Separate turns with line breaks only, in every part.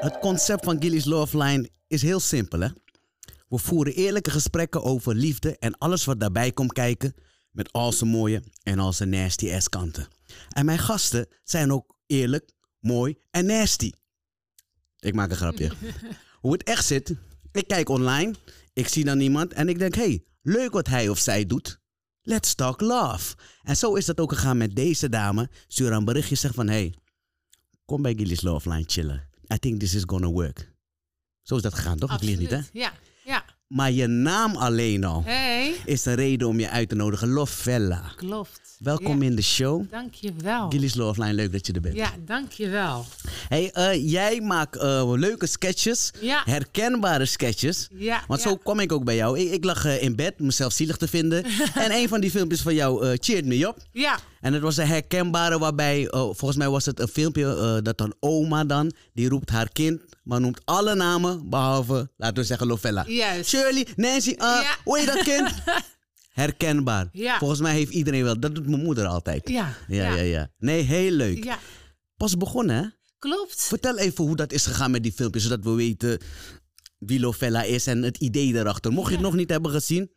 Het concept van Gilly's Love Line is heel simpel, hè? We voeren eerlijke gesprekken over liefde en alles wat daarbij komt kijken. Met al zijn mooie en al zijn nasty ass kanten. En mijn gasten zijn ook eerlijk, mooi en nasty. Ik maak een grapje. Hoe het echt zit, ik kijk online, ik zie dan iemand en ik denk, hey, leuk wat hij of zij doet. Let's talk love. En zo is dat ook gegaan met deze dame. Stuur haar een berichtje, zeg van, hey, kom bij Gilly's Love Line chillen. I think this is gonna work. Zo is dat gegaan, toch? Ik lieg niet, hè?
Ja, ja.
Maar je naam alleen al
Hey,
is een reden om je uit te nodigen. Lovella,
klopt.
welkom
ja.
in de show.
Dankjewel.
Gilly's Love Line, leuk dat je er bent.
Ja, dankjewel.
Hey, eh, jij maakt eh, leuke sketches,
Ja.
herkenbare sketches.
Ja,
Want
ja.
zo kwam ik ook bij jou. Ik, ik lag eh, in bed, mezelf zielig te vinden. en een van die filmpjes van jou eh cheert me op.
Ja,
En het was een herkenbare waarbij, eh, volgens mij was het een filmpje eh, dat een oma dan, die roept haar kind, maar noemt alle namen behalve, laten we zeggen, Lovella.
Juist.
Shirley, Nancy, eh,
Ja.
hoe heet dat kind? Herkenbaar.
Ja.
Volgens mij heeft iedereen wel, dat doet mijn moeder altijd.
ja.
Ja, ja, ja. Nee, heel leuk.
ja.
Pas begonnen, hè?
klopt.
Vertel even hoe dat is gegaan met die filmpjes, zodat we weten wie Lovella is en het idee daarachter. Mocht je het nog niet hebben gezien,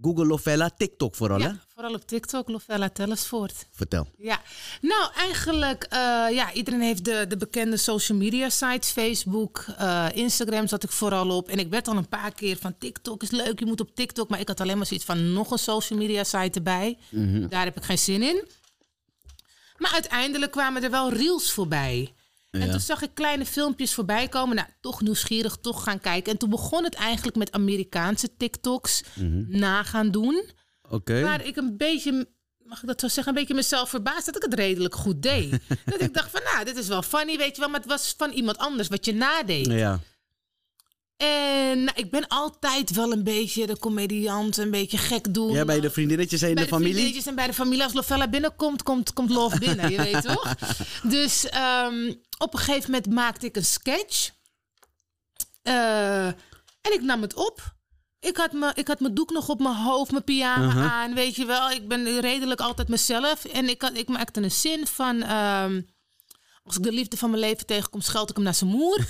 Google Lovella, TikTok vooral, hè?
Ja, vooral op TikTok, Lovella Tellersvoort.
Vertel.
Ja, nou eigenlijk, eh, ja, iedereen heeft de, de bekende social media sites. Facebook, eh, Instagram zat ik vooral op. En ik werd al een paar keer van TikTok is leuk, je moet op TikTok. Maar ik had alleen maar zoiets van nog een social media site erbij. Daar heb ik geen zin in. Maar uiteindelijk kwamen er wel reels voorbij. En toen zag ik kleine filmpjes voorbij komen. Nou, toch nieuwsgierig, toch gaan kijken. En toen begon het eigenlijk met Amerikaanse TikToks nagaan doen.
Oké.
Waar ik een beetje, mag ik dat zo zeggen, een beetje mezelf verbaasd dat ik het redelijk goed deed. dat ik dacht van, nou, dit is wel funny, weet je wel, maar het was van iemand anders wat je nadeed.
Ja.
En nou, ik ben altijd wel een beetje de comediant, een beetje gek doen.
Ja, bij de vriendinnetjes en de,
Bij
familie.
vriendinnetjes en bij de familie. Als Lovella binnenkomt, komt, komt Love binnen, je weet toch? Dus ehm, op een gegeven moment maakte ik een sketch. Eh, en ik nam het op. Ik had, me, ik had mijn doek nog op mijn hoofd, mijn pyjama
Uh-huh.
aan, weet je wel. Ik ben redelijk altijd mezelf. En ik, had, ik maakte een zin van... ehm, als ik de liefde van mijn leven tegenkom, scheld ik hem naar zijn moer.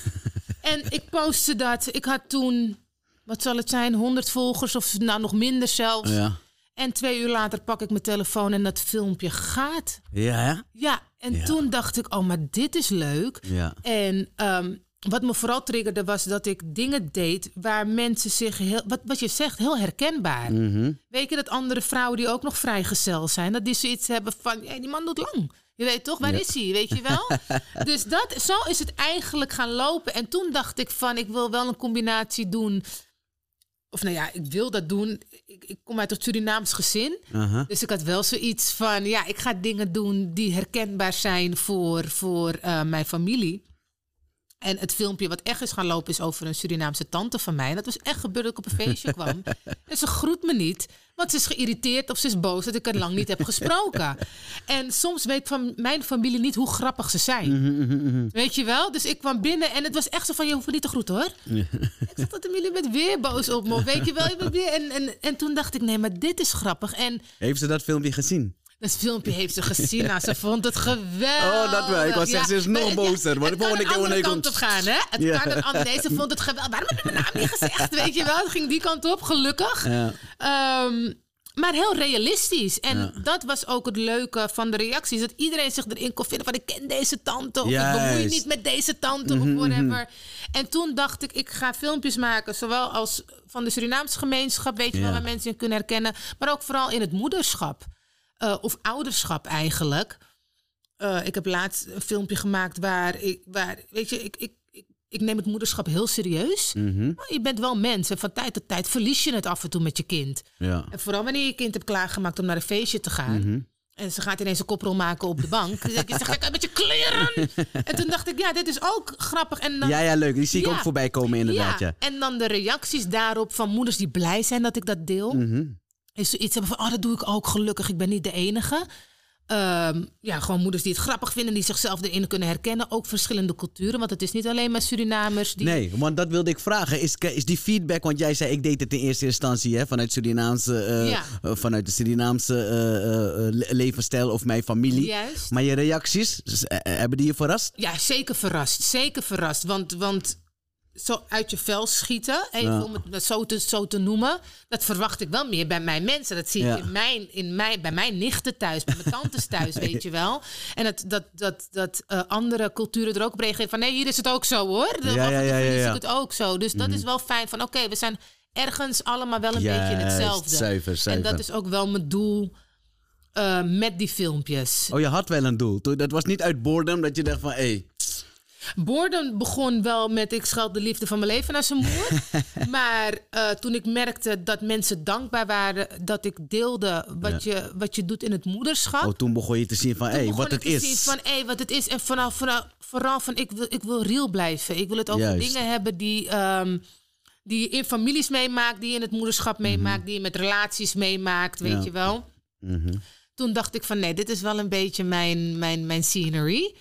en ik postte dat. Ik had toen, wat zal het zijn, 100 volgers of nou nog minder zelfs.
Ja.
En twee uur later pak ik mijn telefoon en dat filmpje gaat.
Ja, hè?
Ja, en
Ja.
toen dacht ik, oh, maar dit is leuk.
Ja.
En ehm, wat me vooral triggerde was dat ik dingen deed waar mensen zich heel, wat, wat je zegt, heel herkenbaar.
Mhm.
Weet je dat andere vrouwen die ook nog vrijgezel zijn, dat die zoiets hebben van, hey, die man doet lang. Je weet toch, waar is hij? Weet je wel? dus dat, zo is het eigenlijk gaan lopen. En toen dacht ik van, ik wil wel een combinatie doen. Of nou ja, ik wil dat doen. Ik, ik kom uit een Surinaams gezin.
Aha.
Dus ik had wel zoiets van, ja, ik ga dingen doen die herkenbaar zijn voor, voor eh, mijn familie. En het filmpje wat echt is gaan lopen is over een Surinaamse tante van mij. En dat was echt gebeurd dat ik op een feestje kwam. En ze groet me niet, want ze is geïrriteerd of ze is boos dat ik er lang niet heb gesproken. En soms weet van mijn familie niet hoe grappig ze zijn.
Mhm,
Weet je wel? Dus ik kwam binnen en het was echt zo van, je hoeft me niet te groeten hoor. Ik zat dat jullie met weer boos op me. Weet je wel? Je bent weer... en, en, en toen dacht ik, nee, maar dit is grappig. En
Heeft ze dat filmpje gezien?
dat filmpje heeft ze gezien. Nou, ze vond het geweldig.
Oh, dat wel. Ik wou zeggen, ze is nog
maar-
bozer, maar de
het
volgende
kan
keer
een
wanneer
andere
je
kant
komt-
op gaan, hè? Het
Ja.
kan een andere... Nee, ze vond het geweldig. Waarom heb je mijn naam niet gezegd? Weet je wel? Het ging die kant op, gelukkig.
Ja.
Ehm, maar heel realistisch. En dat was ook het leuke van de reacties. Dat iedereen zich erin kon vinden van... ik ken deze tante. Of ik bemoei je
Juist.
niet met deze tante. of whatever. En toen dacht ik, ik ga filmpjes maken. Zowel als van de Surinaamse gemeenschap. Weet je
Ja.
wel, waar mensen in kunnen herkennen. Maar ook vooral in het moederschap. eh, of ouderschap eigenlijk. Eh, ik heb laatst een filmpje gemaakt waar ik... Waar, weet je, ik... ik ik- ik neem het moederschap heel serieus. Maar je bent wel mens. En van tijd tot tijd verlies je het af en toe met je kind.
Ja.
En vooral wanneer je kind hebt klaargemaakt om naar een feestje te gaan.
Mhm.
En ze gaat ineens een koprol maken op de bank. Dan denk je, zeg ik, met je kleren. En toen dacht ik, ja, dit is ook grappig. En dan,
Ja, ja, leuk. Die zie ik
Ja.
ook voorbij komen, inderdaad. Ja.
en dan de reacties daarop van moeders die
Mhm.
blij zijn dat ik dat deel. Is zoiets hebben van, oh, dat doe ik ook gelukkig. Ik ben niet de enige. Ehm, ja, gewoon moeders die het grappig vinden, die zichzelf erin kunnen herkennen. Ook verschillende culturen, want het is niet alleen maar Surinamers. Die...
Nee, want dat wilde ik vragen. Is, is die feedback, want jij zei ik deed het in eerste instantie hè, vanuit, Surinaamse, eh,
Ja.
eh, vanuit de Surinaamse eh, eh, eh, le- levensstijl of mijn familie.
Juist.
Maar je reacties, z- eh, eh, hebben die je verrast?
Ja, zeker verrast. Zeker verrast. Want, want zo uit je vel schieten, even
Ja.
om het zo te, zo te noemen, dat verwacht ik wel meer bij mijn mensen. Dat zie
Ja.
ik in mijn, in mijn, bij mijn nichten thuis, bij mijn tantes thuis, weet je wel. En dat, dat, dat, dat eh, andere culturen er ook op reageren van nee, hier is het ook zo hoor.
Ja,
Dan
ja, ja, ja, ja.
is het ook zo. Dus dat is wel fijn van oké, we zijn ergens allemaal wel een beetje in
Juist,
hetzelfde.
zuiver, zuiver.
En dat is ook wel mijn doel eh, met die filmpjes.
Oh, je had wel een doel. Toen- Dat was niet uit boredom dat je dacht van, hé, hey,
Borden begon wel met ik scheld de liefde van mijn leven naar zijn moer. maar eh, toen ik merkte dat mensen dankbaar waren dat ik deelde wat, je, wat je doet in het moederschap.
oh, toen begon je te zien van, hé, hey,
begon
wat
ik
het
te zien
is.
Van, hey, wat het is. En vooral, vooral, vooral van ik wil, ik wil real blijven. Ik wil het over
Juist.
dingen hebben die, ehm, die je in families meemaakt, die je in het moederschap meemaakt, die je met relaties meemaakt, weet
Mhm. Ja.
je wel.
Mhm.
Toen dacht ik van nee, dit is wel een beetje mijn, mijn, mijn scenery.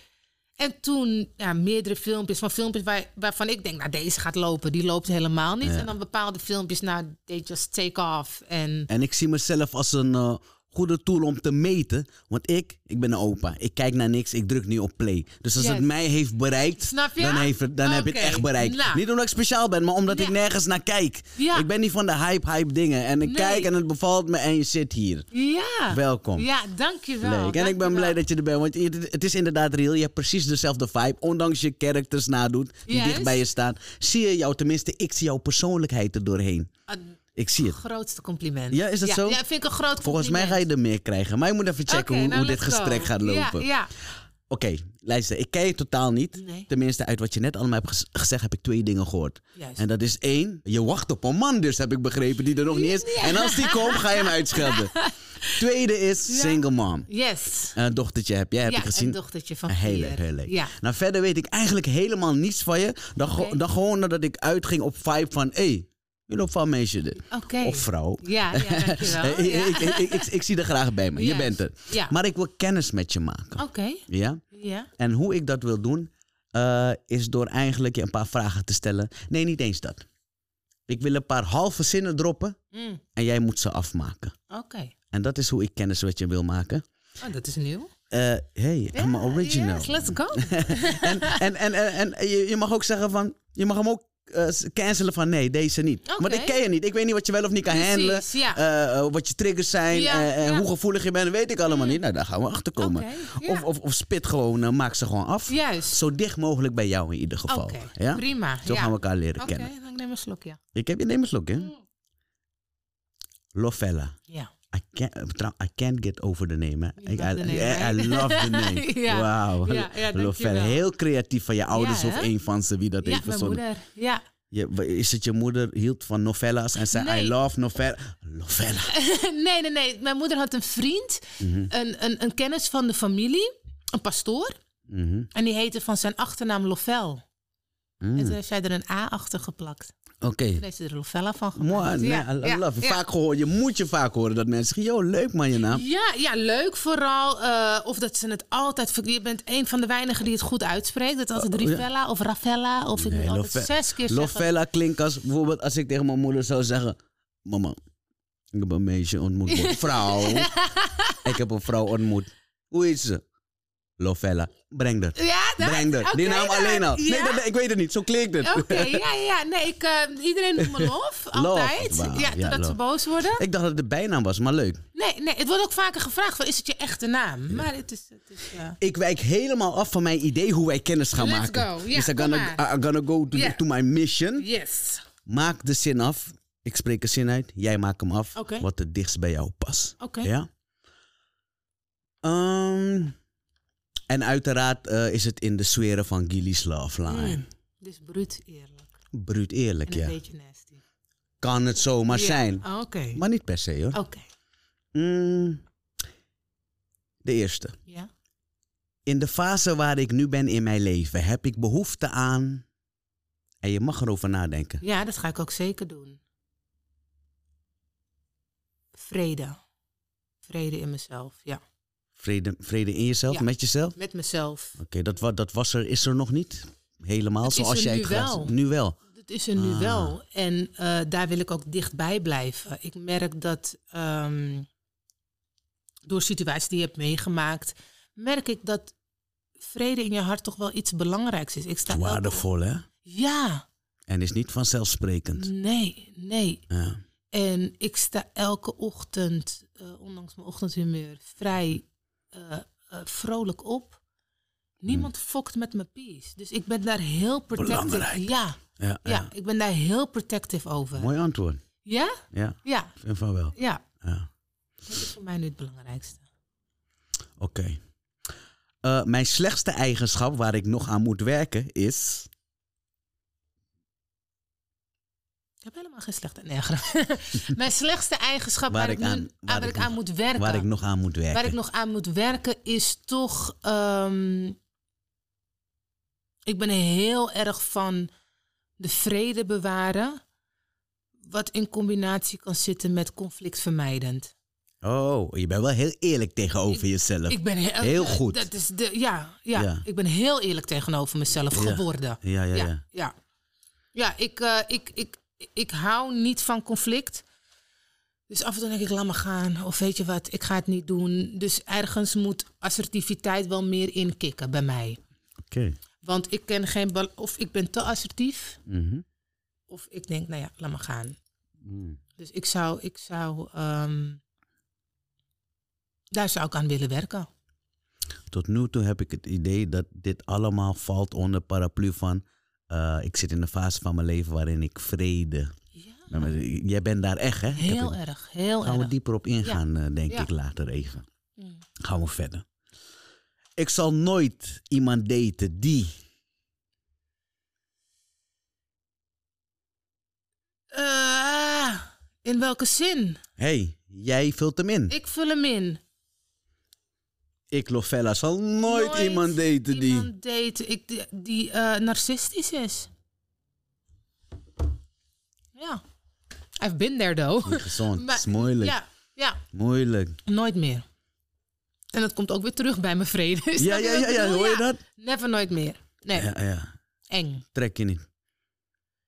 En toen ja, meerdere filmpjes, van filmpjes waar, waarvan ik denk, nou deze gaat lopen, die loopt helemaal niet. En dan bepaalde filmpjes, nou they just take off. En
En ik zie mezelf als een eh, goede tool om te meten. Want ik, ik ben een opa. Ik kijk naar niks. Ik druk nu op play. Dus als
Yes.
het mij heeft bereikt,
Snap je?
dan, heeft het, dan heb je het
Oké,
echt bereikt.
nou.
Niet omdat ik speciaal ben, maar omdat ik
Nee.
nergens naar kijk.
Ja.
Ik ben niet van de hype, hype dingen. En ik
Nee.
kijk en het bevalt me en je zit hier.
ja.
Welkom.
Ja, dankjewel.
Leuk. En ik ben
dankjewel.
blij dat je er bent, want het het is inderdaad real. Je hebt precies dezelfde vibe, ondanks je characters nadoet die
Juist.
dicht bij je staan. Zie je jou, tenminste, ik zie jouw persoonlijkheid er doorheen.
Ah,
Ik zie het.
grootste compliment.
Ja, is dat zo?
Ja, vind ik een groot compliment.
Volgens mij ga je er meer krijgen. Maar je moet even checken
Oké,
hoe,
nou,
hoe dit
let's go.
gesprek gaat lopen.
Ja, ja.
Oké, luister. Ik ken je totaal niet.
Nee.
Tenminste, uit wat je net allemaal hebt gez- gezegd, heb ik twee dingen gehoord.
Juist.
En dat is één, je wacht op een man dus, heb ik begrepen, die er nog niet is.
Ja.
En als die komt, ga je hem uitschelden. Tweede is single mom.
Yes.
Een dochtertje heb jij, heb
ja,
ik gezien.
een dochtertje van
Een Heel
vier.
leuk, heel leuk.
Ja.
Nou, verder weet ik eigenlijk helemaal niets van je. Dan, ge-
Oké.
dan gewoon nadat ik uitging op vibe van... Hé, hey, je loopt van meisje. dit.
Oké.
Of vrouw.
Ja, ja, dankjewel.
Eh, ik,
Ja.
ik, ik, ik, ik zie er graag bij me. Je
Juist.
bent er.
Ja. Oh.
Maar ik wil kennis met je maken.
Oké.
Ja?
Ja.
En hoe ik dat wil doen... eh, is door eigenlijk je een paar vragen te stellen. Nee, niet eens dat. Ik wil een paar halve zinnen droppen...
Mm,
en jij moet ze afmaken.
Oké.
En dat is hoe ik kennis met je wil maken.
Oh, dat is nieuw.
Eh hey, I'm
Ja,
original.
yes, let's go.
en en, en, en, en je, je mag ook zeggen van, je mag hem ook eh, cancelen van nee, deze niet.
Oké.
Want ik ken je niet. Ik weet niet wat je wel of niet kan
Precies,
handelen.
ja.
eh, eh, wat je triggers zijn.
Ja,
eh, en
ja. Mm.
hoe gevoelig je bent, weet ik allemaal niet. Nou, daar gaan we achter komen.
Oké, ja.
of, of, of spit gewoon, eh, maak ze gewoon af.
Juist.
Zo dicht mogelijk bij jou in ieder
Oké,
geval. ja?
prima.
Zo
ja.
gaan we elkaar leren
Oké, Mm.
kennen.
dan neem een slokje.
Ik heb je neem een slok, hè? Lovella.
Ja.
I can't, eh, trouw- I can't get over the name. hè.
Je
Ik,
mag de
I,
name,
yeah, I
hè?
love the name.
Ja.
Wauw.
Ja, ja,
Lovell,
dankjewel.
heel creatief van je ouders
Ja,
of
hè?
een van ze wie dat
Ja,
heeft
mijn
verzonnen.
moeder. Ja.
Je- wa- is het je moeder hield van novellas en zei I
Nee.
love novella. Novella.
nee, nee, nee. Mijn moeder had een vriend, een, een, een kennis van de familie, een pastoor.
Mhm.
En die heette van zijn achternaam Lovell.
Mm.
En toen heeft zij er een A achter geplakt.
Oké.
Toen heeft ze er Lovella van gemaakt.
Mooi. nee,
Ja,
I I
ja,
love it.
ja.
Vaak gehoord. Je moet je vaak horen dat mensen zeggen, yo, leuk man je naam.
Ja, ja, leuk vooral. eh, of dat ze het altijd... ver- Je bent een van de weinigen die het goed uitspreekt. Dat altijd
Oh, ja.
Rivella of Ravella. Of ik
Nee,
moet altijd
Lovell-
zes keer zeggen.
Novella klinkt als bijvoorbeeld als ik tegen mijn moeder zou zeggen, mama, ik heb een meisje ontmoet. man." Vrouw. ik heb een vrouw ontmoet. Hoe is ze? Lovella. Breng dat.
Ja, dat-
Breng dat. Die
oké
naam
dan.
alleen al. Nee,
Ja.
dat, ik weet het niet. Zo klinkt het.
Oké, ja, ja, ja. Nee, ik, eh, iedereen noemt me Lof, altijd.
wauw, ja,
ja, totdat
Lof.
ze boos worden.
Ik dacht dat het de bijnaam was, maar leuk.
Nee, nee, het wordt ook vaker gevraagd, van, is het je echte naam? Maar het is... Het is eh, ja.
Ik wijk helemaal af van mijn idee hoe wij kennis gaan
Let's
maken.
go. Ja,
dus I'm
kom
gonna,
maar.
I'm gonna go to,
Ja.
to my mission.
Yes.
Maak de zin af. Ik spreek een zin uit. Jij maakt hem af.
Oké.
Wat het dichtst bij jou past.
Oké.
Ja? Ehm, en uiteraard eh, is het in de sferen van Gilly's Love Line.
Dus bruut eerlijk.
Bruut eerlijk,
En
ja.
een beetje nasty.
Kan het zomaar
Ja. Oh.
zijn.
Ah, Oké.
Maar niet per se, hoor.
Oké.
Mm, de eerste.
Ja.
In de fase waar ik nu ben in mijn leven, heb ik behoefte aan. En je mag erover nadenken.
ja, dat ga ik ook zeker doen. Vrede. Vrede in mezelf, ja.
Vrede, vrede in jezelf,
Ja.
met jezelf?
met mezelf.
Oké, dat, wa- dat was er, is er nog niet helemaal
Het is
zoals
er
jij
nu
het graag-
wel.
Nu wel.
Dat is er
Ah.
nu wel. En eh, daar wil ik ook dichtbij blijven. Ik merk dat ehm, door situaties die je hebt meegemaakt, merk ik dat vrede in je hart toch wel iets belangrijks is. Ik sta
Het is
elke-
waardevol, hè?
Ja,
En is niet vanzelfsprekend.
nee, nee.
Ja.
En ik sta elke ochtend, eh, ondanks mijn ochtendhumeur, vrij eh, eh, vrolijk op. Niemand
Hmm.
fokt met mijn pies. Dus ik ben daar heel protective.
Belangrijk.
Ja,
Ja,
ja, ik ben daar heel protective over.
Mooi antwoord.
Ja?
Ja,
Ja,
ik vind van wel.
ja.
Ja.
Dat is voor mij nu het belangrijkste.
Oké. Eh, mijn slechtste eigenschap waar ik nog aan moet werken is.
Ik heb helemaal geen slechte... Nee, grap. Mijn slechtste eigenschap waar, ik, nu, aan, waar, ik
nog-
aan moet werken...
Waar ik nog aan moet werken.
Waar ik nog aan moet werken is toch. ehm, ik ben heel erg van de vrede bewaren. Wat in combinatie kan zitten met conflict vermijdend.
Oh, je bent wel heel eerlijk tegenover jezelf.
Ik ben heel, eh,
Heel goed.
Dat is de, ja, ja,
Ja.
ik ben heel eerlijk tegenover mezelf
Ja.
geworden.
ja, ja, ja.
Ja, ja. ja ik, eh, ik, ik, ik hou niet van conflict. Dus af en toe denk ik, laat maar gaan. Of weet je wat, ik ga het niet doen. Dus ergens moet assertiviteit wel meer inkikken bij mij.
Oké.
Want ik ken geen... bal- Of ik ben te assertief.
Mhm.
Of ik denk, nou ja, laat maar gaan.
Mm.
Dus ik zou... Ik zou ehm, daar zou ik aan willen werken.
Tot nu toe heb ik het idee dat dit allemaal valt onder paraplu van. eh, ik zit in een fase van mijn leven waarin ik vrede.
Ja,
Nou, maar Jij bent daar echt, hè? Ik heb
heel
het-
erg, heel
Gaan we
erg.
dieper op ingaan, eh, denk
Ja.
ik, later even.
Mm.
Gaan we verder. Ik zal nooit iemand daten die.
Eh, in welke zin?
hey, jij vult hem in. Ik,
Ik vul hem in.
Lovella, zal nooit, iemand daten die.
iemand daten ik, die, die eh, narcistisch is. Ja. I've been there though.
Niet gezond.
Maar-
is moeilijk.
Ja, ja,
Moeilijk.
nooit meer. En dat komt ook weer terug bij mijn vrede. Snap je
Ja, ja,
wat
ja,
ik
ja,
bedoel?
hoor je dat?
Never nooit meer. Nee,
Ja, ja.
eng.
Trek je niet.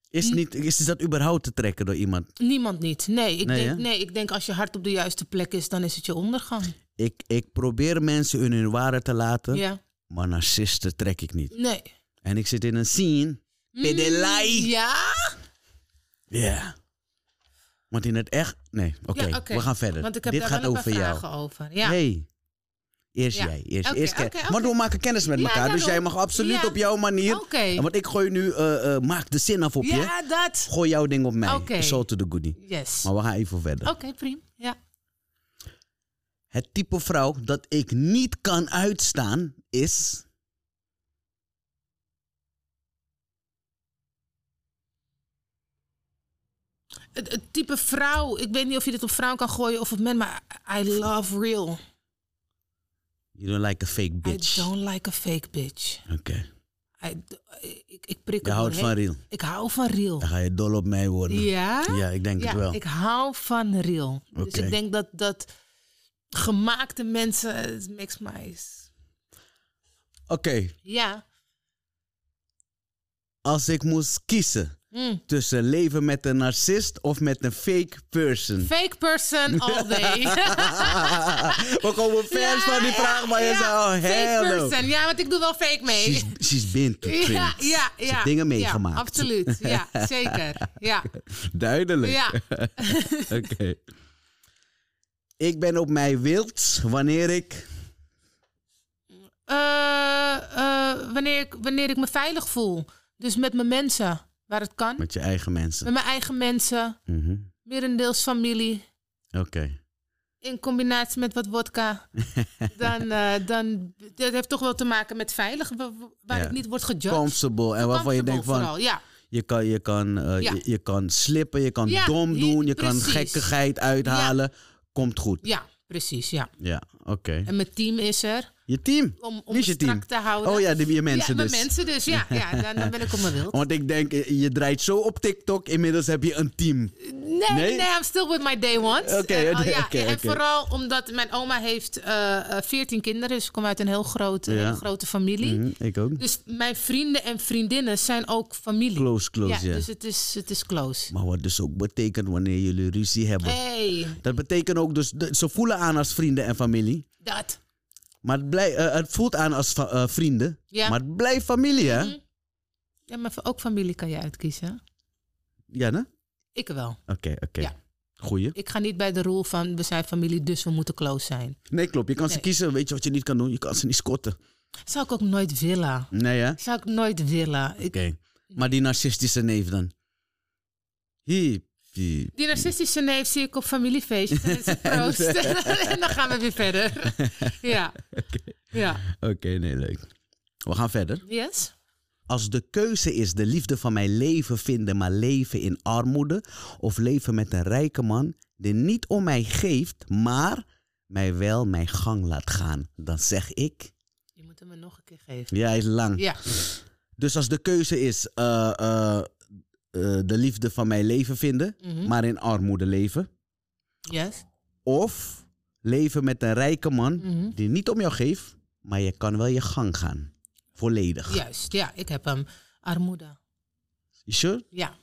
Is,
Hm.
niet, is dat überhaupt te trekken door iemand?
Niemand niet. Nee ik,
Nee,
denk,
hè?
nee, ik denk als je hart op de juiste plek is, dan is het je ondergang.
Ik, ik probeer mensen in hun waarde te laten,
Ja.
maar narcisten trek ik niet.
Nee. Mm,
En ik zit in een scene. Pedelai.
Ja?
Ja. Want in het echt. Nee, oké,
Ja,
we gaan verder.
Want ik heb
Dit
daar
gaat
wel een
over
paar
jou.
vragen over. Ja.
Hey. Eerst
Ja.
jij. Eerst,
Oké,
eerst ken-
oké, oké.
Maar we maken kennis met
Ja,
elkaar. Dus
daarom.
jij mag absoluut
Ja.
op jouw manier.
Oké.
Want ik gooi nu. eh, eh, maak de zin af op je.
Ja, dat.
Gooi jouw ding op mij.
Oké.
Zo to the goodie.
Yes.
Maar we gaan even verder.
Oké, prima. Ja.
Het type vrouw dat ik niet kan uitstaan is.
Het, het type vrouw, ik weet niet of je dit op vrouw kan gooien of op men, maar I love real.
You don't like a fake bitch.
I don't like a fake bitch.
Oké.
I d- ik, ik prik
Je
er
houdt van
doorheen.
real.
Ik hou van real.
Dan ga je dol op mij worden.
Ja?
Ja, ik denk
Ja,
het wel.
ik hou van real. Dus
Oké.
ik denk dat, dat gemaakte mensen, het makes my...
Oké,
Ja.
als ik moest kiezen
Mm.
tussen leven met een narcist of met een fake person.
Fake person all day.
We komen vers van die vraag, maar je
ja,
zei, oh hell
Fake
no.
person. Ja, want ik doe wel fake mee.
She's, she's been to things.
ja, ja,
Ze heeft
ja.
dingen meegemaakt.
Ja, absoluut. Ja, zeker. Ja.
Duidelijk.
Ja.
Oké. Ik ben op mij wild wanneer ik...
Eh, eh, wanneer, ik, wanneer ik me veilig voel. Dus met mijn mensen, waar het kan.
Met je eigen mensen.
Met mijn eigen mensen,
Mhm.
merendeels familie.
Oké.
In combinatie met wat wodka. dan, eh, dan, dat heeft toch wel te maken met veilig. wa- wa- Waar
Ja.
ik niet word gejudged.
Comfortable. En waarvan je
Comfortable
denkt van,
vooral, ja.
Je kan, je, kan, eh,
Ja.
je, je kan slippen, je kan
Ja,
dom
je-
doen, je kan
precies.
gekkigheid uithalen. Komt goed.
ja, precies. Ja.
Ja, oké. Oké.
En mijn team is er.
Je team.
Om, om
Wie is
het
je
strak
team?
te houden.
Oh ja, de, je mensen
ja, mijn
dus.
mensen dus. Ja, ja dan, dan ben ik op mijn wild.
Want ik denk, eh, je draait zo op TikTok, inmiddels heb je een team.
Nee,
Nee?
nee, I'm still with my day ones.
Oké,
En, oh,
oké,
ja,
oké,
en
oké.
vooral omdat mijn oma heeft eh eh, 14 kinderen. Dus ik kom uit een heel grote,
Ja.
hele grote familie.
Mhm, ik ook.
Dus mijn vrienden en vriendinnen zijn ook familie.
Close, close, ja.
ja, dus het is, het is close.
Maar wat dus ook betekent wanneer jullie ruzie hebben.
Eh. Hey,
Dat betekent ook dus, de- ze voelen aan als vrienden en familie.
dat.
Maar het, blij, eh, het voelt aan als fa- eh, vrienden.
Ja.
Maar het blijft familie, hè?
Mhm. Ja, maar ook familie kan je uitkiezen.
Ja, hè? Oké,
Ik wel.
oké.
Ja.
Goeie.
Ik ga niet bij de rule van we zijn familie, dus we moeten close zijn.
Nee, klopt. Je kan ze
Nee.
kiezen. Weet je wat je niet kan doen? Je kan ze niet scotten.
Zou ik ook nooit willen.
Nee, hè? Oké.
Zou ik nooit willen. Ik,
Maar die narcistische neef dan? Hiep, hiep.
Die narcistische neef zie ik op familiefeestjes. En dan is het proost. en dan gaan we weer verder. ja. Ja.
Oké, nee, leuk. We gaan verder.
Yes.
Als de keuze is de liefde van mijn leven vinden, maar leven in armoede, of leven met een rijke man die niet om mij geeft, maar mij wel mijn gang laat gaan, dan zeg ik.
Je moet hem me nog een keer geven.
Ja, hij is lang.
Ja.
Dus als de keuze is eh, eh, eh, de liefde van mijn leven vinden,
Mhm.
maar in armoede leven,
Yes.
of leven met een rijke man
Mhm.
die niet om jou geeft, maar je kan wel je gang gaan. Volledig.
Juist. Ja, ik heb hem. Armoede.
You Sure?
Ja.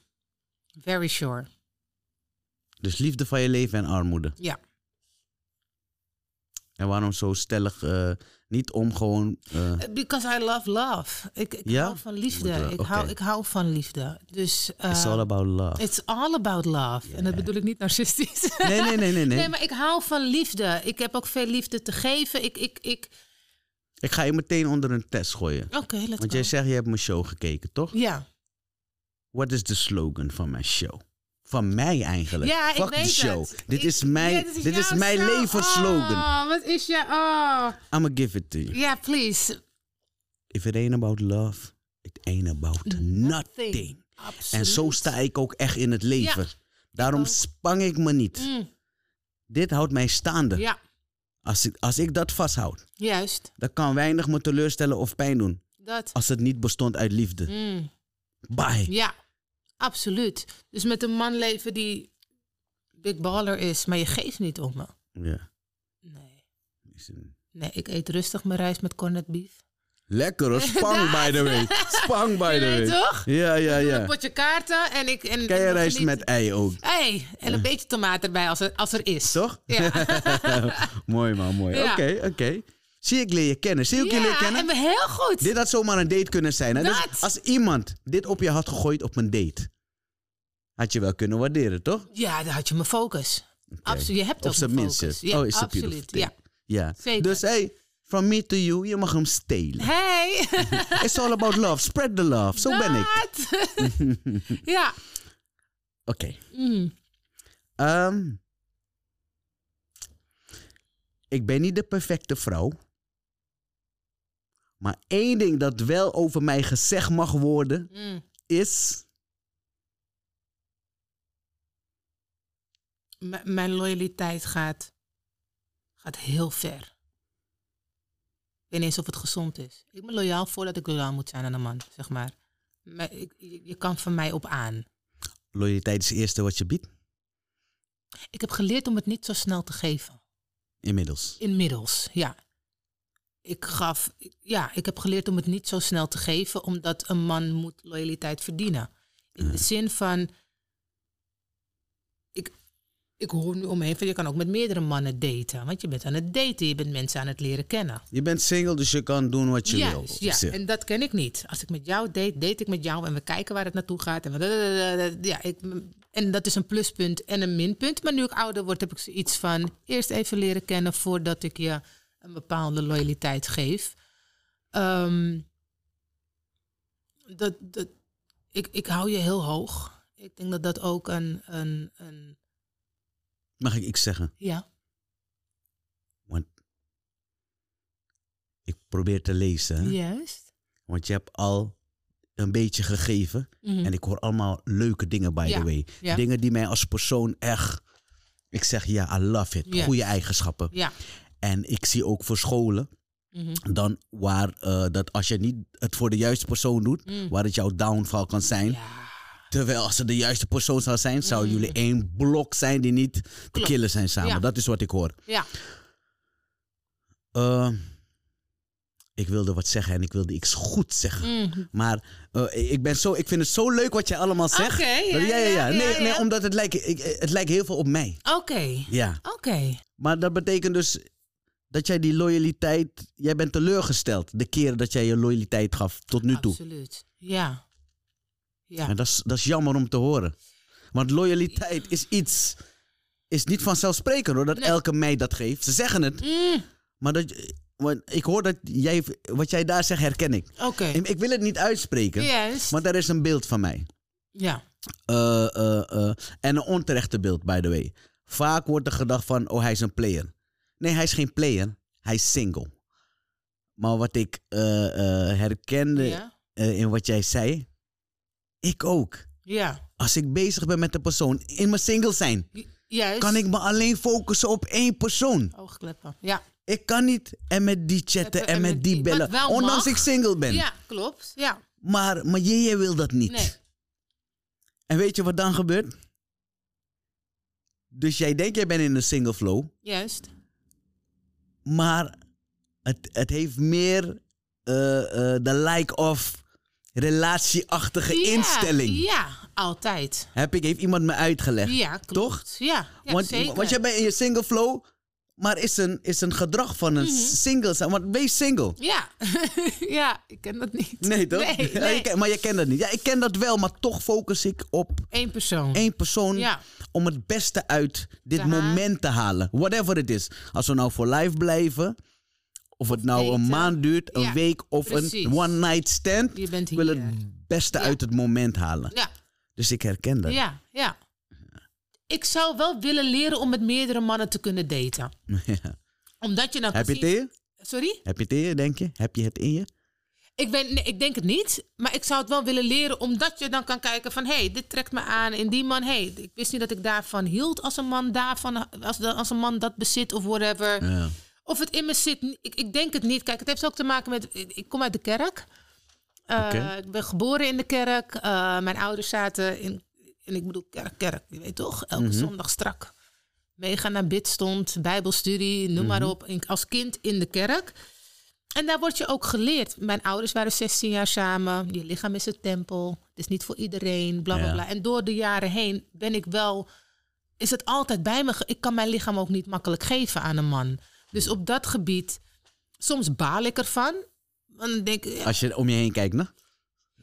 Very sure.
Dus liefde van je leven en armoede.
Ja.
En waarom zo stellig eh, niet om gewoon. eh,
Because I love love. Ik, ik
Ja?
hou van liefde.
Moet wel,
Ik,
oké.
hou, ik hou van liefde. Dus... eh,
it's all about love.
It's all about love. En dat bedoel ik niet narcistisch.
Nee, nee, nee, nee, nee.
nee, maar ik hou van liefde. Ik heb ook veel liefde te geven. Ik, ik, ik...
Ik ga je meteen onder een test gooien.
Oké, let's
Want
go.
jij zegt, je hebt mijn show gekeken, toch?
Ja.
Wat is de slogan van mijn show? Van mij eigenlijk.
Ja,
Fuck
ik weet
de show.
het.
Dit,
Ik-
is mijn,
Ja,
dit, is
jouw
mijn
show.
levensslogan.
Oh, wat is je... Oh.
I'ma give it to you.
Ja, please.
If it ain't about love, it ain't about nothing. En
Absoluut.
zo sta ik ook echt in het leven. Daarom
ook.
spang ik me niet.
Mm,
Dit houdt mij staande.
ja,
Als, ik, als ik dat vasthoud,
juist.
dan kan weinig me teleurstellen of pijn doen.
Dat.
als het niet bestond uit liefde.
Mm,
Bye.
ja, absoluut. Dus met een man leven die big baller is, maar je geeft niet om me.
Ja.
Nee. Nee, ik eet rustig mijn rijst met corned beef.
Lekker hoor, spang by the way. Spang by
Je
the way.
weet toch?
Ja, ja,
Een
ja.
potje kaarten en ik... En,
Kan je
en
rijst
niet-
met ei ook,
Hey, en een beetje tomaat erbij als er, als er is.
toch?
Ja.
mooi man, mooi. Oké,
Ja.
oké. Zie ik leer je kennen. Zie ik je leer
ja,
kennen.
en we heel goed.
Dit had zomaar een date kunnen zijn. Hè? Dus
Dat.
als iemand dit op je had gegooid op een date, had je wel kunnen waarderen, toch?
Ja, daar had je mijn focus. Absoluut. Je hebt
Op
ook
zijn
mijn
minst.
focus.
hè?
Ja,
oh, is het
absoluut. Ja.
ja.
Zeker.
Dus hey, from me to you, je mag hem stelen.
Hey.
It's all about love. Spread the love. Zo ben ik.
Dat. ja.
Oké.
Mm.
Ehm, ik ben niet de perfecte vrouw. Maar één ding dat wel over mij gezegd mag worden
Mm.
is.
M- mijn loyaliteit gaat, gaat heel ver. Ik weet niet eens of het gezond is. Ik ben loyaal voordat ik loyaal moet zijn aan een man, zeg maar. Maar ik, je, je kan van mij op aan.
Loyaliteit is het eerste wat je biedt,
Ik heb geleerd om het niet zo snel te geven.
inmiddels.
Inmiddels, ja. Ik gaf, ja, ik heb geleerd om het niet zo snel te geven, omdat een man moet loyaliteit verdienen. In de zin van, ik, ik hoor nu omheen van, je kan ook met meerdere mannen daten, want je bent aan het daten, je bent mensen aan het leren kennen.
Je bent single, dus je kan doen wat je wil.
Juist, ja,
Zin.
en dat ken ik niet. Als ik met jou date, date ik met jou en we kijken waar het naartoe gaat. En, we- ja, ik, en dat is een pluspunt en een minpunt. Maar nu ik ouder word, heb ik zoiets van... eerst even leren kennen voordat ik je een bepaalde loyaliteit geef. Ehm, dat, dat, ik, ik hou je heel hoog. Ik denk dat dat ook een... een, een
Mag ik iets zeggen?
ja,
Want ik probeer te lezen. hè?
juist.
Want je hebt al een beetje gegeven.
Mhm.
En ik hoor allemaal leuke dingen, by the
Ja,
way.
ja.
Dingen die mij als persoon echt... Ik zeg ja, I love it.
Yes.
Goede eigenschappen.
Ja,
En ik zie ook voor scholen
Mhm.
dan waar eh, dat als je niet het voor de juiste persoon doet,
Mm.
waar het jouw downfall kan zijn.
Ja.
Terwijl als het de juiste persoon zou zijn, zou
Mm.
jullie één blok zijn die niet te
Klopt.
killen zijn samen.
Ja.
Dat is wat ik hoor.
Ja.
Eh, ik wilde wat zeggen en ik wilde iets goed zeggen.
Mm.
Maar eh, ik, ben zo, ik vind het zo leuk wat jij allemaal zegt.
Oké, ja,
Dat-
ja, ja,
Nee, nee,
ja.
omdat het lijkt, ik, het lijkt heel veel op mij.
Oké.
Ja.
Oké.
Maar dat betekent dus dat jij die loyaliteit... Jij bent teleurgesteld de keren dat jij je loyaliteit gaf tot nu toe.
Absoluut. Ja. Ja.
En dat is, dat is jammer om te horen. Want loyaliteit is iets... Is niet vanzelfsprekend hoor, dat
Nee.
elke meid dat geeft. Ze zeggen het,
Mm.
maar dat, want ik hoor dat jij... Wat jij daar zegt herken ik.
Oké.
Ik, ik wil het niet uitspreken,
Juist.
maar daar is een beeld van mij.
Ja.
Eh, eh, eh, en een onterechte beeld, by the way. Vaak wordt er gedacht van, oh, hij is een player. Nee, hij is geen player. Hij is single. Maar wat ik eh, eh, herkende
Ja.
eh, in wat jij zei, ik ook.
Ja.
Als ik bezig ben met een persoon in mijn single zijn,
Ju- Juist.
kan ik me alleen focussen op één persoon.
Oogkleppen. Ja.
Ik kan niet en met die chatten en met die
wat
bellen,
wel
ondanks
mag.
ik single ben.
Ja, klopt. Ja.
Maar, maar jij, jij wil dat niet.
Nee.
En weet je wat dan gebeurt? Dus jij denkt, jij bent in een single flow.
Juist.
Maar het, het heeft meer eh, eh, de like of relatieachtige
Ja,
instelling.
Ja. Altijd.
Heb ik, heeft iemand me uitgelegd.
Ja, klopt.
Toch?
Ja, ja
want,
zeker.
want jij bent in je single flow. Maar is een, is een gedrag van
Mhm.
een single zijn. Want wees single.
Ja. ja, ik ken dat niet.
Nee, toch?
Nee,
Ja,
nee.
je ken- maar je kent dat niet. Ja, ik ken dat wel, maar toch focus ik op
Eén persoon.
één persoon
Ja.
om het beste uit dit
Te halen.
moment te halen. Whatever het is. Als we nou voor live blijven, of het nou een
eten.
maand duurt, een
Ja,
week of
precies.
een one night stand.
Je bent
Ik wil
hier.
het beste uit het moment halen.
Ja,
Dus ik herken dat.
ja, ja. Ik zou wel willen leren om met meerdere mannen te kunnen daten.
Ja.
Omdat je nou
Heb je het in
precies-
je?
Sorry?
Heb je het in je, denk je? Heb je het in je?
Ik, ben, nee, ik denk het niet, maar ik zou het wel willen leren, omdat je dan kan kijken van, hé, hey, dit trekt me aan. En die man, hé, hey, ik wist niet dat ik daarvan hield als een man daarvan, als, als een man dat bezit of whatever.
Ja.
Of het in me zit, ik, ik denk het niet. Kijk, het heeft ook te maken met, ik ik kom uit de kerk. Uh,
Oké.
Ik ben geboren in de kerk. Uh, mijn ouders zaten in, en ik bedoel kerk, kerk, je weet toch? Elke
Mhm.
zondag strak. Meegaan naar bidstond, bijbelstudie, noem
Mhm.
maar op. In- als kind in de kerk. En daar word je ook geleerd. Mijn ouders waren 16 jaar samen. Je lichaam is een tempel. Het is niet voor iedereen, bla bla
Ja.
bla. En door de jaren heen ben ik wel is het altijd bij me. ge- Ik kan mijn lichaam ook niet makkelijk geven aan een man. Dus op dat gebied, soms baal ik ervan. Want dan denk ik, ja,
Als je om je heen kijkt, nou,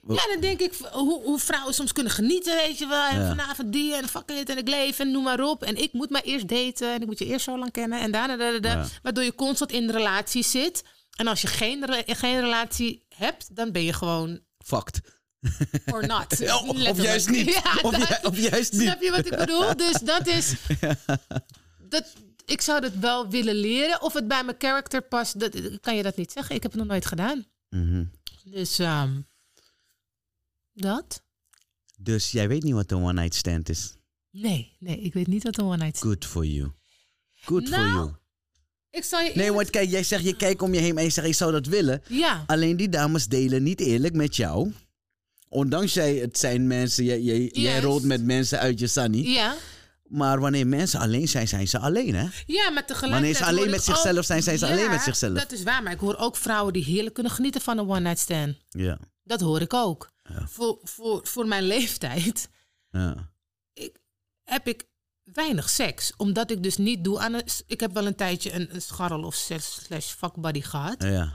ne?
ja, dan denk ik hoe, hoe vrouwen soms kunnen genieten, weet je wel. En
Ja.
vanavond die en fuck it en ik leef en noem maar op. En ik moet maar eerst daten en ik moet je eerst zo lang kennen. En daarna, da, da, da.
Ja.
waardoor je constant in de relatie zit. En als je geen, re- geen relatie hebt, dan ben je gewoon
Fucked.
or not.
Ja, of- of
Letterlijk.
juist niet.
Ja,
of,
dat-
ju- of juist niet.
Snap je wat ik bedoel? Dus dat is. Dat, ik zou dat wel willen leren. Of het bij mijn karakter past, dat, kan je dat niet zeggen. Ik heb het nog nooit gedaan.
Mhm.
Dus ehm, dat?
Dus jij weet niet wat een one night stand is.
Nee, nee, ik weet niet wat een one-night stand
Good for you. Good for
Nou,
you.
Ik zal je.
Nee,
eerlijk-
want kijk, jij zegt je kijkt om je heen en je zegt ik zou dat willen.
Ja,
Alleen die dames delen niet eerlijk met jou. Ondanks jij, het zijn mensen, jij, jij, jij
Juist.
rolt met mensen uit je sunny.
ja.
Maar wanneer mensen alleen zijn, zijn ze alleen, hè?
Ja, maar tegelijkertijd.
Wanneer ze alleen
hoor ik
met zichzelf
ook-
zijn, zijn ze
Ja,
alleen met zichzelf.
Dat is waar, maar ik hoor ook vrouwen die heerlijk kunnen genieten van een one-night stand.
Ja.
Dat hoor ik ook. Voor, voor, voor mijn leeftijd
ja.
ik, heb ik weinig seks. Omdat ik dus niet doe aan een... Ik heb wel een tijdje een, een scharrel of zes- slash vakbody gehad.
Ja,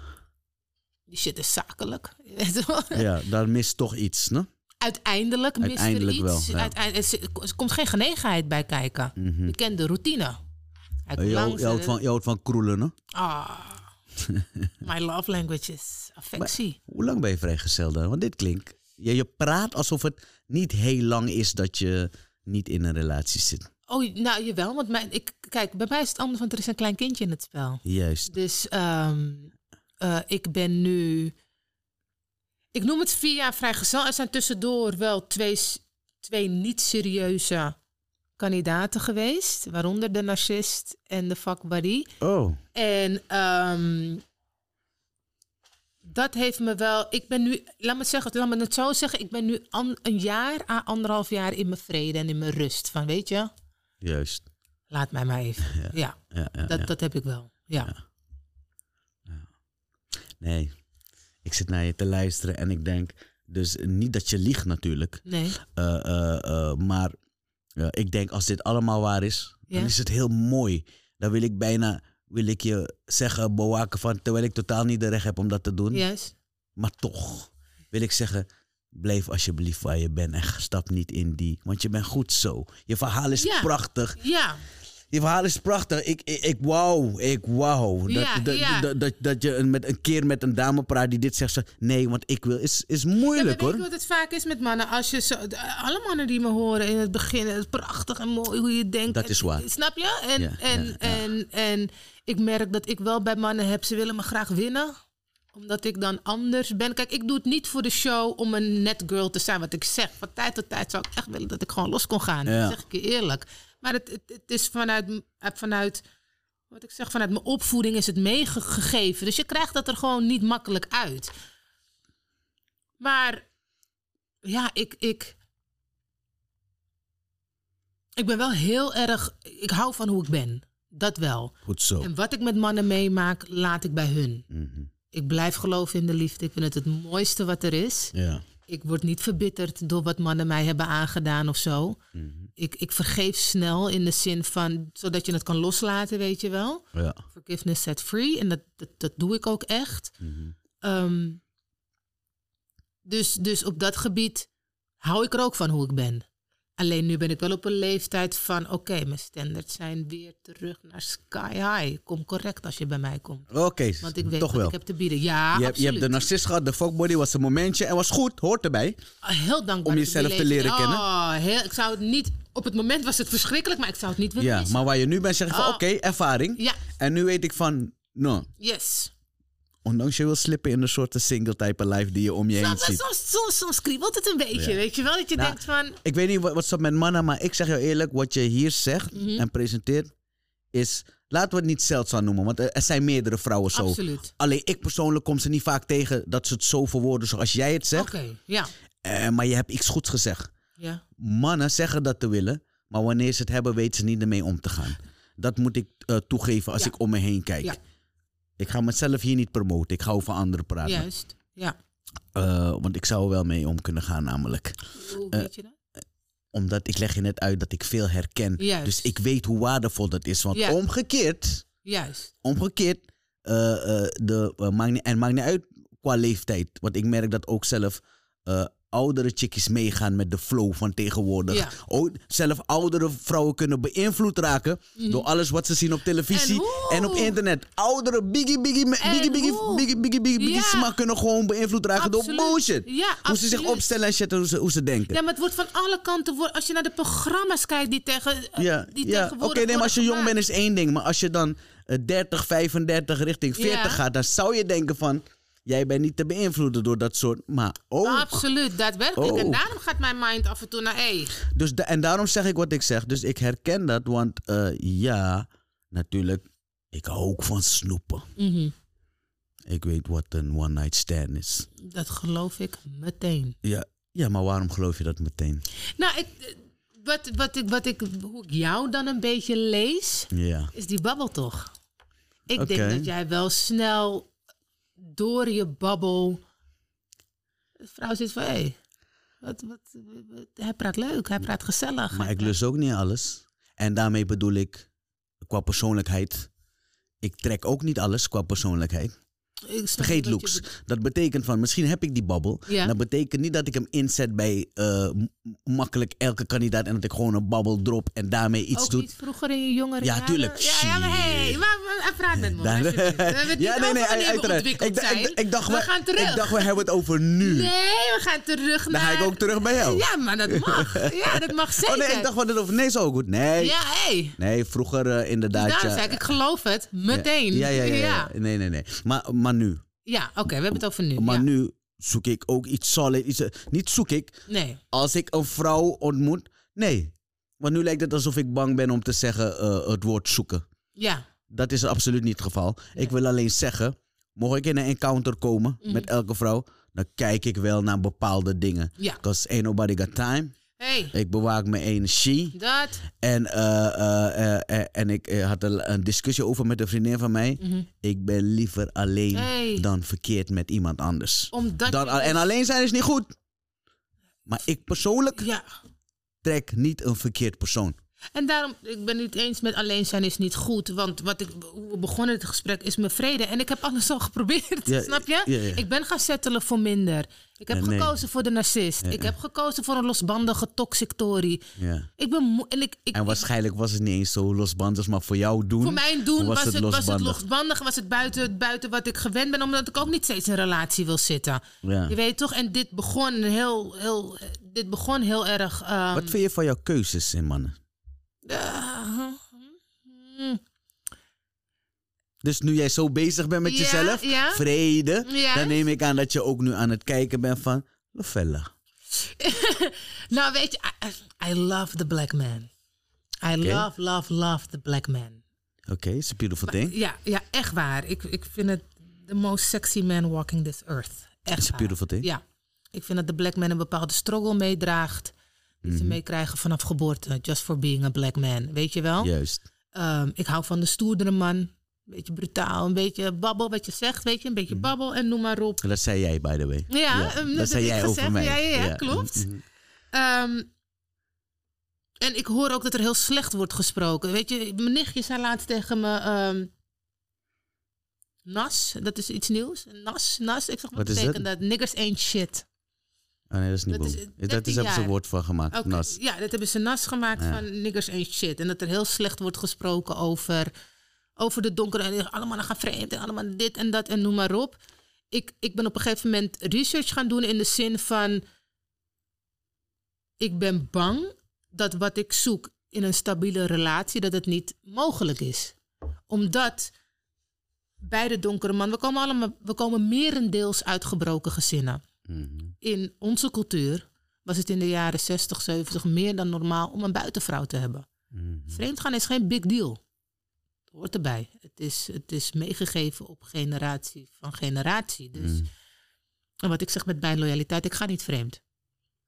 Die shit is zakelijk. je weet wel.
ja daar mist toch iets, ne?
Uiteindelijk mist
Uiteindelijk
er
wel,
iets.
ja.
Uiteindelijk, er- er komt geen genegenheid bij kijken.
Mhm.
Je kent de routine. Hij komt
Oh, Je, hou-
langs.
je, houdt
en-
van, je houdt van kroelen, hè?
Ah, my love language is affectie.
Hoe lang ben je vrijgezel dan? Want dit klinkt... Je, je praat alsof het niet heel lang is dat je niet in een relatie zit.
Oh, nou jawel, want mijn, ik, kijk, bij mij is het anders, want er is een klein kindje in het spel.
Juist.
Dus ehm, eh, ik ben nu. Ik noem het vier jaar vrijgezel. Er zijn tussendoor wel twee, s- twee niet serieuze kandidaten geweest, waaronder de narcist en de vakbari.
Oh,
En ehm, dat heeft me wel. Ik ben nu, laat me, het zeggen, laat me het zo zeggen, ik ben nu an- een jaar à anderhalf jaar in mijn vrede en in mijn rust. Van weet je,
juist.
laat mij maar even. Ja,
Ja, ja,
dat,
ja.
dat heb ik wel. Ja.
Nee, ik zit naar je te luisteren en ik denk... Dus niet dat je liegt natuurlijk.
Nee.
Eh, eh, eh, maar eh, ik denk als dit allemaal waar is,
Ja.
dan is het heel mooi. Dan wil ik bijna wil ik je zeggen, bewaken van... Terwijl ik totaal niet de recht heb om dat te doen.
Juist.
Maar toch wil ik zeggen, blijf alsjeblieft waar je bent en stap niet in die. Want je bent goed zo. Je verhaal is
Ja.
prachtig.
Ja,
Je verhaal is prachtig. Ik, ik, ik wauw, ik wauw. Dat,
Ja,
dat,
ja.
dat, dat, dat je een, met, een keer met een dame praat die dit zegt. ze, Nee, want ik wil. Is, is moeilijk
Ja, maar weet je
hoor.
wat het vaak is met mannen? Als je zo, d- alle mannen die me horen in het begin, het is prachtig en mooi hoe je denkt.
Dat is waar.
En- Snap je? En,
Ja,
en,
ja, ja.
En, en ik merk dat ik wel bij mannen heb, ze willen me graag winnen omdat ik dan anders ben. Kijk, ik doe het niet voor de show om een net girl te zijn. Wat ik zeg, van tijd tot tijd zou ik echt willen dat ik gewoon los kon gaan.
Ja.
Dat zeg ik je eerlijk. Maar het, het, het is vanuit, m- eh, vanuit, wat ik zeg, vanuit mijn opvoeding is het meegegeven. Dus je krijgt dat er gewoon niet makkelijk uit. Maar ja, ik, ik. Ik ben wel heel erg. Ik hou van hoe ik ben. Dat wel.
Goed zo.
En wat ik met mannen meemaak, laat ik bij hun.
Mhm.
Ik blijf geloven in de liefde. Ik vind het het mooiste wat er is.
Ja.
Ik word niet verbitterd door wat mannen mij hebben aangedaan of zo.
Mhm.
Ik, ik vergeef snel in de zin van. zodat je het kan loslaten, weet je wel.
ja.
Forgiveness set free. En dat, dat, dat doe ik ook echt.
Mhm.
Ehm, dus, dus op dat gebied hou ik er ook van hoe ik ben. Alleen nu ben ik wel op een leeftijd van... oké, mijn standards zijn weer terug naar sky high. Kom correct als je bij mij komt.
Oké,
Want ik weet
toch
wat
wel.
ik heb te bieden. Ja,
je, hebt, je
absoluut.
hebt de narcist gehad, de fuckbody was een momentje en was goed, hoort erbij.
Heel dankbaar.
om
dat ik die
jezelf te
leeftijd-
leren kennen.
Oh, heel, ik zou het niet... Op het moment was het verschrikkelijk, maar ik zou het niet willen
Ja,
missen.
maar waar je nu bent, zeg je van
Oh.
oké, ervaring.
Ja,
En nu weet ik van, no,
yes.
Ondanks je wil slippen in een soort single type life die je om je heen
Soms,
ziet.
Nou, soms, soms, soms kriebelt het een beetje,
Ja.
weet je wel? Dat je
Nou,
denkt van...
Ik weet niet wat, wat zat met mannen, maar ik zeg jou eerlijk, wat je hier zegt
Mhm.
en presenteert is, laten we het niet zeldzaam noemen, want er, er zijn meerdere vrouwen zo.
Absoluut.
Alleen ik persoonlijk kom ze niet vaak tegen dat ze het zo verwoorden zoals jij het zegt,
Oké, ja.
Eh, maar je hebt iets goeds gezegd.
ja.
Mannen zeggen dat te willen, maar wanneer ze het hebben, weten ze niet ermee om te gaan. Dat moet ik eh, toegeven als
Ja.
ik om me heen kijk.
Ja.
Ik ga mezelf hier niet promoten, ik ga over anderen praten.
Juist, ja.
Eh, want ik zou er wel mee om kunnen gaan namelijk.
Hoe
Eh,
weet je dat?
Omdat ik leg je net uit dat ik veel herken.
Juist.
Dus ik weet hoe waardevol dat is. Want
Ja.
omgekeerd,
Juist.
omgekeerd, eh, eh, de, eh, maakt niet- en het maakt niet uit qua leeftijd. Want ik merk dat ook zelf eh, oudere chickies meegaan met de flow van tegenwoordig.
Ja.
Ook zelf oudere vrouwen kunnen beïnvloed raken door alles wat ze zien op televisie
Mhm. En hoe?
en, op internet. Oudere biggie biggie me-
En
biggie biggie
hoe?
biggie biggie biggie, biggie
Ja.
smaak kunnen gewoon beïnvloed raken door
Absoluut.
bullshit.
Ja,
hoe ze zich
absoluut.
opstellen en shit, en hoe ze, hoe ze denken.
Ja, maar het wordt van alle kanten... wordt- Als je naar de programma's kijkt die, tegen, eh,
Ja,
die
ja. oké,
tegenwoordig
nee, maar als je
worden
jong bent is één ding. Maar als je dan eh, 30, 35 richting 40
Ja.
gaat, dan zou je denken van... Jij bent niet te beïnvloeden door dat soort... Maar oh. ook...
gemaakt. Absoluut, daadwerkelijk.
Oh.
En daarom gaat mijn mind af en toe naar... Hey.
Dus da- en daarom zeg ik wat ik zeg. Dus ik herken dat, want eh, ja, natuurlijk, ik hou ook van snoepen.
Mhm.
Ik weet wat een one-night stand is.
Dat geloof ik meteen.
Ja, ja, maar waarom geloof je dat meteen?
Nou, ik, eh, wat, wat, ik, wat ik, hoe ik jou dan een beetje lees...
Ja.
is die babbel toch? Ik
Oké.
denk dat jij wel snel door je babbel... De vrouw zit van... Hey, wat, wat, wat- hij praat leuk, hij praat gezellig.
Maar
hij
ik
praat-
lust ook niet alles. En daarmee bedoel ik, qua persoonlijkheid... Ik trek ook niet alles qua persoonlijkheid.
Ik snap
Vergeet
wat je
looks. Nou,
bedoelt.
Dat betekent van, misschien heb ik die babbel.
Ja.
Dat betekent niet dat ik hem inzet bij eh, m- makkelijk elke kandidaat. En dat ik gewoon een babbel drop en daarmee iets
ook
doe.
niet vroeger in je jongere
Ja,
jaren?
tuurlijk.
Ja, ja, maar hey,
Shit. Nou,
maar, maar, maar praat met me.
Daar-
alsjeblieft. We hebben het niet over wanneer we ontwikkeld
Ik, dacht- ik,
zijn.
ik dacht,
we
we,
gaan terug.
ik dacht, we hebben het over nu.
nee, we gaan terug
Dan
naar...
ga ik ook terug bij jou.
Ja, maar dat mag. Ja, dat mag zeker.
oh nee, ik dacht, we hadden het over... Nee, zo goed. Nee,
Ja, hey.
nee vroeger eh, inderdaad.
Daarom
ja.
zei ik, ik geloof het. Meteen.
Ja, ja, ja. ja,
Ja,
Nee, nee, nee. Maar, maar nu.
Ja, oké, we hebben het over nu.
Maar
ja.
nu zoek ik ook iets solid. Iets, eh, niet zoek ik,
Nee.
als ik een vrouw ontmoet. Nee. Want nu lijkt het alsof ik bang ben om te zeggen eh, het woord zoeken.
Ja,
Dat is absoluut niet het geval. Ik wil alleen zeggen, mocht ik in een encounter komen met elke vrouw, dan kijk ik wel naar bepaalde dingen.
ja.
Because ain't nobody got time.
hey,
Ik bewaak mijn energie.
dat.
En, eh, eh, eh, eh, en ik eh, had een, een discussie over met een vriendin van mij. Ik ben liever alleen
Hey. Oh,
dan verkeerd met iemand anders.
Omdat
Dan,
je-
al- en alleen zijn is niet goed. Maar ik persoonlijk
Ja.
trek niet een verkeerd persoon.
En daarom, ik ben het eens met alleen zijn is niet goed. Want wat ik, hoe we begonnen het gesprek is mijn vrede. En ik heb alles al geprobeerd,
Ja,
snap je?
ja, ja.
Ik ben gaan settelen voor minder. Ik heb
Ja, nee.
gekozen voor de narcist. Ik heb gekozen voor een losbandige toxic tory.
Ja.
Ik ben moe- en ik, ik,
En waarschijnlijk was het niet eens zo losbandig, maar voor jou doen.
voor mijn doen was, het, was het
losbandig.
losbandig. Was het buiten, buiten wat ik gewend ben. Omdat ik ook niet steeds in een relatie wil zitten.
Ja.
Je weet toch? En dit begon heel, heel, dit begon heel erg... ehm,
Wat vind je van jouw keuzes in mannen?
eh,
Dus nu jij zo bezig bent met
Ja,
jezelf,
ja.
vrede,
Ja.
dan neem ik aan dat je ook nu aan het kijken bent van Lofella.
Nou, weet je, I, I- I love the black man. I love, love, love the black man.
Oké, it's a beautiful thing.
Ja, ja echt waar. Ik, ik vind het the most sexy man walking this earth. Echt
It's a
waar.
beautiful thing.
Ja. Ik vind dat de black man een bepaalde struggle meedraagt. Die
Mhm.
ze meekrijgen vanaf geboorte. Just for being a black man. Weet je wel?
Juist.
Ehm, ik hou van de stoerdere man. Een beetje brutaal. Een beetje babbel wat je zegt. Weet je? Een beetje
Mhm.
babbel en noem maar op.
Dat zei jij, by the way.
Ja, ehm, dat
dat zei
heb
jij
ik
over
gezegd.
mij.
Ja, ja, ja, klopt.
Mhm.
Ehm, en ik hoor ook dat er heel slecht wordt gesproken. Weet je, mijn nichtje zei laatst tegen me... ehm, nas, dat is iets nieuws. Nas, nas. Ik zeg, wat,
Wat is
betekent dat? Niggers ain't shit.
Oh, nee, dat is niet
Dat
boem.
is
Dat is,
13
hebben ze een
jaar.
woord van gemaakt.
Oké,
Nas.
Ja, dat hebben ze nas gemaakt
Ja.
van niggers ain't shit. En dat er heel slecht wordt gesproken over, over de donkere. En allemaal gaan vreemd en allemaal dit en dat en noem maar op. Ik, ik ben op een gegeven moment research gaan doen in de zin van... Ik ben bang dat wat ik zoek in een stabiele relatie, dat het niet mogelijk is. Omdat bij de donkere man, we komen, allemaal, we komen merendeels uit gebroken gezinnen
Mhm.
in onze cultuur was het in de jaren 60, 70 meer dan normaal om een buitenvrouw te hebben.
Mhm.
Vreemdgaan is geen big deal. Het hoort erbij. Het is, het is meegegeven op generatie van generatie. Dus,
Mm.
En wat ik zeg met mijn loyaliteit, ik ga niet vreemd.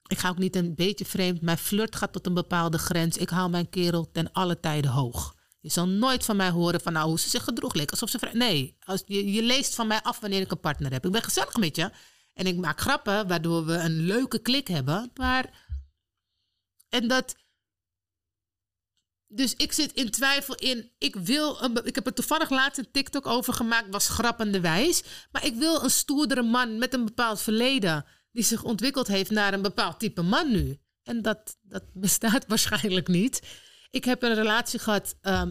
Ik ga ook niet een beetje vreemd. Mijn flirt gaat tot een bepaalde grens. Ik hou mijn kerel ten alle tijden hoog. Je zal nooit van mij horen van nou, hoe ze zich gedroeg leek. Alsof ze vri- Nee, als, je, je leest van mij af wanneer ik een partner heb. Ik ben gezellig met je. En ik maak grappen waardoor we een leuke klik hebben. Maar... En dat... Dus ik zit in twijfel in. Ik wil. Een, be- ik heb er toevallig laatst een TikTok over gemaakt. Was grappende wijs. Maar ik wil een stoerdere man met een bepaald verleden. Die zich ontwikkeld heeft naar een bepaald type man nu. En dat, dat bestaat waarschijnlijk niet. Ik heb een relatie gehad ehm,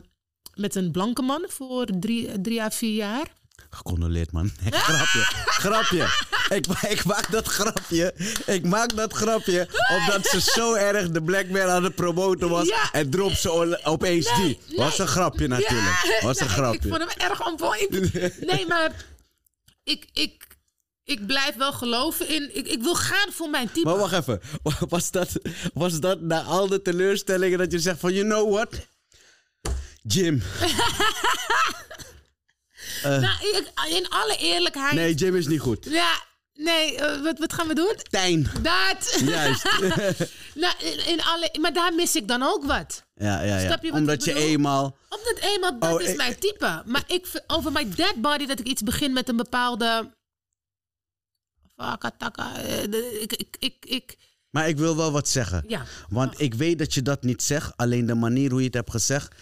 met een blanke man voor drie, drie à vier jaar.
Gecondoleerd, man. Nee, grapje. grapje. Ik, ma- ik maak dat grapje. Ik maak dat grapje. Omdat ze zo erg de Black Man aan het promoten was.
Ja.
En drop ze o- opeens
Nee,
die. Was
nee.
een grapje natuurlijk.
Ja,
Was een
nee, Ik, ik
grapje.
vond hem erg on point. Nee, maar ik, ik, ik blijf wel geloven in. Ik, ik wil gaan voor mijn type.
Maar wacht even. Was dat, was dat na al de teleurstellingen dat je zegt van... You know what? Jim.
Nou, ik- in alle eerlijkheid.
Nee, Jim is niet goed.
Ja, nee, eh, wat, wat gaan we doen?
Tijn.
Dat.
Juist.
nou, in, in alle, maar daar mis ik dan ook wat.
Ja, ja, ja.
Snap je wat
Omdat
ik
je
bedoel?
eenmaal...
Omdat eenmaal dat
Oh,
is
ik-
mijn type. Maar ik, v- over mijn dead body dat ik iets begin met een bepaalde. Fakataka. eh, de- Ik, ik, ik, ik.
Maar ik wil wel wat zeggen.
Ja.
Want ik weet dat je dat niet zegt. Alleen de manier hoe je het hebt gezegd.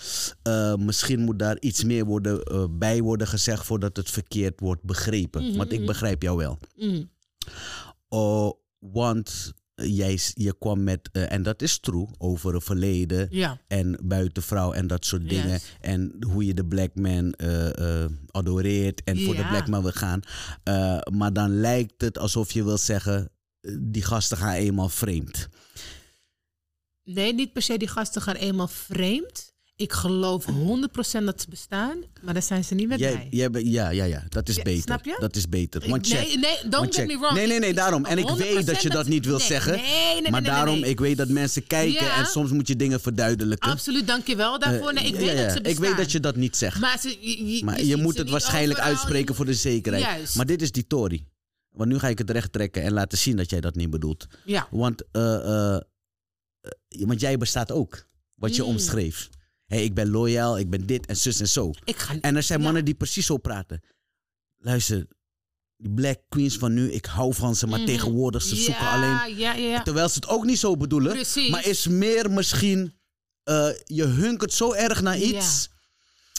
eh, misschien moet daar iets meer worden, eh, bij worden gezegd voordat het verkeerd wordt begrepen.
Mhm,
Want ik begrijp jou wel.
Mm.
Oh, want jij, s- je kwam met, eh, en dat is true, over het verleden.
Ja.
En buitenvrouw en dat soort dingen.
Yes.
En hoe je de black man eh, eh, adoreert en voor de
Ja.
black man wil gaan. Eh, maar dan lijkt het alsof je wil zeggen, eh, die gasten gaan eenmaal vreemd.
Nee, niet per se die gasten gaan eenmaal vreemd. Ik geloof 100% dat ze bestaan, maar daar zijn ze niet met
Jij,
mij.
jij bent- ja, ja, ja, dat is
Ja,
beter.
snap je?
Dat is beter.
Ik-
Want check.
nee, nee, don't
Want
get
check.
me wrong.
Nee, nee, nee, daarom. En ik weet dat je
100%
dat niet wil
nee,
zeggen.
nee, nee, nee,
maar
nee, nee,
daarom,
nee.
ik weet dat mensen kijken
Ja.
en soms moet je dingen verduidelijken.
Absoluut, dank je wel
Eh,
daarvoor. Nee, ik
ja,
weet
ja,
dat ze
ja.
bestaan.
Ik weet dat je dat niet zegt.
Maar, ze, je, je,
Maar
je
je,
ziet
moet
ze
het
niet
waarschijnlijk
overal.
uitspreken voor de zekerheid.
Juist.
Maar dit is die Tory. Want nu ga ik het recht trekken en laten zien dat jij dat niet bedoelt.
Ja,
Want, eh, eh, eh, want jij bestaat ook. Wat je
Mm.
omschreef. hey, ik ben loyaal, ik ben dit en zus en zo.
ik ga
En er zijn
Ja.
mannen die precies zo praten. Luister, die black queens van nu, ik hou van ze, maar
Mhm.
tegenwoordig ze zoeken alleen.
Ja, ja, ja.
Terwijl ze het ook niet zo bedoelen.
Precies.
Maar is meer misschien, eh, je hunkert zo erg naar
Ja.
iets.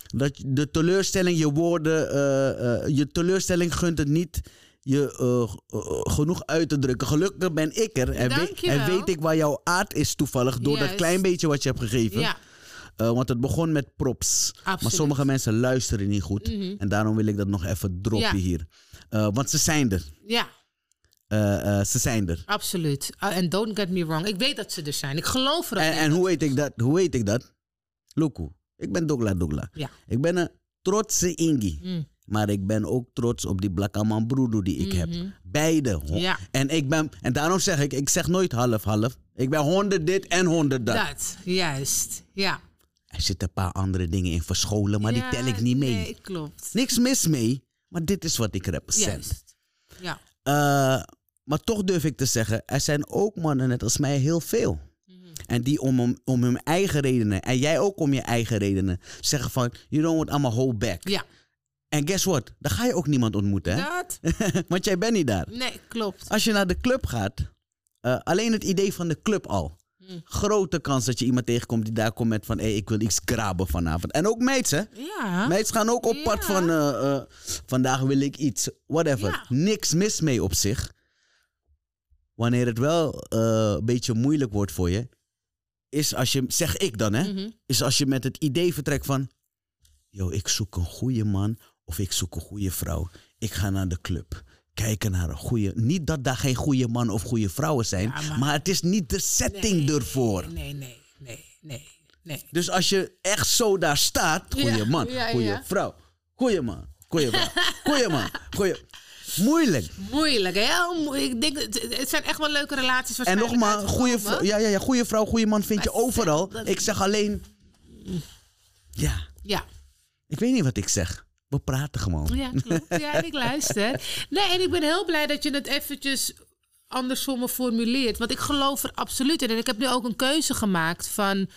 Dat je- de teleurstelling, je woorden, eh, eh, je teleurstelling gunt het niet je eh, eh, genoeg uit te drukken. Gelukkig ben ik er en,
Dank
weet-
je
en
wel.
weet ik waar jouw aard is toevallig door dat
Juist.
klein beetje wat je hebt gegeven.
ja.
Eh, want het begon met props. Maar
Absoluut.
sommige mensen luisteren niet goed.
Mhm.
En daarom wil ik dat nog even droppen
Ja.
hier. Eh, want ze zijn er.
Ja,
Eh, eh, ze zijn er.
absoluut. Ah, En don't get me wrong. Ik weet dat ze er zijn. Ik geloof er ook
En,
in.
en hoe weet ik dat? Hoe weet ik dat? Loku. Ik ben Dogla Dogla.
Ja.
Ik ben een trotse Ingi.
Mm.
Maar ik ben ook trots op die Blakaman broeder die ik
Mhm.
heb. Beide. ho-
Ja.
En, ik ben, en daarom zeg ik, ik zeg nooit half-half. Ik ben honderd dit en honderd dat.
Dat, juist. Ja.
Er zitten een paar andere dingen in verscholen, maar
Ja,
die tel ik niet mee.
Nee, klopt.
Niks mis mee, maar dit is wat ik represent.
Juist. Ja.
Eh, maar toch durf ik te zeggen, er zijn ook mannen net als mij heel veel. En die om, om, om hun eigen redenen, en jij ook om je eigen redenen, zeggen van, you don't want allemaal hold back.
Ja.
En guess what? Dan ga je ook niemand ontmoeten, hè?
Dat?
Want jij bent niet daar.
Nee, klopt.
Als je naar de club gaat, eh, alleen het idee van de club al.
Mm.
Grote kans dat je iemand tegenkomt die daar komt met van, hé, hey, ik wil iets graben vanavond. En ook meids, hè?
Ja.
Meids gaan ook op pad
Ja.
van eh, eh, vandaag wil ik iets, whatever.
Ja.
Niks mis mee op zich. Wanneer het wel eh, een beetje moeilijk wordt voor je, is als je, zeg ik dan hè,
Mhm.
is als je met het idee vertrekt van, yo, ik zoek een goede man of ik zoek een goede vrouw. Ik ga naar de club. Kijken naar een goede. Niet dat daar geen goede man of goede vrouwen zijn,
Ja,
maar...
maar-
het is niet de setting
Nee,
ervoor.
Nee, nee, nee, nee, nee.
Dus als je echt zo daar staat, goeie
Ja,
man,
ja,
goeie
ja.
vrouw, goeie man, goeie vrouw, goeie man, goeie... Moeilijk.
Moeilijk, hè? Heel moe- Ik denk, het het zijn echt wel leuke relaties.
En
waarschijnlijk
nogmaals,
uit te
goeie,
komen.
vrou- ja, ja, ja, goeie vrouw, goeie man vind je
Maar zeg
overal.
dat-
Ik zeg alleen... Ja,
Ja.
ik weet niet wat ik zeg. We praten gewoon.
Ja, klopt. Ja, en ik luister. Nee, en ik ben heel blij dat je het eventjes andersom me formuleert. Want ik geloof er absoluut in. En ik heb nu ook een keuze gemaakt van...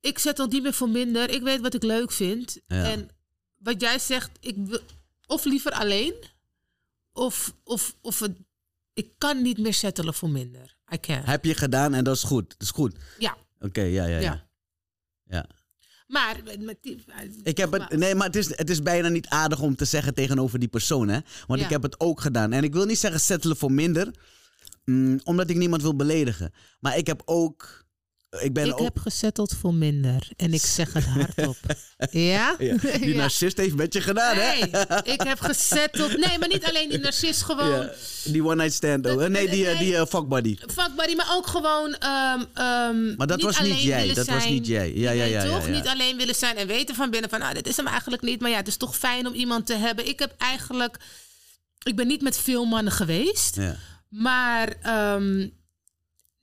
Ik zet al niet meer voor minder. Ik weet wat ik leuk vind.
Ja.
En wat jij zegt, ik wil- of liever alleen... of, of, of het, ik kan niet meer settelen voor minder. I can.
Heb je gedaan en dat is goed. Dat is goed.
Ja,
Oké, ja, ja, ja,
Ja.
ja.
maar... met- met die-
Ik heb het, nee, maar het is, het is bijna niet aardig om te zeggen tegenover die persoon, hè? Want
Ja.
ik heb het ook gedaan. En ik wil niet zeggen settelen voor minder, mm, omdat ik niemand wil beledigen. Maar ik heb ook. Ik ben
Ik
ook.
heb gezetteld voor minder. En ik zeg het hardop. ja?
Ja, die
Ja.
narcist heeft met je gedaan, hè?
Nee, ik heb gezetteld. Nee, maar niet alleen die narcist, gewoon
Ja, die one night stand. oh, eh, nee, die, eh, die eh, fuckbuddy.
fuckbuddy, maar ook gewoon. ehm, ehm,
Maar dat was niet
alleen
jij,
willen
dat was
zijn.
niet jij. Ja, ja,
Nee,
ja, ja,
toch
ja.
niet alleen willen zijn en weten van binnen van, nou, dit is hem eigenlijk niet. Maar ja, het is toch fijn om iemand te hebben. Ik heb eigenlijk, ik ben niet met veel mannen geweest,
Ja.
maar ehm,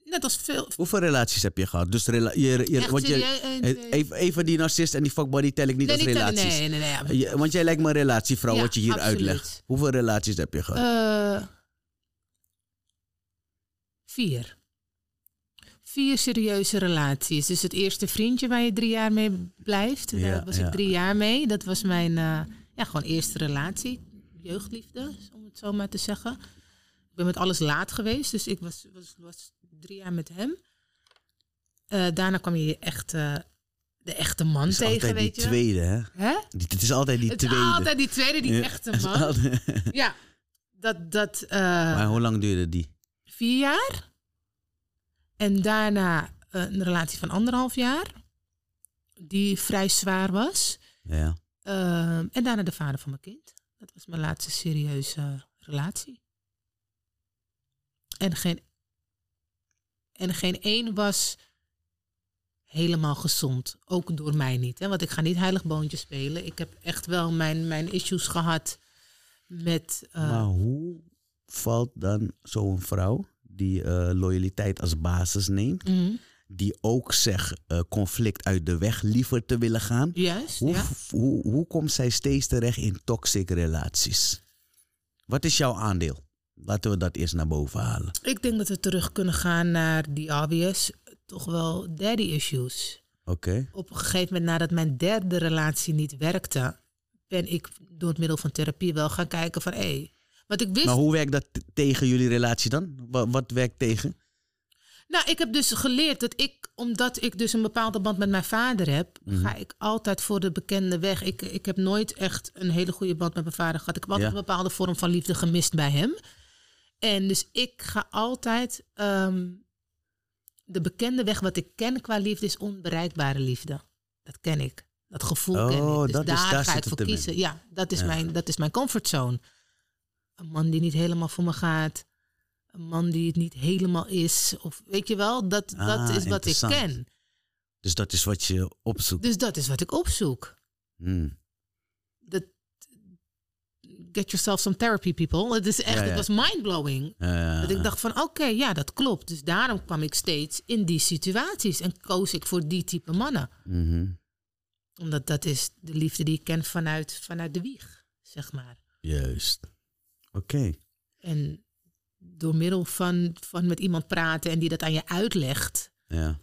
net als veel.
Hoeveel relaties heb je gehad? Dus rela je, je,
Echt
want je,
serieus, eh,
eh, even, even die narcist en die fuckbuddy tel ik niet
nee,
als
niet- nee,
relaties.
nee, nee, nee. ja.
Eh, Je- want jij lijkt me een relatievrouw,
Ja,
wat je hier
absoluut.
uitlegt. Hoeveel relaties heb je gehad?
Eh, vier. Vier serieuze relaties. Dus het eerste vriendje waar je drie jaar mee blijft. Daar
Ja,
was
ja.
ik drie jaar mee. Dat was mijn eh, ja, gewoon eerste relatie. Jeugdliefde, om het zo maar te zeggen. Ik ben met alles laat geweest. Dus ik was, was, was drie jaar met hem. Eh, daarna kwam je je echte, de echte man
Het is
tegen,
altijd die
weet je.
tweede, hè?
Hè?
Dit- Het is altijd die
Het is
tweede.
altijd die tweede, die
Ja,
echte
het is
man.
altijd-
Ja, dat, dat eh,
Maar hoe lang duurde die?
vier jaar. En daarna eh, een relatie van anderhalf jaar. Die vrij zwaar was.
Ja.
Ehm, en daarna de vader van mijn kind. Dat was mijn laatste serieuze relatie. En geen, en geen één was helemaal gezond. Ook door mij niet. Hè? Want ik ga niet heilig boontje spelen. Ik heb echt wel mijn, mijn issues gehad met... eh,
Maar hoe valt dan zo'n vrouw die eh, loyaliteit als basis neemt,
mhm.
die ook zegt eh, conflict uit de weg liever te willen gaan?
Juist,
Hoe,
ja.
hoe, hoe komt zij steeds terecht in toxic relaties? Wat is jouw aandeel? Laten we dat eerst naar boven halen.
Ik denk dat we terug kunnen gaan naar die obvious, toch wel daddy issues.
Oké.
Op een gegeven moment nadat mijn derde relatie niet werkte, ben ik door het middel van therapie wel gaan kijken van hé. want ik wist,
Maar hoe werkt dat t- tegen jullie relatie dan? Wa- wat werkt tegen?
nou ik heb dus geleerd dat ik, omdat ik dus een bepaalde band met mijn vader heb,
Mhm.
ga ik altijd voor de bekende weg. Ik, ik heb nooit echt een hele goede band met mijn vader gehad. Ik heb altijd
Ja.
een bepaalde vorm van liefde gemist bij hem. En dus ik ga altijd ehm, de bekende weg wat ik ken qua liefde is onbereikbare liefde. Dat ken ik. Dat gevoel ken
Oh,
ik. Dus
dat is-
daar,
daar
ga
zit
ik
het
voor
hem in.
kiezen. Ja, dat is,
Ja.
Mijn, dat is mijn comfortzone. Een man die niet helemaal voor me gaat. Een man die het niet helemaal is. Of weet je wel, dat,
Ah,
dat is wat ik
interessant.
ken.
Dus dat is wat je opzoekt.
Dus dat is wat ik opzoek.
Hmm.
Dat, get yourself some therapy, people. Het is echt,
Ja, ja.
het was mindblowing.
Eh,
Dat ik dacht van, oké, ja, dat klopt. Dus daarom kwam ik steeds in die situaties en koos ik voor die type mannen.
mhm.
Omdat dat is de liefde die ik ken vanuit, vanuit de wieg, zeg maar.
Juist. Oké.
En door middel van, van met iemand praten en die dat aan je uitlegt,
Ja.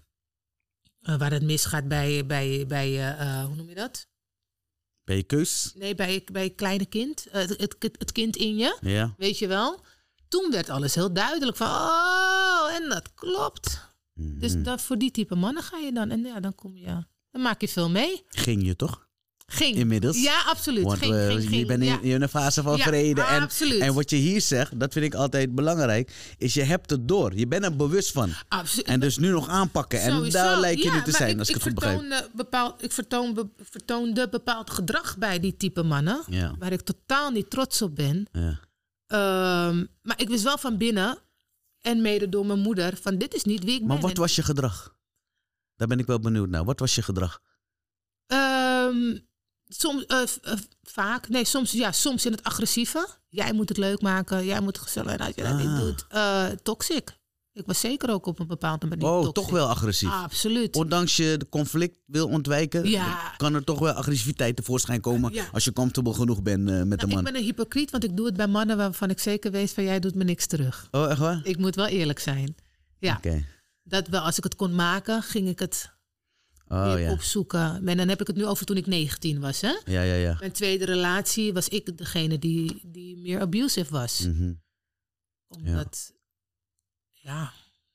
eh, waar het misgaat bij, bij, bij eh, eh, hoe noem je dat?
Ben je keus?
Nee, bij, bij een kleine kind, Eh, het, het, het kind in je,
Ja.
weet je wel. Toen werd alles heel duidelijk van, oh, en dat klopt. Dus
Mhm.
dat, voor die type mannen ga je dan. En ja, dan kom je. Dan maak je veel mee.
Ging je toch?
Ging.
Inmiddels?
Ja, absoluut.
Want
ging,
we-
ging,
je
ging.
bent in,
Ja.
in een fase van
Ja,
vrede. En,
absoluut.
en wat je hier zegt, dat vind ik altijd belangrijk, is je hebt het door. Je bent er bewust van.
Absoluut.
En dus nu nog aanpakken. En
Sowieso,
daar lijkt je
ja,
nu te
maar
zijn,
ik,
als ik,
ik
het goed begrijp.
vertoonde Bepaald, ik vertoon, be- vertoonde bepaald gedrag bij die type mannen.
Ja.
Waar ik totaal niet trots op ben.
Ja.
Ehm, maar ik wist wel van binnen. En mede door mijn moeder. Van dit is niet wie ik
Maar
ben.
wat was je gedrag? Daar ben ik wel benieuwd naar. Wat was je gedrag?
Ehm, soms, eh, v- eh, vaak. Nee, soms, ja, soms in het agressieve. Jij moet het leuk maken. Jij moet het gezellig. En als je dat
Ah.
niet doet, eh, toxic. Ik was zeker ook op een bepaalde manier
Oh,
toxic. Ah.
toch wel agressief.
Absoluut.
Ondanks je de conflict wil ontwijken,
Ja.
kan er toch wel agressiviteit tevoorschijn komen
Ja.
als je comfortable genoeg bent eh, met de
Nou, ik
man.
ben een hypocriet, want ik doe het bij mannen waarvan ik zeker weet van jij doet me niks terug.
Oh, echt waar?
Ik moet wel eerlijk zijn. Ja,
Oké.
dat wel. Als ik het kon maken, ging ik het
Oh
weer
ja.
opzoeken. En dan heb ik het nu over toen ik 19 was. Hè?
Ja, ja, ja.
Mijn tweede relatie was ik degene die, die meer abusive was.
Mhm.
Omdat, ja.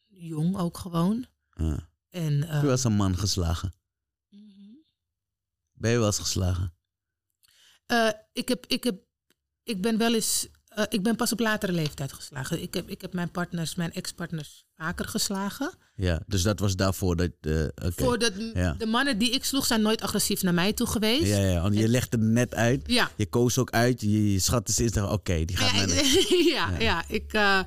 jong ook gewoon.
Ja.
En, eh,
Heb je wel eens een man geslagen?
mhm.
Ben je wel eens geslagen?
Eh, ik, heb, ik, heb, ik ben wel eens. eh, ik ben pas op latere leeftijd geslagen. Ik heb, ik heb mijn partners, mijn ex-partners, vaker geslagen.
Ja, dus dat was daarvoor dat... eh oké.
Voordat
ja.
de mannen die ik sloeg, zijn nooit agressief naar mij toe geweest.
Ja, ja, want je legde het net uit.
Ja. Ah,
Je koos ook uit. Je, je schatte ze in. Oké, die gaat
Ja,
naar de-
ik- ja, ja, ik. eh,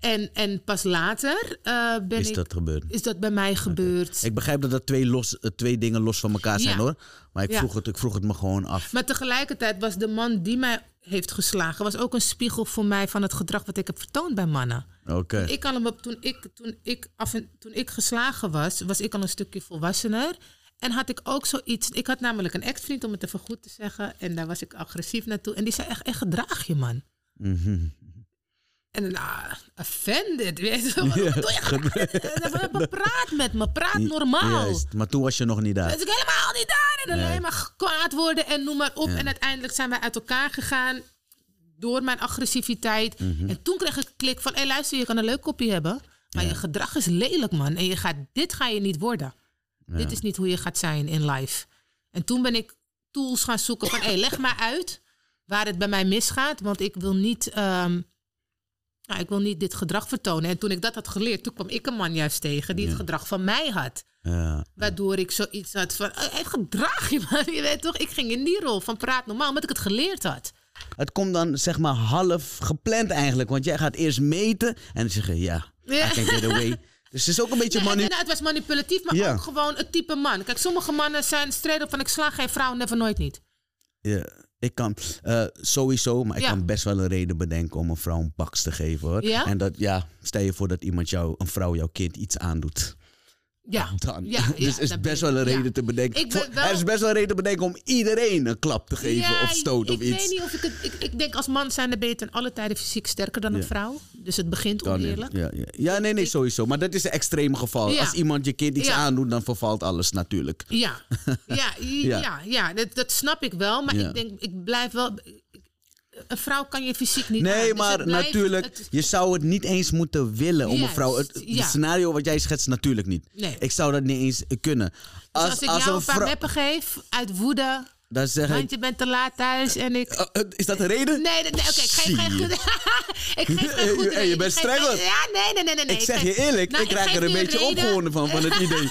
en, en pas later eh, ben
Is
ik,
dat gebeurd?
is dat bij mij gebeurd.
Ik begrijp dat dat twee, los, eh, twee dingen los van elkaar zijn
Ja.
hoor. Maar ik
Ja.
vroeg, het, ik vroeg het me gewoon af.
Maar tegelijkertijd was de man die mij heeft geslagen, was ook een spiegel voor mij van het gedrag wat ik heb vertoond bij mannen.
Oké.
Ik kan hem op, toen, ik, toen, ik af en, toen ik geslagen was, was ik al een stukje volwassener. En had ik ook zoiets. Ik had namelijk een ex-vriend, om het even goed te zeggen. En daar was ik agressief naartoe. En die zei echt, echt gedraag je man.
Mhm.
En nou, offended. Weet je, wat doe je? En dan, maar praat met me, praat normaal.
Juist, maar toen was je nog niet daar.
Dat is ook helemaal niet daar. En alleen
Nee.
maar kwaad worden en noem maar op. En uiteindelijk zijn wij uit elkaar gegaan door mijn agressiviteit. En toen kreeg ik een klik van, hé luister, je kan een leuk kopje hebben. Maar je gedrag is lelijk, man. En je gaat, dit ga je niet worden. Dit is niet hoe je gaat zijn in life. En toen ben ik tools gaan zoeken van, hé, leg maar uit waar het bij mij misgaat. Want ik wil niet... ehm, nou, ik wil niet dit gedrag vertonen. En toen ik dat had geleerd, toen kwam ik een man juist tegen die het gedrag van mij had.
Ja.
Waardoor ik zoiets had van, "Oh, hey, gedraag je maar, je weet toch? Ik ging in die rol van praat normaal, omdat ik het geleerd had.
Het komt dan zeg maar half gepland eigenlijk. Want jij gaat eerst meten en dan zeg je ja, I
Ja.
can get away. Dus het is ook een beetje
Nee,
manu...
en- en het was manipulatief, maar
Ja.
ook gewoon het type man. Kijk, sommige mannen zijn strijden van ik sla geen vrouw, never nooit niet.
Ja, ik kan eh, sowieso, maar ik
Ja.
kan best wel een reden bedenken om een vrouw een baks te geven hoor.
Ja?
En dat, ja, stel je voor dat iemand jou, een vrouw jouw kind iets aandoet.
Ja,
Dan.
Ja,
dus
ja,
er is
dat
best
ben-
wel een
ja.
reden te bedenken.
Ik ben
voor-
wel-
Er is best wel een reden te bedenken om iedereen een klap te geven
Ja,
of stoot of
ik
iets.
weet niet of ik het... Ik, ik denk als man zijn er beter in alle tijden fysiek sterker dan een
Ja.
vrouw. Dus het begint
Kan niet.
oneerlijk.
ja, ja. ja, nee, nee, sowieso. Maar dat is een extreem geval.
Ja.
Als iemand je kind iets
Ja.
aandoet, dan vervalt alles natuurlijk.
Ja, ja, ja.
Ja.
ja, dat, dat snap ik wel. Maar
Ja.
ik denk, ik blijf wel... Een vrouw kan je fysiek niet aan,
Nee,
dus het
maar
blijft-
natuurlijk,
het-
je zou het niet eens moeten willen om een
Juist,
vrouw. Het, het
ja.
scenario wat jij schetst, natuurlijk niet.
Nee.
Ik zou dat niet eens eh, kunnen.
dus als, ik jou een paar
vrou-
meppen geef, uit woede,
dan zeg
want
ik.
je bent te laat thuis en ik...
eh, eh, is dat een reden?
Nee, nee, nee, oké, ik geef geen
Zie
goed.
je.
ik geef geen
Hey,
goed.
hey, je bent strenger.
Ja, nee, nee, nee, nee. nee,
Ik zeg
geef-
je eerlijk,
Nou,
ik raak
geef
er een
nu
beetje
reden-
opgewonden van, van het idee.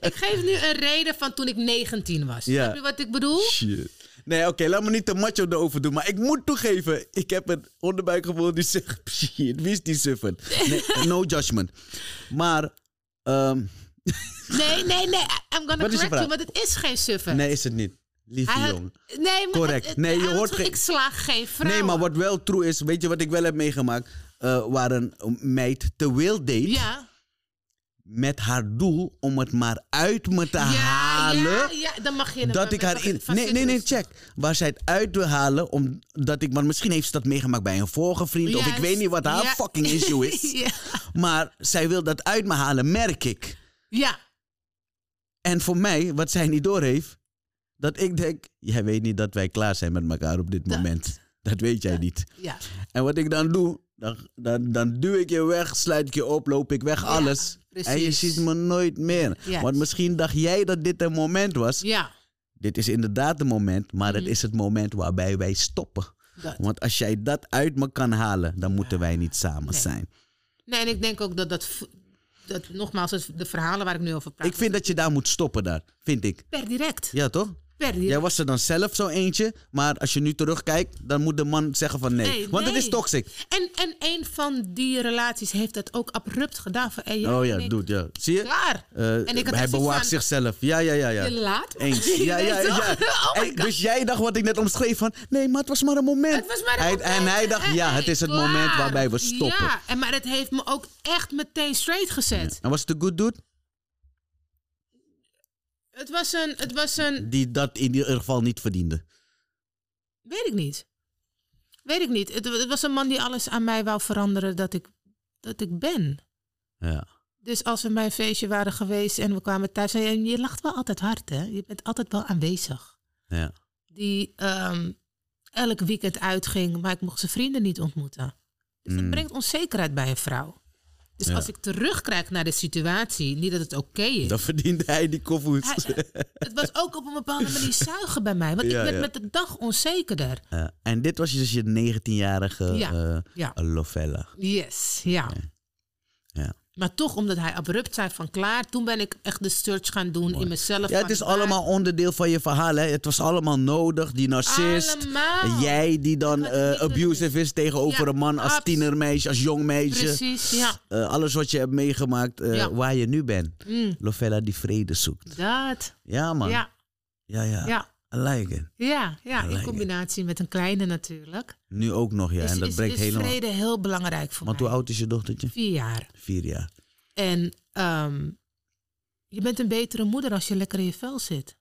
Ik geef nu een reden van toen ik 19 was.
Ja.
Snap je wat ik bedoel?
Shit. Nee, oké, laat me niet te macho erover doen. Maar ik moet toegeven, ik heb een onderbuikgevoel die zegt... Shit, wie is die suffert? Nee, no judgment. Maar, ehm,
Nee, nee, nee. I'm gonna
Wat is je
correct
vraag?
you, want het is geen suffen.
nee is het niet. Lieve
Hij had-
jongen.
nee, maar
Correct.
het- het-
Nee, je
hij had
hoort
zo-
geen-
Ik slaag geen vrouw.
Nee, maar wat wel true is, weet je wat ik wel heb meegemaakt? Eh, waar een meid te wild deed
Ja.
met haar doel om het maar uit me te
Ja,
halen.
ja, ja, dan mag je hem
dat
wel
ik
met-
haar in.
van
Nee, nee, nee,
zitten.
check. Waar zij het uit wil halen, omdat ik. Want misschien heeft ze dat meegemaakt bij een vorige vriend. Of
Juist.
ik weet niet wat haar
Ja.
fucking issue is.
ja.
Maar zij wil dat uit me halen, merk ik.
ja.
En voor mij, wat zij niet doorheeft, dat ik denk. Jij weet niet dat wij klaar zijn met elkaar op dit moment. Dat weet jij niet.
Ja.
En wat ik dan doe, dan, dan, dan duw ik je weg, sluit ik je op, loop ik weg, alles. En je
precies.
ziet me nooit meer.
Juist.
Want misschien dacht jij dat dit een moment was.
Ja. Mhm.
Dit is inderdaad een moment, maar het is het moment waarbij wij stoppen.
Dat.
Want als jij dat uit me kan halen, dan moeten wij niet samen
Nee.
zijn.
Nee, en ik denk ook dat dat... v- dat nogmaals, het- de verhalen waar ik nu over praat.
Ik vind dat je daar moet stoppen, daar, vind ik.
Per direct.
Ja, toch?
Per direct.
Jij was er dan zelf zo eentje, maar als je nu terugkijkt, dan moet de man zeggen van nee.
Nee,
Want het
nee.
is toxic.
En, en een van die relaties heeft dat ook abrupt gedaan. Van, hey, jij
Oh ja,
en ik,
doet, ja. Zie je?
Klaar.
Eh,
en ik had
hij
echt zoiets
bewaakt
van,
zichzelf. Ja, ja, ja, ja.
Je laat me.
Eens. Ja, ja,
Weet je
ja.
wel? Oh my
En dus jij dacht wat ik net omschreef van... Nee, maar het was maar een moment.
Het was maar een
Hij-
moment.
En hij dacht,
Eh,
ja,
eh,
het is het
klaar.
moment waarbij we stoppen.
Ja, en maar dat heeft me ook echt meteen straight gezet.
En was het een good dude?
Het was een, het was een,
Die dat in ieder geval niet verdiende.
weet ik niet. Weet ik niet. Het, het was een man die alles aan mij wou veranderen dat ik, dat ik ben.
Ja.
Dus als we bij een feestje waren geweest en we kwamen thuis. En je lacht wel altijd hard, hè? Je bent altijd wel aanwezig.
ja.
die ehm, elk weekend uitging, maar ik mocht zijn vrienden niet ontmoeten. Dus dat
Mm.
brengt onzekerheid bij een vrouw. Dus
Ja.
als ik terugkijk naar de situatie, niet dat het oké is.
Dan verdiende hij die koffies.
Hij- het was ook op een bepaalde manier zuigen bij mij, want
Ja,
ik werd
ja.
met de dag onzekerder.
Ja. En dit was dus je 19-jarige eh
Ja, ja.
Lovella.
Yes, ja.
Ja.
Maar toch, omdat hij abrupt zei van klaar, toen ben ik echt de search gaan doen in mezelf.
Ja,
van
het is
waar-
allemaal onderdeel van je verhaal. Hè. Het was allemaal nodig. Die narcist.
Allemaal.
Jij die dan
Wat
eh,
niet
abusive is tegenover
Ja,
een man als
abs-
tienermeisje, als jong meisje.
Precies, ja.
Eh, alles wat je hebt meegemaakt, eh,
Ja.
waar je nu bent.
Mm,
Lovella die vrede zoekt.
dat.
Ja, man. Ja,
Ja,
ja. ja.
ja.
I like it.
Ja, ja,
Alleen,
in
ja.
combinatie met een kleine natuurlijk.
Nu ook nog, ja.
is,
en dat
is,
brengt
is
helemaal...
vrede heel belangrijk voor
Want
mij.
hoe oud is je dochtertje?
Vier jaar.
Vier jaar.
En ehm, je bent een betere moeder als je lekker in je vel zit.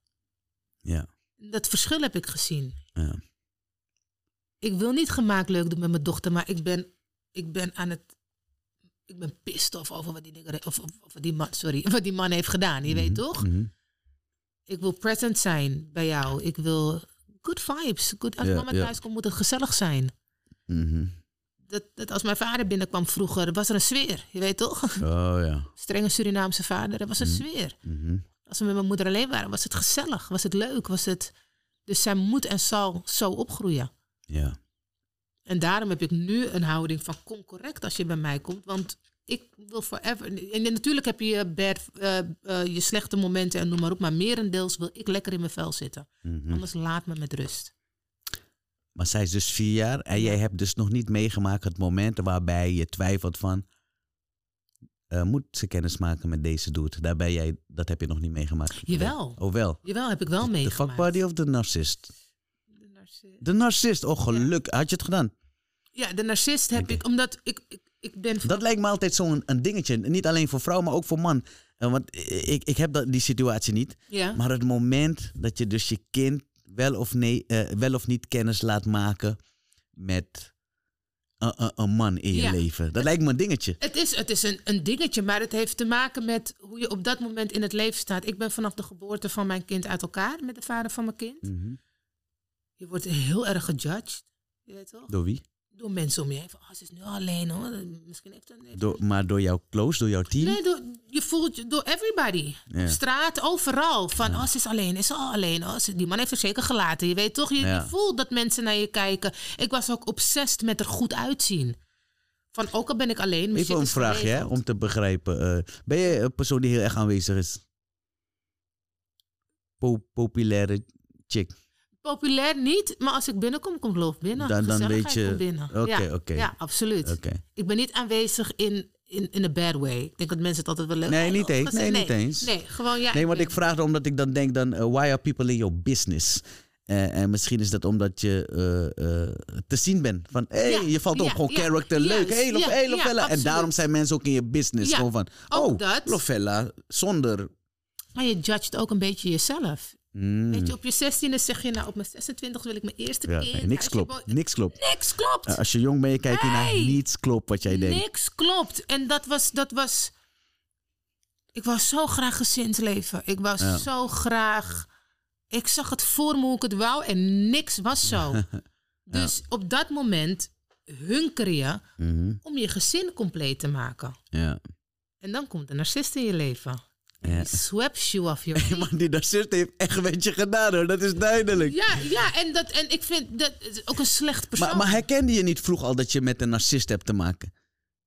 Ja.
Dat verschil heb ik gezien.
ja.
Ik wil niet gemaakt leuk doen met mijn dochter, maar ik ben, ik ben aan het... Ik ben pissed of over wat die, dingen, of, of, of wat die man, sorry, wat die man heeft gedaan. Je weet toch?
Mhm.
Ik wil present zijn bij jou. Ik wil good vibes. Good, als
Ja,
mama
ja.
thuis komt, moet het gezellig zijn.
Mhm.
dat, dat als mijn vader binnenkwam vroeger, was er een sfeer. Je weet toch?
Oh ja.
Strenge Surinaamse vader, er was een sfeer.
Mhm.
Als we met mijn moeder alleen waren, was het gezellig, was het leuk, was het... Dus zij moet en zal zo opgroeien.
Ja.
En daarom heb ik nu een houding van kom correct als je bij mij komt, want ik wil forever... En natuurlijk heb je je, bad, eh, eh, je slechte momenten en noem maar op, maar merendeels wil ik lekker in mijn vel zitten.
Mhm.
Anders laat me met rust.
Maar zij is dus vier jaar en jij hebt dus nog niet meegemaakt het moment waarbij je twijfelt van... eh, moet ze kennis maken met deze dude. Daarbij jij, dat heb je nog niet meegemaakt.
Jawel.
Oh wel.
Jawel, heb ik wel
De
meegemaakt.
fuckbody of de narcist?
De narcist.
De narcist. Oh, geluk. Had je het gedaan?
Ja, de narcist heb
Oké.
ik, omdat ik, ik, ik ben...
Dat lijkt me altijd zo'n een dingetje. Niet alleen voor vrouw, maar ook voor man. Eh, want ik, ik heb dat, die situatie niet.
ja.
Maar het moment dat je dus je kind wel of, nee, eh, wel of niet kennis laat maken met een, een- een man in je
Ja.
leven. Dat lijkt me een dingetje.
Het is, het is een, een dingetje, maar het heeft te maken met hoe je op dat moment in het leven staat. Ik ben vanaf de geboorte van mijn kind uit elkaar met de vader van mijn kind.
Mhm.
Je wordt heel erg gejudged, je weet toch?
Door wie?
Door mensen om je heen. Van, oh, ze is nu alleen hoor. Misschien heeft een...
Door, maar door jouw close, door jouw team?
Nee, door, je voelt je door everybody.
Ja.
Op straat, overal. Van, oh, ze is alleen, is ze al alleen. Oh, ze- die man heeft haar zeker gelaten. Je weet toch, je, je
Ja.
voelt dat mensen naar je kijken. Ik was ook obsessed met er goed uitzien. Van, ook al ben ik alleen, mijn
Even
shit
een
is
vraagje hè,
geregeld.
om te begrijpen. eh, ben je een persoon die heel erg aanwezig is? Po- populaire chick.
Populair niet, maar als ik binnenkom, kom ik geloof binnen.
Dan- dan
Gezelligheid
weet je-
komt binnen.
Oké,
ja,
oké.
ja, absoluut.
Oké.
Ik ben niet aanwezig in, in, in a bad way. Ik denk dat mensen het altijd wel leuk
Nee,
Oh,
niet eens.
gezellig.
Nee, niet eens.
Nee, gewoon ja.
Nee, want
ben-
ik vraag omdat ik dan denk dan, eh, why are people in your business? Eh, en misschien is dat omdat je eh, eh, te zien bent. Van, hé, hey,
Ja,
je valt op.
ja,
gewoon
ja,
character, leuk. Hé,
juist,
hey, Lof-
ja,
hey,
ja,
Lovella. en
absoluut.
daarom zijn mensen ook in je business.
Ja,
gewoon van,
ook
oh,
dat.
Lovella, zonder...
Maar je judgt ook een beetje jezelf.
Mm.
Weet je, op je 16e zeg je, nou op mijn 26 wil ik mijn eerste
Ja,
kind.
nee, niks
Als je
klopt.
bo-
Niks klopt.
Niks klopt.
Eh, als je jong bent, kijk je naar
Hey!
niets klopt wat jij denkt.
niks klopt. En dat was, dat was... Ik wou zo graag gezinsleven. Ik was
Ja.
zo graag... Ik zag het voor me hoe ik het wou en niks was zo. Dus op dat moment hunker je
Mhm,
om je gezin compleet te maken.
ja.
En dan komt de narcist in je leven.
Ja.
Die swaps you off your
Maar die narcist heeft echt met je gedaan hoor, dat is duidelijk.
Ja, ja en, dat, en ik vind dat is ook een slecht persoon.
maar, maar herkende je niet vroeg al dat je met een narcist hebt te maken?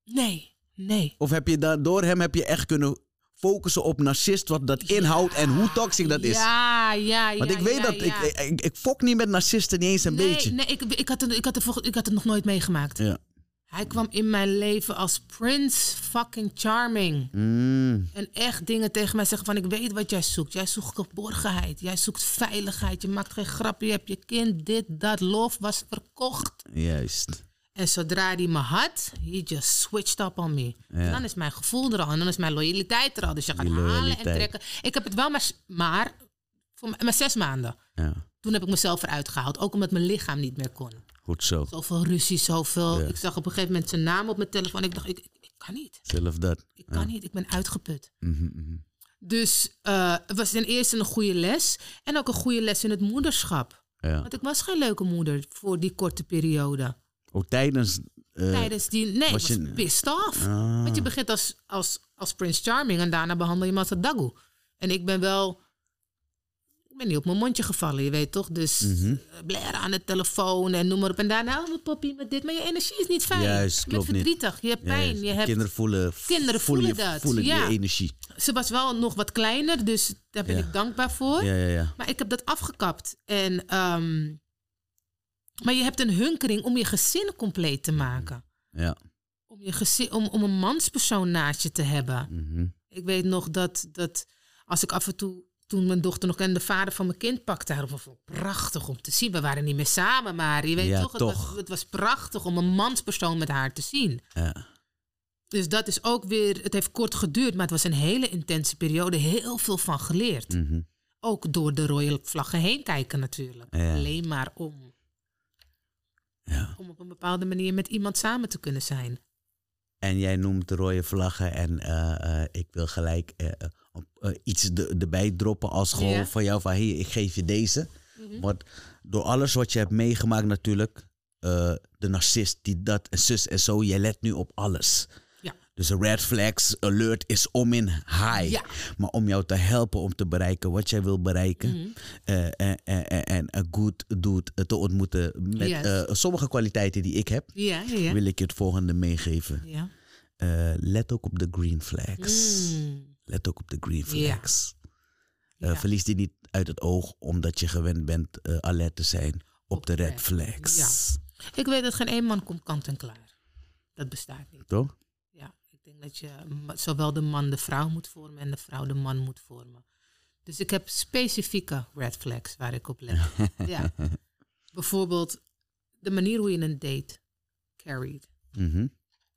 Nee, nee.
Of heb je daar, door hem heb je echt kunnen focussen op narcist, wat dat inhoudt en hoe toxisch dat is?
Ja, ja, ja.
Want ik weet
ja,
dat,
ja.
Ik, ik, ik fok niet met narcisten, niet eens een
nee,
beetje.
Nee, ik, ik, had het, ik, had het, volg- ik had het nog nooit meegemaakt.
Ja.
Hij kwam in mijn leven als Prince fucking Charming.
Mm,
En echt dingen tegen mij zeggen van ik weet wat jij zoekt. Jij zoekt geborgenheid. Jij zoekt veiligheid. Je maakt geen grappen. Je hebt je kind, dit, dat. Lof was verkocht.
juist.
En zodra hij me had, he just switched up on me. En dan is mijn gevoel er al. En dan is mijn loyaliteit er al. Dus je gaat
Die
halen en
loyaliteit.
trekken. Ik heb het wel maar, s- maar, voor m- maar zes maanden.
Ja,
Toen heb ik mezelf eruit gehaald. Ook omdat mijn lichaam niet meer kon.
goed zo.
Zoveel ruzie, zoveel.
Ja.
Ik zag op een gegeven moment zijn naam op mijn telefoon. Ik dacht, ik, ik, ik kan niet.
Zelf dat.
Ik kan niet. Ik ben uitgeput.
Mhm, mhm.
Dus eh, het was ten eerste een goede les. En ook een goede les in het moederschap.
Ja.
Want ik was geen leuke moeder voor die korte periode.
Ook tijdens... eh,
Tijdens die. Nee,
was
was
je-
ik was pissed off.
ah,
Want je begint als, als, als Prince Charming en daarna behandel je me als een dagoe. En ik ben wel... Ik ben niet op mijn mondje gevallen, je weet toch? Dus
Mhm.
eh, blaren aan de telefoon en noem maar op. En daarna, oh, mijn poppie, met dit. Maar je energie is niet fijn.
Juist,
je
klopt
bent
niet.
verdrietig, je hebt pijn.
juist.
Je hebt...
Kinderen voelen,
Kinderen
voelen,
voelen
je-
dat,
voelen
ja.
je energie.
Ze was wel nog wat kleiner, dus daar ben
Ja.
ik dankbaar voor.
Ja, ja, ja.
Maar ik heb dat afgekapt. En, ehm, maar je hebt een hunkering om je gezin compleet
Mhm.
te maken.
ja.
Om, je gezin, om, om een manspersoon naast je te hebben.
Mhm.
Ik weet nog dat, dat als ik af en toe, toen mijn dochter nog en de vader van mijn kind pakte haar, vond ik het prachtig om te zien. We waren niet meer samen, maar je weet
Ja,
toch, het,
toch.
Was, het was prachtig om een manspersoon met haar te zien.
ja.
Dus dat is ook weer, het heeft kort geduurd, maar het was een hele intense periode, heel veel van geleerd.
Mhm.
Ook door de royal vlaggen heen kijken natuurlijk.
Ja.
Alleen maar om,
ja.
om op een bepaalde manier met iemand samen te kunnen zijn.
En jij noemt rode vlaggen en eh, eh, ik wil gelijk eh, eh, op, eh, iets de- erbij droppen als gewoon
Ja. Mhm.
van jou van hier, ik geef je deze. Want door alles wat je hebt meegemaakt natuurlijk, eh, de narcist die dat en zus en zo, jij let nu op alles.
Ja.
Dus red flags alert is om in high.
Ja.
Maar om jou te helpen om te bereiken wat jij wil bereiken.
Mhm.
eh, en- en- en- en een good dude te ontmoeten met
Yes.
eh, sommige kwaliteiten die ik heb.
Ja, ja, ja.
Wil ik je het volgende meegeven.
ja.
Eh, let ook op de green flags.
Mm.
Let ook op de green
Ja.
flags. Eh,
Ja.
Verlies die niet uit het oog, omdat je gewend bent eh, alert te zijn op,
Op
de
de
red
red.
flags.
Ik weet dat geen één man komt kant en klaar. Dat bestaat niet.
Toch?
Ja, ik denk dat je m- zowel de man de vrouw moet vormen en de vrouw de man moet vormen. Dus ik heb specifieke red flags waar ik op let. ja. Bijvoorbeeld de manier hoe je een date carried.
Mhm.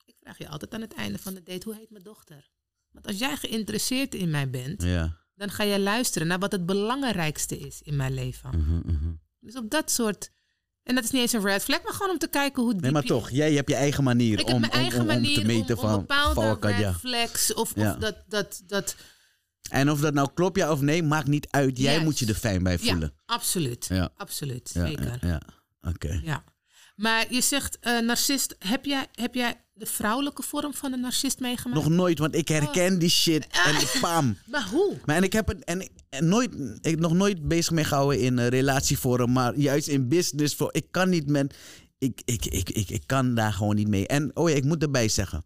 Ik vraag je altijd aan het einde van de date, hoe heet mijn dochter? Want als jij geïnteresseerd in mij bent,
Ja.
dan ga jij luisteren naar wat het belangrijkste is in mijn leven.
Mhm, mhm.
Dus op dat soort. En dat is niet eens een red flag, maar gewoon om te kijken hoe diep
Nee, maar
je-
toch, jij hebt je eigen manier,
Ik
om,
heb mijn
om-
eigen
om- om
manier
te meten
om,
van
om bepaalde
vallen kan,
red
ja.
flags of, of
Ja.
dat, dat, dat.
En of dat nou klopt, ja of nee, maakt niet uit. Jij
Juist.
moet je er fijn bij voelen.
Ja, absoluut.
Ja.
Absoluut,
Ja,
zeker.
ja,
Ja,
ja. oké.
Maar je zegt, eh, narcist, heb jij, heb jij de vrouwelijke vorm van een narcist meegemaakt?
Nog nooit, want
Oh.
ik herken die shit.
Ah.
En pam.
Maar hoe?
Maar en ik heb het en, ik- en nooit, ik heb nog nooit bezig mee gehouden in eh, relatievorm, maar juist in business. Voor, ik kan niet met, ik, ik, ik, ik, ik kan daar gewoon niet mee. En oh ja, ik moet erbij zeggen,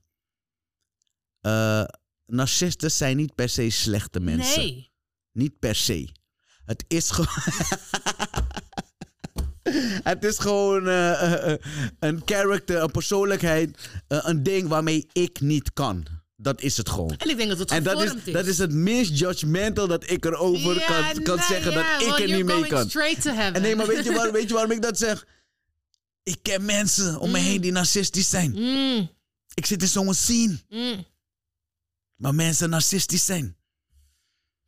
Eh narcisten zijn niet per se slechte mensen.
Nee.
Niet per se. Het is gewoon. Het is gewoon eh, eh, eh, een karakter, een persoonlijkheid, eh, een ding waarmee ik niet kan. Dat is het gewoon.
En ik denk dat het
En dat
gevormd
is, dat is het minst judgmental dat ik erover
Ja,
kan, kan
nou
zeggen
ja,
dat
well,
ik er niet
you're
mee
going
kan.
straight to heaven.
En nee, maar weet je, waar, weet je waarom ik dat zeg? Ik ken mensen om me heen die narcistisch zijn.
Mm,
Ik zit in zo'n scene
mm.
waar mensen narcistisch zijn.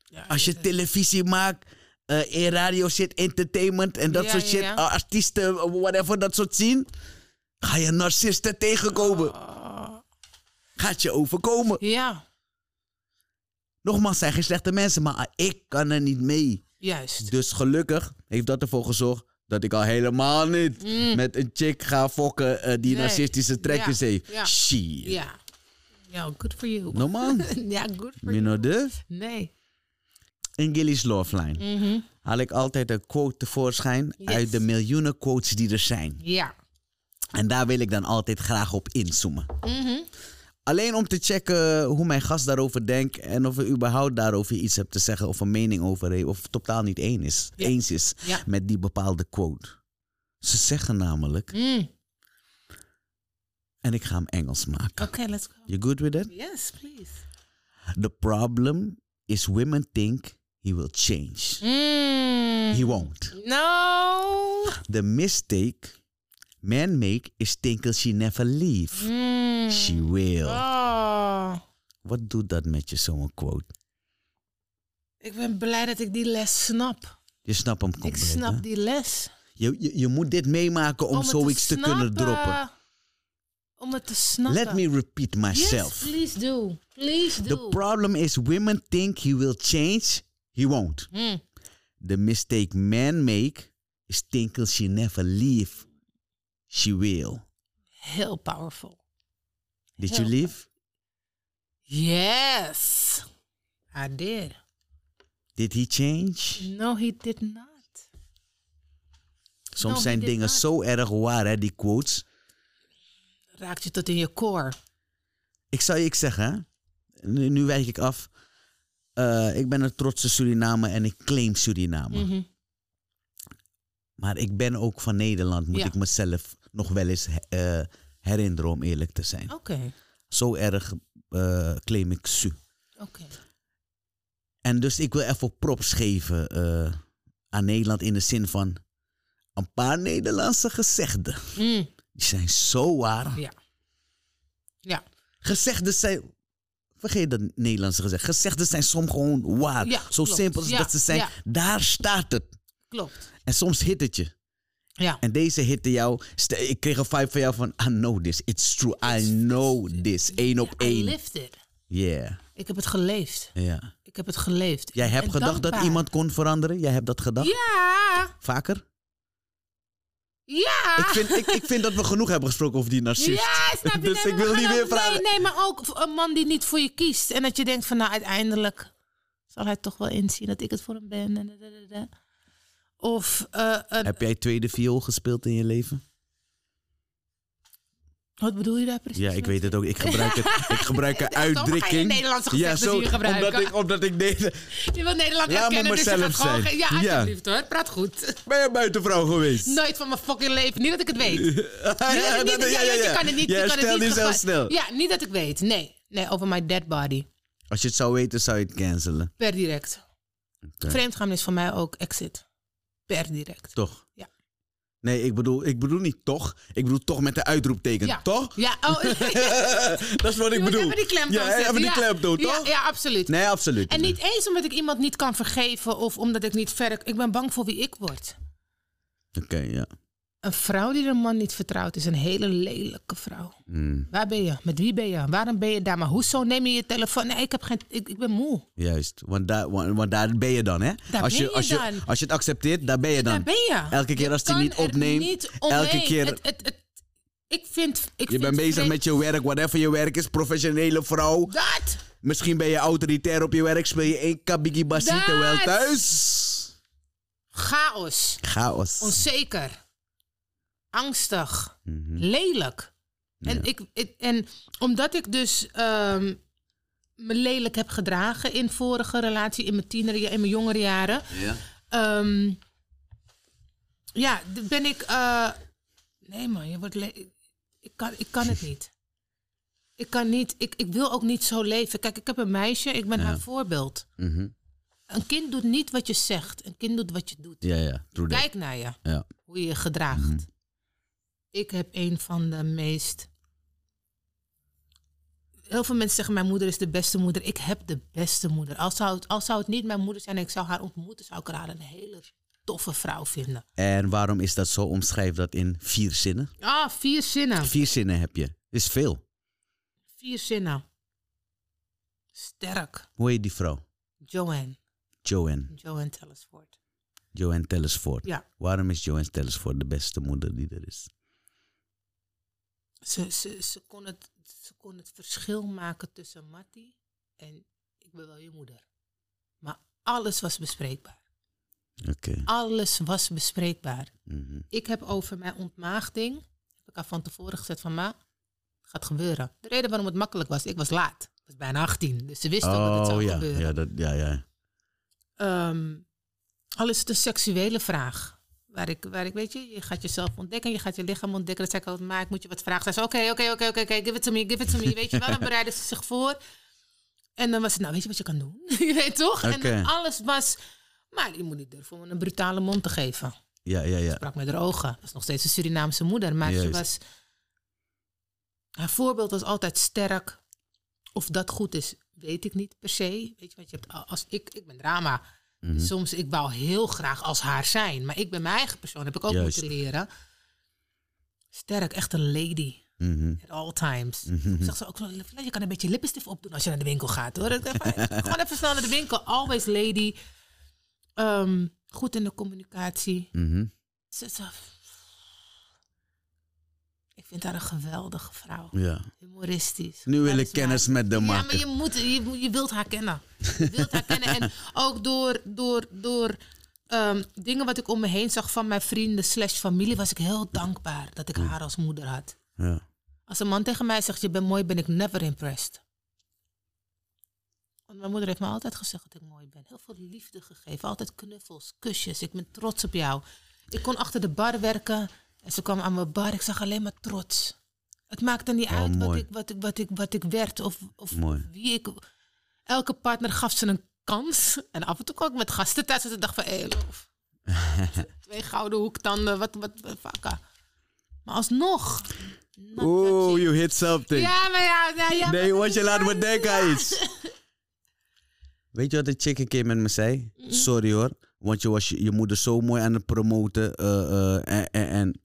Ja,
Als je televisie maakt, eh, in radio shit, entertainment en dat
Ja,
soort
ja,
shit,
ja.
eh, artiesten, whatever, dat soort zien, ga je narcisten tegenkomen.
Oh.
Gaat je overkomen.
ja,
Nogmaals, zijn geen slechte mensen, maar ah, ik kan er niet mee.
juist.
Dus gelukkig heeft dat ervoor gezorgd dat ik al helemaal niet met een chick ga fokken eh, die
Mm. Nee.
narcistische trekjes
Ja,
heeft.
ja.
Shit.
Ja. Ja, good for you.
Normaal.
ja, good for you.
Minode.
Nee.
In Gilly's Love Line haal ik altijd een quote tevoorschijn
Mhm. Yes.
uit de miljoenen quotes die er zijn.
Ja.
En daar wil ik dan altijd graag op inzoomen.
Mhm.
Alleen om te checken hoe mijn gast daarover denkt en of er überhaupt daarover iets heb te zeggen of een mening over heeft of het totaal niet één is,
Ja.
eens is
Ja.
met die bepaalde quote. Ze zeggen namelijk,
Mm.
en ik ga hem Engels maken.
Oké, let's go.
You good with that?
Yes, please.
The problem is women think he will change.
Mm.
He won't.
No.
The mistake men make is think she never leave.
Mm.
She will.
Oh.
Wat doet dat met je, zo'n quote?
Ik ben blij dat ik die les snap.
Je snapt hem compleet.
Ik snap
hè?
die les.
Je, je, je moet dit meemaken om,
het
zoiets te kunnen
snappen.
droppen.
Om het te snappen.
Let me repeat
Yes,
myself.
please do. Please
The
do.
problem is women think he will change. He won't.
Mm.
The mistake men make is think she never leave. She will.
Heel powerful.
Did
Heel
you leave?
Yes. I did.
Did he change?
No, he did not.
Soms
No,
zijn
he did
dingen
not.
zo erg waar, hè, die quotes.
Raakt je tot in je core.
Ik zou je ik zeggen, hè? nu, nu wijk ik af. Eh, ik ben een trotse Suriname en ik claim Suriname.
Mhm.
Maar ik ben ook van Nederland, moet
Ja.
ik mezelf nog wel eens eh, herinneren om eerlijk te zijn.
Oké.
Zo erg eh, claim ik Su.
Oké.
En dus ik wil even props geven eh, aan Nederland in de zin van een paar Nederlandse gezegden.
Mm.
Die zijn zo waar.
Ja. Ja.
Gezegden zijn. Vergeet dat Nederlandse gezegd. Gezegden zijn soms gewoon waar.
Ja,
ah, Zo
klopt.
simpel als
Ja,
dat ze zijn.
ja.
Daar staat het.
Klopt.
En soms hit het je.
Ja.
En deze hitte jou. Stel, Ik kreeg een vibe van jou van... I know this. It's true. I know this. Eén op
I
één.
lived it.
Yeah.
Ik heb het geleefd.
Ja.
Ik heb het geleefd.
Jij
En
hebt gedacht dat
dankbaar.
iemand kon veranderen? Jij hebt dat gedacht?
Ja!
Vaker?
Ja!
Ik vind, ik, ik vind dat we genoeg hebben gesproken over die narcist.
Ja, snap je?
Dus
Nee,
ik
maar
wil
we
niet
gaan
meer
ook- Nee,
vragen.
nee, maar ook een man die niet voor je kiest. En dat je denkt van nou, uiteindelijk zal hij toch wel inzien dat ik het voor hem ben. En da, da, da, da. Of eh, een,
Heb jij tweede viool gespeeld in je leven?
wat bedoel je daar precies?
Ja, ik
mee?
weet het ook. Ik gebruik het. Ik gebruik een
ga je
uitdrukking.
Nederlandse
ja,
gezegden
zo,
hier gebruiken.
Omdat ik, omdat ik deze.
Je wil Nederland
Laat me
herkennen, dus je gaat
mezelf
gewoon...
zijn.
ge- Ja,
Ja.
alsjeblieft hoor. Praat goed.
Ben je buitenvrouw geweest?
Nooit van mijn fucking leven. Niet dat ik het weet.
ja,
Nee, dat ik
dat-
niet- ja,
ja, ja,
Je
ja.
kan het niet.
Ja,
je kan
stel
het niet
die zo
gevaar-
snel.
Ja, niet dat ik weet. Nee, Nee, over My Dead Body.
Als je het zou weten, zou je het cancelen.
Per direct.
Oké.
Vreemdgaan is voor mij ook exit. Per direct.
Toch?
Ja.
Nee, ik bedoel, ik bedoel niet toch. Ik bedoel toch met de uitroepteken.
Ja.
Toch?
Ja, oh,
dat is wat ik
je moet
bedoel.
Even die klemtoon
ja,
zetten.
even die
Ja.
klemtoon,
Ja,
toch?
Ja, absoluut.
Nee, absoluut.
En niet eens omdat ik iemand niet kan vergeven of omdat ik niet verder... Ik ben bang voor wie ik word.
Oké, ja.
Een vrouw die een man niet vertrouwt is een hele lelijke vrouw.
Mm,
Waar ben je? Met wie ben je? Waarom ben je daar? Maar hoezo neem je je telefoon? Nee, ik, heb geen, ik, ik ben moe.
juist. Want daar, want, want daar ben je dan, hè?
Daar
als je,
ben je
als
dan.
Als je het accepteert, daar ben je
Daar
dan.
ben je.
Elke keer als die
Kan
niet
er
opneemt.
niet
elke
omheen.
keer.
Het, het, het- ik vind... Ik
je
vind
bent bezig
vreemd-
met je werk, whatever je werk is, professionele vrouw.
Dat!
Misschien ben je autoritair op je werk, speel je één kabiki bassie
Dat!
terwijl thuis.
Chaos.
Chaos.
Onzeker. Angstig.
Mhm.
Lelijk. En,
Ja.
ik, ik- en omdat ik dus ehm, me lelijk heb gedragen in vorige relatie, in mijn tienerjaren, in mijn jongere jaren...
Ja.
Ehm, ja, d- ben ik. eh, nee, man, je wordt. le- Ik kan, ik kan het niet. Ik kan niet. Ik, ik wil ook niet zo leven. Kijk, ik heb een meisje, ik ben haar voorbeeld.
Mhm.
Een kind doet niet wat je zegt, een kind doet wat je doet.
ja, ja. True that.
Kijk naar je,
Ja.
hoe je je gedraagt. Ik heb een van de meest. Heel veel mensen zeggen: Mijn moeder is de beste moeder. Ik heb de beste moeder. Al zou het, al zou het niet mijn moeder zijn en ik zou haar ontmoeten, zou ik haar een hele toffe vrouw vinden.
En waarom is dat zo? Omschrijf dat in vier zinnen.
Ah, vier zinnen.
Vier zinnen heb je. Is veel.
Vier zinnen. Sterk.
Hoe heet die vrouw?
Joanne.
Joanne.
Joanne Tellersford.
Joanne Tellersford.
Ja.
Waarom is Joanne Tellersford de beste moeder die er is?
Ze, ze, ze, kon het, ze kon het verschil maken tussen Mattie en ik ben wel je moeder. Maar alles was bespreekbaar.
Oké.
Alles was bespreekbaar.
Mhm.
Ik heb over mijn ontmaagding, heb ik haar van tevoren gezegd van ma, het gaat gebeuren. De reden waarom het makkelijk was, ik was laat. Ik was bijna 18, dus ze wist ook dat het zou
Oh, ja.
gebeuren.
Ja, dat, ja, ja.
Ehm, al is het een seksuele vraag. Waar ik, waar ik, weet je, je gaat jezelf ontdekken, je gaat je lichaam ontdekken. Dat zei ik altijd, maar ik moet je wat vragen. Zij zei, oké, oké, oké, oké, oké, give it to me, give it to me. Weet je wel, dan bereidde ze zich voor. En dan was het, nou, weet je wat je kan doen? je weet toch? En
Oké.
dan alles was, maar je moet niet durven om een brutale mond te geven.
Ja, ja, ja.
Sprak met haar ogen. Dat is nog steeds een Surinaamse moeder, maar ze
Juist.
was... Haar voorbeeld was altijd sterk. Of dat goed is, weet ik niet per se. Weet je, want je hebt, al- als ik, ik ben drama. Dus
Mhm.
Soms, ik wou heel graag als haar zijn. Maar ik ben mijn eigen persoon, heb ik ook
Juist.
moeten leren. Sterk, echt een lady.
Mhm.
At all times.
Mhm.
Zegt ze ook zo, je kan een beetje lippenstift opdoen als je naar de winkel gaat hoor. Ik dacht van, Gewoon even snel naar de winkel. Always lady. Ehm, goed in de communicatie.
Mhm.
Ze is af- Ik vind haar een geweldige vrouw.
Ja.
Humoristisch.
Nu wil ik
charismatisch.
kennis met de
Ja,
maken.
maar je, moet, je, moet- je wilt haar kennen. Je wilt haar kennen. En ook door, door, door ehm, dingen wat ik om me heen zag van mijn vrienden slash familie... was ik heel dankbaar dat ik haar als moeder had.
Ja.
Als een man tegen mij zegt, je bent mooi, ben ik never impressed. Want mijn moeder heeft me altijd gezegd dat ik mooi ben. Heel veel liefde gegeven, altijd knuffels, kusjes. Ik ben trots op jou. Ik kon achter de bar werken en ze kwam aan mijn bar. Ik zag alleen maar trots. Het maakte niet
Oh,
uit wat
mooi.
ik, wat, ik, wat, ik, wat ik werd of, of
Mooi.
wie ik... Elke partner gaf ze een kans. En af en toe kwam ik met gasten thuis en ik dacht van... Hey, loof. Twee gouden hoektanden, wat, wat, wat vakken. Maar alsnog... not
Oh, you hit something.
ja, maar ja, nou ja.
nee,
maar
want
dat
je
is
laat
waar.
me denken aan iets. Weet je wat de chick een keer met me zei? Sorry hoor, want je was je, je moeder zo mooi aan het promoten. eh, eh, en- en en,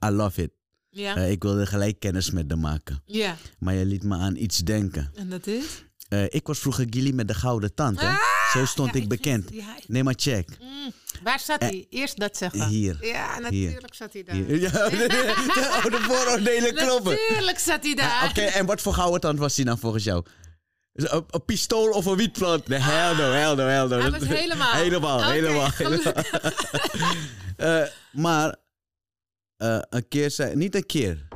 eh, I love it.
Ja.
Eh, ik wilde gelijk kennis met haar maken.
ja,
Maar je liet me aan iets denken.
en dat is?
Eh, ik was vroeger Gilly met de gouden tand. Hè? Zo stond
Ah! Ja,
ik bekend.
vind- ja, ik-
Nee, maar check.
mm. Waar zat hij? Eerst dat zeggen.
Hier.
Oh. Ja, natuurlijk zat hij daar.
Hier. Ja, oh, de vooroordelen kloppen.
Natuurlijk zat hij
Ah,
daar.
Oké, en wat voor gouden tand was hij dan volgens jou? Is Een, een pistool of een wietplant? Nee, hell no, hell no, hell no.
Ah, Hij was helemaal.
Helemaal,
Oké,
helemaal.
gelukkig.
Eh, maar eh, een keer zei... Niet een keer.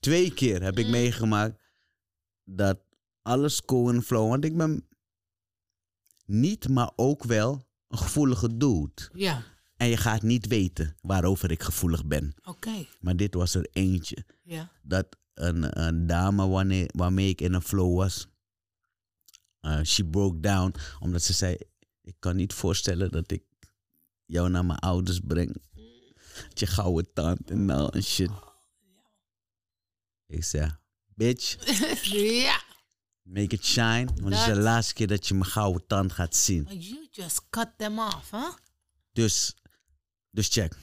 Twee keer heb
Mm.
ik meegemaakt dat alles Cohen flow... Want ik ben niet, maar ook wel een gevoelige dude.
Ja,
En je gaat niet weten waarover ik gevoelig ben.
oké.
Maar dit was er eentje.
Ja.
Dat een, een dame wanneer, waarmee ik in een flow was. Uh, she broke down omdat ze zei: Ik kan niet voorstellen dat ik jou naar mijn ouders breng. Met je gouden tand en al en shit. Ik zei: Bitch,
ja.
make it shine. Want dit is de
Dat-
laatste keer dat je mijn gouden tand gaat zien.
You just cut them off, hè?
Dus, dus check.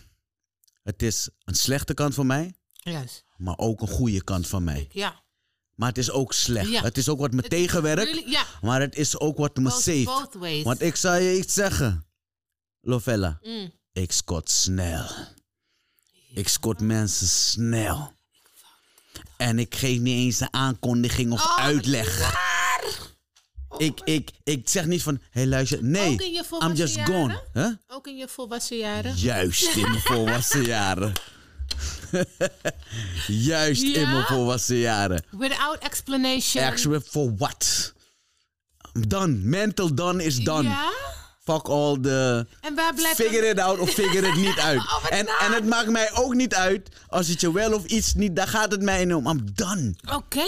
Het is een slechte kant van mij,
Juist.
maar ook een goede kant van mij.
Ja.
Maar het is ook slecht.
Ja.
Het is ook wat me tegenwerkt,
Really? Ja.
maar het is ook wat me
Both,
safe.
both ways.
Want ik zou je iets zeggen, Lovella.
Mm.
Ik scoot snel. Ik scoot mensen snel. En ik geef niet eens een aankondiging of
Oh,
uitleg. Ik, ik, ik zeg niet van, hé hey, luister. Nee,
Ook in je
I'm
volwassen
just
jaren?
gone. Huh?
Ook in je volwassen jaren?
Juist in mijn volwassen jaren. Juist in
Ja?
mijn volwassen jaren.
Without explanation.
Actually, for what? Done. Mental done is done.
Ja?
Fuck all the...
En waar blijft
Figure it out of figure it niet uit.
Oh, wat
en,
naar.
en het maakt mij ook niet uit als het je wel of iets niet... Daar gaat het mij niet om. I'm done.
Oké.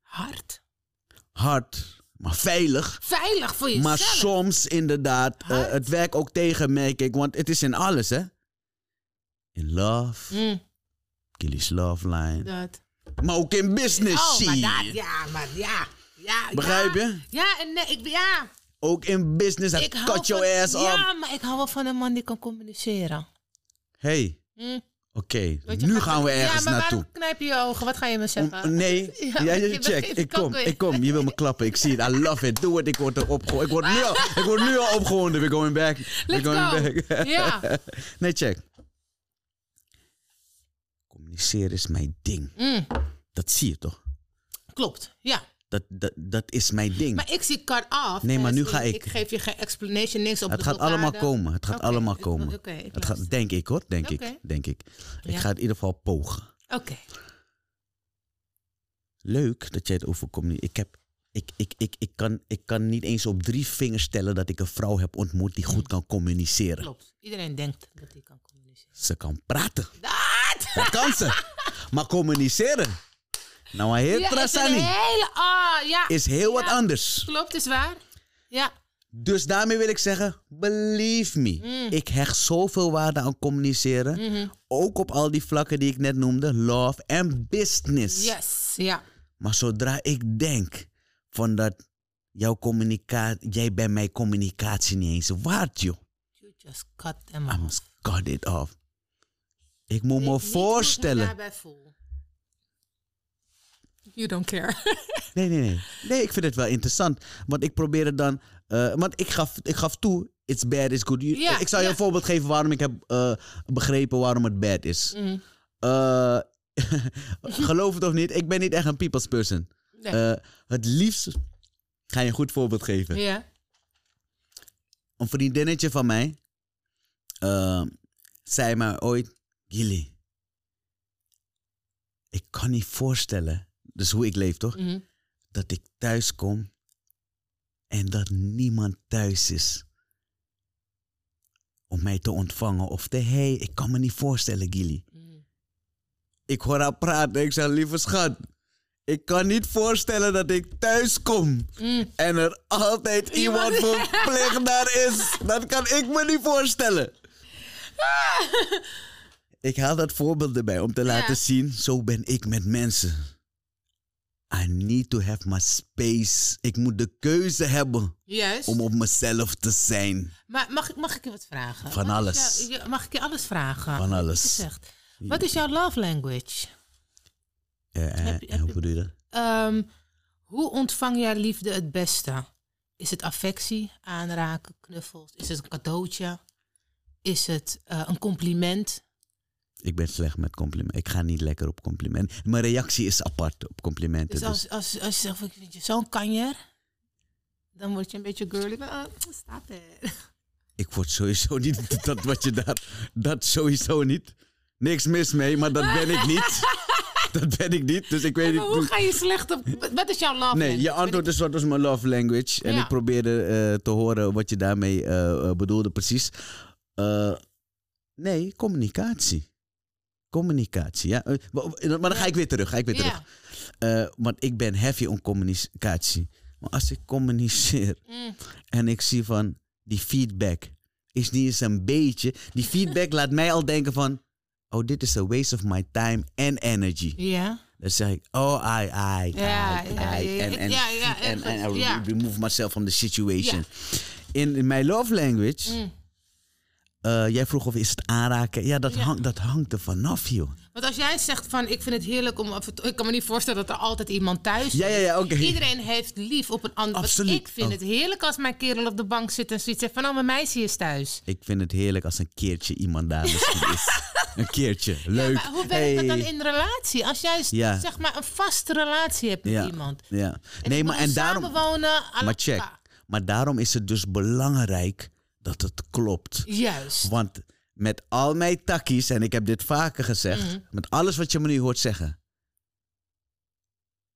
Hard.
Hard, maar veilig.
Veilig voor jezelf.
Maar soms inderdaad, eh,
Hard.
het werkt ook tegen, merk ik. Want het is in alles, hè. In love,
Mm,
Killy's Love Line.
dat.
Maar ook in business,
Oh,
Eh, zie
maar
je.
dat, ja, maar ja. ja
Begrijp
ja.
je?
Ja, en nee, ik, ja.
Ook in business, dat
Ik hou
cut your
van-
ass off.
Ja, maar ik hou wel van een man die kan communiceren.
Hey,
Hm,
oké,
want je
nu
gaat-
gaan we ergens
Ja, maar
naartoe.
waarom knijp je je ogen? Wat ga je me
Om-
zeggen?
nee,
Ja,
ja,
je
je
bent
check.
geen
Ik kom,
kakker.
ik kom. Je wil me klappen. Ik zie het. I love it. Doe het. Ik word er opge- Ik word nu al, ik word nu al opgewonden. We're going back. We're
Let's
going
go.
back.
Ja.
Nee, check. Communiceren is mijn ding.
Mm,
Dat zie je toch?
klopt, ja.
Dat, dat, dat is mijn ding.
Maar ik zie cut off.
Nee, maar
als
nu ga
in,
ik-
Ik geef je geen explanation, niks dus op
het
de
gaat
blokkade.
allemaal komen. Het gaat
Oké,
allemaal
ik-
komen.
oké, ik
het gaat,
luister.
denk ik hoor. Denk ik.
Oké.
Denk ik. Ik
Ja.
ga het in ieder geval pogen.
Oké.
Leuk dat jij het over communiceren. Ik heb. Ik, ik, ik, ik, kan, ik kan niet eens op drie vingers tellen dat ik een vrouw heb ontmoet die goed kan communiceren.
Klopt. Iedereen denkt dat hij kan communiceren.
Ze kan praten.
Dat!
Dat kan ze. maar communiceren. Nou, maar heel
Ja, het is een
Trasani
hele... Ah, ja.
is heel wat
Ja.
anders.
Klopt, is waar. Ja.
Dus daarmee wil ik zeggen, believe me.
Mm.
Ik hecht zoveel waarde aan communiceren.
Mhm.
Ook op al die vlakken die ik net noemde. Love en business.
Yes. Ja.
Maar zodra ik denk van dat jouw communicatie, jij bent mijn communicatie niet eens waard, joh.
You just cut them
I
off.
must cut it off. Ik moet
Ik
Ah, me
weet niet hoe ik me
voorstellen.
daarbij voel. You don't care.
Nee, nee, nee. Nee, ik vind het wel interessant. Want ik probeer het dan. eh, want ik gaf, ik gaf toe, it's bad, it's good. You-
Ja,
ik zal je
ja.
een voorbeeld geven waarom ik heb eh, begrepen waarom het bad is.
Mm. Mhm.
Eh, geloof het of niet, ik ben niet echt een people's person.
Nee.
Eh, het liefst ga je een goed voorbeeld geven.
ja.
een vriendinnetje van mij ehm, zei mij ooit: Gilly, ik kan niet voorstellen, dus hoe ik leef toch,
Mhm.
dat ik thuis kom en dat niemand thuis is om mij te ontvangen of te hey, ik kan me niet voorstellen, Gilly.
Mhm.
Ik hoor haar praten. Ik zeg, lieve schat. Ik kan niet voorstellen dat ik thuis kom
Mm.
en er altijd iemand
Iemand-
verplicht daar is. Dat kan ik me niet voorstellen. Ik haal dat voorbeeld erbij om te laten zien, zo ben ik met mensen. I need to have my space. Ik moet de keuze hebben
Juist.
om op mezelf te zijn.
Maar mag ik, mag ik je wat vragen?
Van
Wat is
alles.
jou- je- mag ik je alles vragen?
Van alles.
Wat, je zegt. wat is jouw love language?
Eh, eh,
Heb je-
eh,
heb
hoe
je-
bedoel je dat?
Ehm, hoe ontvang jij liefde het beste? Is het affectie, aanraken, knuffels? Is het een cadeautje? Is het eh, een compliment?
Ik ben slecht met complimenten. Ik ga niet lekker op complimenten. Mijn reactie is apart op complimenten. Dus
Dus als, als, als je zegt, van, ik vind je zo'n kanjer, dan word je een beetje girly. Maar, ah, stop it.
ik word sowieso niet dat wat je daar... Dat sowieso niet. Niks mis mee, maar dat ben ik niet. Dat ben ik niet, dus ik weet
Maar hoe
niet...
ga je slecht op... Wat is jouw love
Nee, je
language?
antwoord is wat was mijn love language. En
Ja.
ik probeerde eh, te horen wat je daarmee eh, eh, bedoelde precies. Eh, nee, communicatie. Communicatie, ja. Eh, wa- wa- Maar dan ga ik weer terug, ga ik weer terug.
Ja.
Eh, want ik ben heavy om communicatie. Maar als ik communiceer
Mm.
en ik zie van die feedback is niet eens een beetje. Die feedback laat mij al denken van, oh dit is a waste of my time and energy.
Ja.
Dan zeg ik, oh I, I, I,
Ja, ja, ja,
I.
ja.
En en-
Ja, ja,
en-
ergens,
en I
ja.
remove myself from the situation. In, in mijn love language,
Mm.
eh, jij vroeg of is het aanraken. Ja, dat,
Ja.
hangt dat hangt er vanaf, joh.
Want als jij zegt van ik vind het heerlijk om. af en toe- Ik kan me niet voorstellen dat er altijd iemand thuis
Ja, ja, ja, oké.
Iedereen heeft lief op een ander. want
Absoluut.
Ik vind
Oh.
het heerlijk als mijn kerel op de bank zit en zoiets zegt van nou, mijn meisje is thuis.
Ik vind het heerlijk als een keertje iemand daar misschien is. Een keertje, leuk.
Maar hoe werkt
Hey.
dat dan in relatie? Als jij
Ja.
zeg maar een vaste relatie hebt met
ja.
iemand.
Ja.
En
Nee,
ze
maar en
moeten
daarom...
Samenwonen, Ah, à la
Maar check,
carte.
maar daarom is het dus belangrijk dat het klopt.
Juist.
Want met al mijn takkies, en ik heb dit vaker gezegd,
Mhm.
met alles wat je me nu hoort zeggen.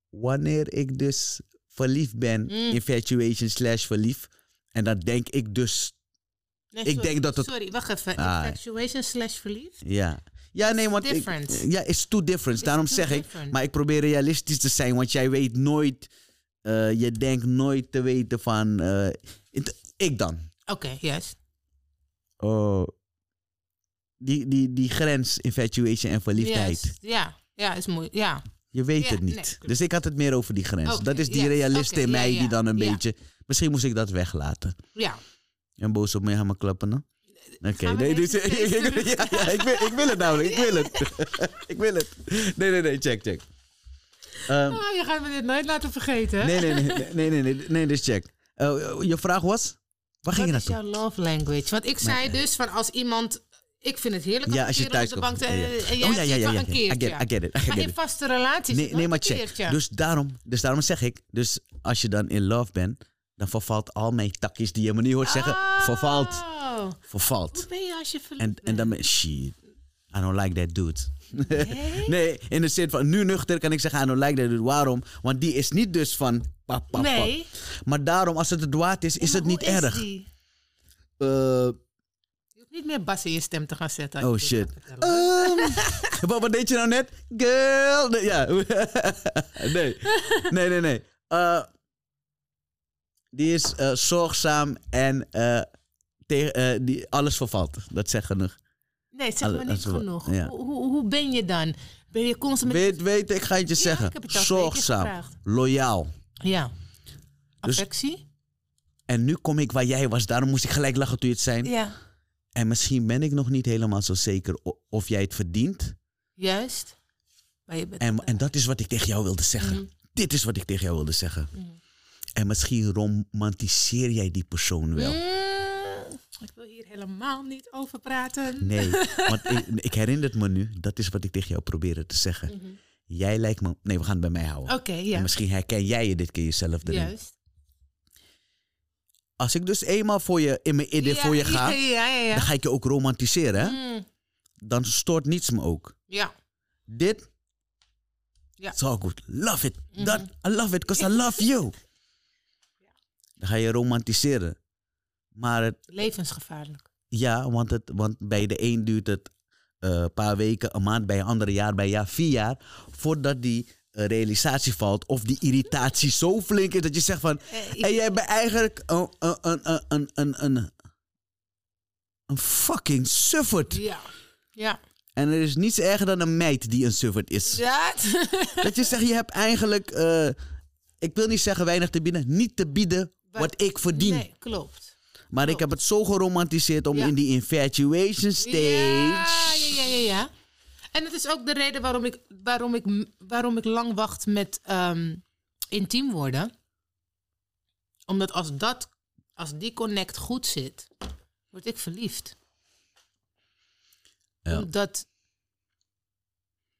Wanneer ik dus verliefd ben,
Mhm.
infatuation slash verliefd, en dan denk ik dus,
Nee,
ik denk dat het-
Sorry, wacht even.
Ah.
Infatuation slash verliefd.
ja. Ja, nee, want ik-
different.
ja, is too different. Daarom
too
zeg ik,
different.
maar ik probeer realistisch te zijn, want jij weet nooit, eh, je denkt nooit te weten van, eh, het- ik dan.
Oké, juist.
Oh. Die, die, die grens infatuation en verliefdheid.
Juist. Ja, ja, is mooi. Ja.
Je weet
Ja,
het niet.
nee, klopt.
dus ik had het meer over die grens.
Oké,
dat is die
ja,
realist
oké,
in
ja,
mij
ja,
die dan een
ja.
beetje... Misschien moest ik dat weglaten.
ja.
En boos op mij gaan me klappen, hè? Oké,
Gaan we
nee, dus,
deze
ja,
steeds terug?
ja, ik, wil, ik wil het namelijk, ik wil het. ik wil het. Nee, nee, nee, check, check. Ehm,
Ah, je gaat me dit nooit laten vergeten. hè?
nee, nee, nee, nee, nee, nee, nee, dus check. Eh, je vraag was? Waar ging je
Wat is
naartoe?
jouw love language? Want ik zei dus van als iemand... Ik vind het heerlijk
Ja,
een
als je
kerel
thuis
op de bank
komt.
te-
Ja, ja.
en
Oh,
jij
ja, ja,
zit
ja,
wel
ja,
een
ja. I get
keertje.
it, I get it, I get
Maar in
it.
vaste relaties.
Nee, nee maar check.
Dus
Dus daarom, dus daarom zeg ik. Dus als je dan in love bent, dan vervalt al mijn takjes die je me nu hoort zeggen.
Ah.
Vervalt. Vervalt.
Oh. Hoe ben je als je
En,
verliefd
en dan ben shit. I don't like that dude. nee, in de zin van nu nuchter kan ik zeggen I don't like that dude. Waarom? Want die is niet dus van pap, pap, pap.
Nee.
Maar daarom, als het het waard is, is het niet erg.
Je
Eh,
hoeft niet meer bas in je stem te gaan zetten.
Oh
als je dit
shit.
gaat vertellen.
Ehm, wat, wat deed je nou net? Girl. Nee, ja. nee. Nee, nee, nee. Eh, die is eh, zorgzaam en eh, tegen- eh, die, alles vervalt. Dat zegt genoeg.
Nee, zeg maar
Alle-
niet
als we-
genoeg.
ja.
Hoe, hoe, hoe ben je dan? Ben je constant met...
Weet, weet, ik ga het je
Ja,
zeggen.
ik heb het al twee keer
zorgzaam,
gevraagd.
loyaal.
Ja.
Dus-
Affectie?
En nu kom ik waar jij was. Daarom moest ik gelijk lachen toen je het zei.
Ja.
En misschien ben ik nog niet helemaal zo zeker o- of jij het verdient.
Juist. Maar je bent...
En, en dat is wat ik tegen jou wilde zeggen.
Mhm.
Dit is wat ik tegen jou wilde zeggen. En misschien romantiseer jij die persoon wel.
Mhm. Mm, ik wil hier helemaal niet over praten.
Nee, want ik, ik herinner het me nu. Dat is wat ik tegen jou probeerde te zeggen. Jij lijkt me... Nee, we gaan het bij mij houden.
Oké,
En
Mhm. Oh, ja.
misschien herken jij je dit keer jezelf erin.
Juist.
Als ik dus eenmaal voor je, in mijn idee
Ja,
voor je ga...
Ja, ja, ja.
dan
ja.
ga ik je ook romantiseren. Hè?
Mm,
Dan stoort niets me ook.
ja.
Dit.
Ja. Mhm.
It's all good. Love it. Dat, I love it, because I love you. Dan ga je romantiseren. Maar het,
Levensgevaarlijk.
ja, want, het, want bij de een duurt het eh, een paar weken, een maand, bij een andere jaar, bij een jaar, vier jaar. Voordat die eh, realisatie valt of die irritatie zo flink is dat je zegt van...
Eh, ik-
En jij bent eigenlijk een, een, een, een, een, een, een fucking suffert.
Ja. Ja.
En er is niets erger dan een meid die een suffert is.
Ja.
Dat je zegt, je hebt eigenlijk, eh, ik wil niet zeggen weinig te bieden, niet te bieden wat,
Wat-
ik verdien.
Nee, klopt.
maar ik heb het zo geromantiseerd om
Ja.
in die infatuation stage.
Ja, ja, ja, ja, ja. En dat is ook de reden waarom ik, waarom ik, waarom ik lang wacht met ehm, intiem worden. Omdat als, dat, als die connect goed zit, word ik verliefd.
Ja.
Omdat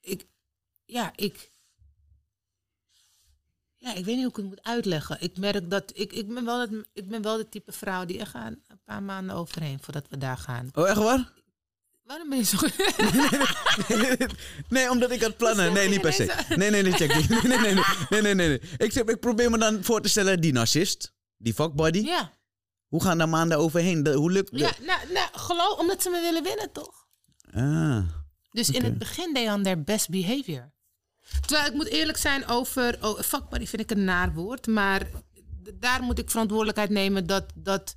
ik, ja, ik. Ja, ik weet niet hoe ik het moet uitleggen. Ik merk dat. Ik, ik, ben wel het, ik ben wel de type vrouw die er gaan een paar maanden overheen voordat we daar gaan.
Oh, echt waar?
Waarom ben je zo.
nee, omdat ik had plannen. Nee, niet per se. Nee, nee, nee, check. dit. Nee, nee, nee. nee. nee, nee, nee, nee. Ik, zeg, ik probeer me dan voor te stellen, die narcist, die fuckbody.
ja.
Hoe gaan daar maanden overheen? De- hoe lukt dat?
Ja, nou, nou, geloof, omdat ze me willen winnen, toch?
Ah.
Dus in het begin deed aan their best behavior. Terwijl ik moet eerlijk zijn over. Oh, vakbond vind ik een naar woord. Maar d- daar moet ik verantwoordelijkheid nemen dat, dat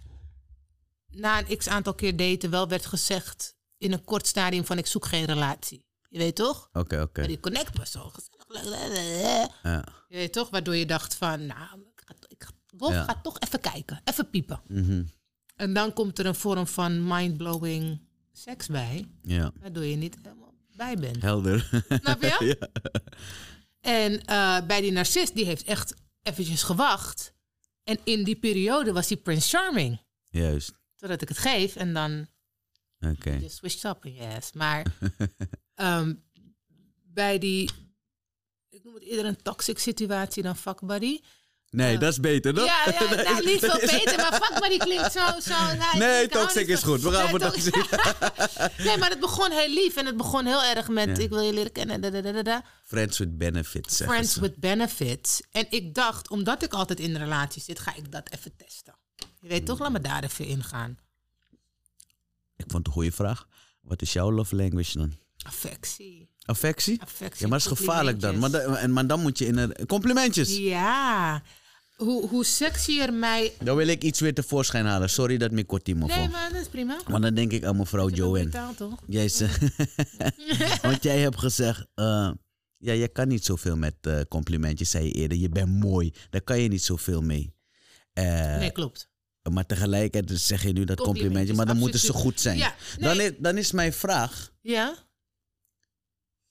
na een x aantal keer daten wel werd gezegd. in een kort stadium van ik zoek geen relatie. Je weet toch?
Oké,
Maar
oké.
die connect was zo gezellig.
Ja.
Je weet toch? Waardoor je dacht van, nou, ik ga, ik ga- Wolf
Ja.
gaat toch even kijken, even piepen.
Mhm.
En dan komt er een vorm van mindblowing seks bij,
Ja.
waardoor je niet helemaal bij bent.
Helder.
Snap je?
ja.
En eh, bij die narcist, die heeft echt eventjes gewacht. En in die periode was hij Prince Charming.
Juist.
Totdat ik het geef en dan
Oké.
je switched up in je ass. Maar ehm, bij die, ik noem het eerder een toxic situatie dan fuckbuddy.
Nee, dat is beter, toch?
Ja, ja nou, niet veel beter, maar fuck maar die klinkt zo. zo nou,
Nee,
ik hou
toxic
niet
is
van-
goed. We gaan
Nee,
voor
toxic- nee, maar het begon heel lief en het begon heel erg met ik wil je leren kennen. Da, da, da, da, da.
Friends with benefits. zeggen
Friends
ze.
with benefits. En ik dacht, omdat ik altijd in een relatie zit, ga ik dat even testen. Je weet toch, laat me daar even ingaan.
Ik vond het een goede vraag. Wat is jouw love language dan?
Affectie.
Affectie?
Affectie.
Ja, maar dat is gevaarlijk dan. Maar,
complimentjes.
da- en- maar dan moet je in een... Complimentjes!
Ja. Hoe, hoe sexier mij...
Dan wil ik iets weer tevoorschijn halen. Sorry dat ik kort iemand
Nee,
vond.
maar dat is prima. Ik
Want dan denk ik aan mevrouw
heb hem
Oh, Joanne.
betaald, toch?
Jij ze- Want jij hebt gezegd... eh, ja, jij kan niet zoveel met eh, complimentjes, zei je eerder. Je bent mooi. Daar kan je niet zoveel mee. Eh,
Nee, klopt.
Maar tegelijkertijd zeg je nu dat complimentje.
Complimentjes,
Maar dan moeten ze
absoluut.
goed zijn.
Ja,
Dan,
nee.
is, dan is mijn vraag...
Ja?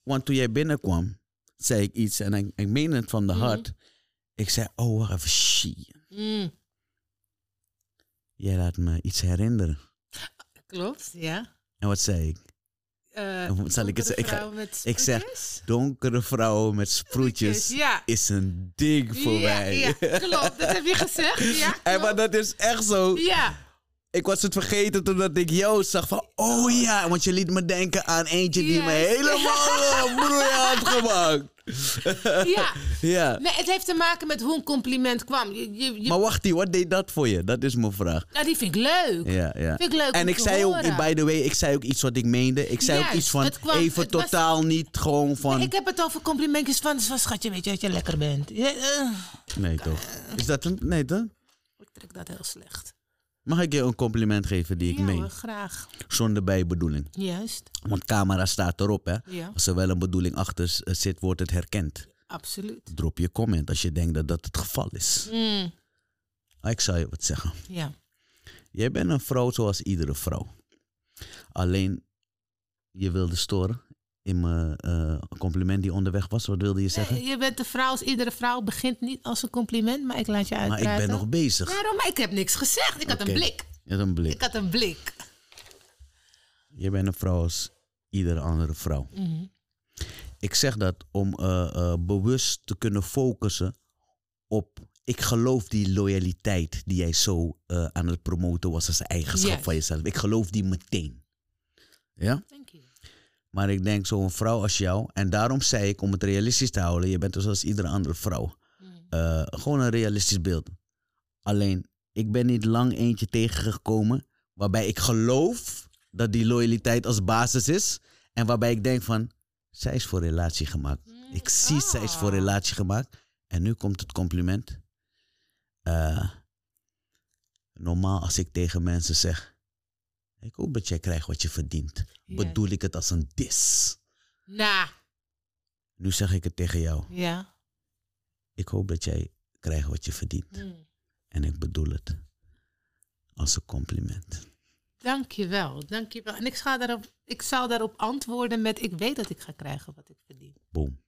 Want toen jij binnenkwam, zei ik iets en ik, ik meen het van de
Mhm.
hart. Ik zei, oh wacht even, shit.
Mm,
Jij laat me iets herinneren.
klopt, ja.
En wat zei ik?
eh,
Hoe zal ik het
donkere
zeggen? Ik ga-
vrouwen met
ik zeg,
sproetjes?
Donkere vrouwen met
Sproetjes,
sproetjes
Ja.
is een ding voor
ja,
mij.
Ja, klopt. Dat heb je gezegd. Ja.
En maar
klopt.
dat is echt zo.
ja.
Ik was het vergeten totdat ik jou zag van, oh ja. Want je liet me denken aan eentje die me
Yes.
helemaal eh, broei had gemaakt.
ja.
Ja.
Nee, het heeft te maken met hoe een compliment kwam. Je, je, je-
Maar wacht, ie, wat deed dat voor je? Dat is mijn vraag.
nou, die vind ik leuk.
Ja, ja.
Vind ik leuk
En
om
ik
te
zei
horen.
ook, by the way, ik zei ook iets wat ik meende. Ik zei ook
Juist,
iets van
het kwam-
even
het was-
totaal niet, gewoon van.
Ik heb het over complimentjes van, zo schatje, weet je dat je lekker bent. Ja, eh,
Nee toch? Is dat een. Nee toch?
ik trek dat heel slecht.
Mag ik je een compliment geven die ik
ja,
meen?
hoor, graag.
Zonder bijbedoeling.
Juist.
Want camera staat erop, hè?
Ja,
Als er wel een bedoeling achter s- eh, zit, wordt het herkend.
absoluut.
Drop je comment als je denkt dat dat het geval is.
Mm,
Ah, Ik zou je wat zeggen.
ja.
Jij bent een vrouw zoals iedere vrouw. Alleen, je wilde storen in mijn eh, compliment die onderweg was. Wat wilde je zeggen?
Nee, je bent de vrouw, als iedere vrouw begint niet als een compliment, maar ik laat je
Maar
uitpraten.
ik ben nog bezig.
Waarom? Maar ik heb niks gezegd. Ik had
Oké.
een blik.
Je hebt een
Ik
blik.
had een blik.
Je bent een vrouw als iedere andere vrouw.
Mhm.
Ik zeg dat om eh, eh, bewust te kunnen focussen op. Ik geloof die loyaliteit die jij zo eh, aan het promoten was als een eigenschap
Juist.
van jezelf. Ik geloof die meteen. Ja?
Thank you.
Maar ik denk zo'n vrouw als jou, en daarom zei ik om het realistisch te houden, je bent dus als iedere andere vrouw.
Mm.
Eh, gewoon een realistisch beeld. Alleen, ik ben niet lang eentje tegengekomen waarbij ik geloof dat die loyaliteit als basis is. En waarbij ik denk van, zij is voor relatie gemaakt. Ik zie, zij is voor
Ah.
relatie gemaakt. En nu komt het compliment. Eh, normaal als ik tegen mensen zeg, ik hoop dat jij krijgt wat je verdient.
Ja.
Bedoel ik het als een dis.
Nou,
Nu zeg ik het tegen jou.
ja.
Ik hoop dat jij krijgt wat je verdient.
Mm.
En ik bedoel het als een compliment.
Dankjewel, dankjewel. En ik, ga daarop, ik zal daarop antwoorden met... ik weet dat ik ga krijgen wat ik verdien.
Boom.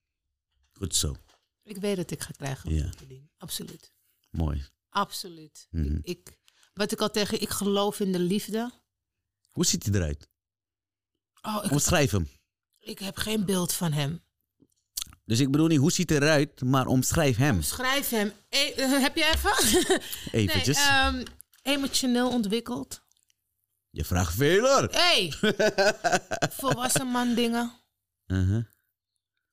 Goed zo.
Ik weet dat ik ga krijgen wat
Ja.
ik verdien. Absoluut.
Mooi.
Absoluut.
Mhm.
Ik, ik, wat ik al tegen... ik geloof in de liefde.
Hoe ziet hij eruit?
Oh, ik,
Omschrijf hem.
ik heb geen beeld van hem.
Dus ik bedoel niet hoe ziet hij eruit, maar omschrijf hem
Schrijf hem. E- eh, heb je even?
eventjes.
Nee, ehm, emotioneel ontwikkeld.
Je vraagt veel hoor.
Hey! Volwassen man dingen.
Uh-huh.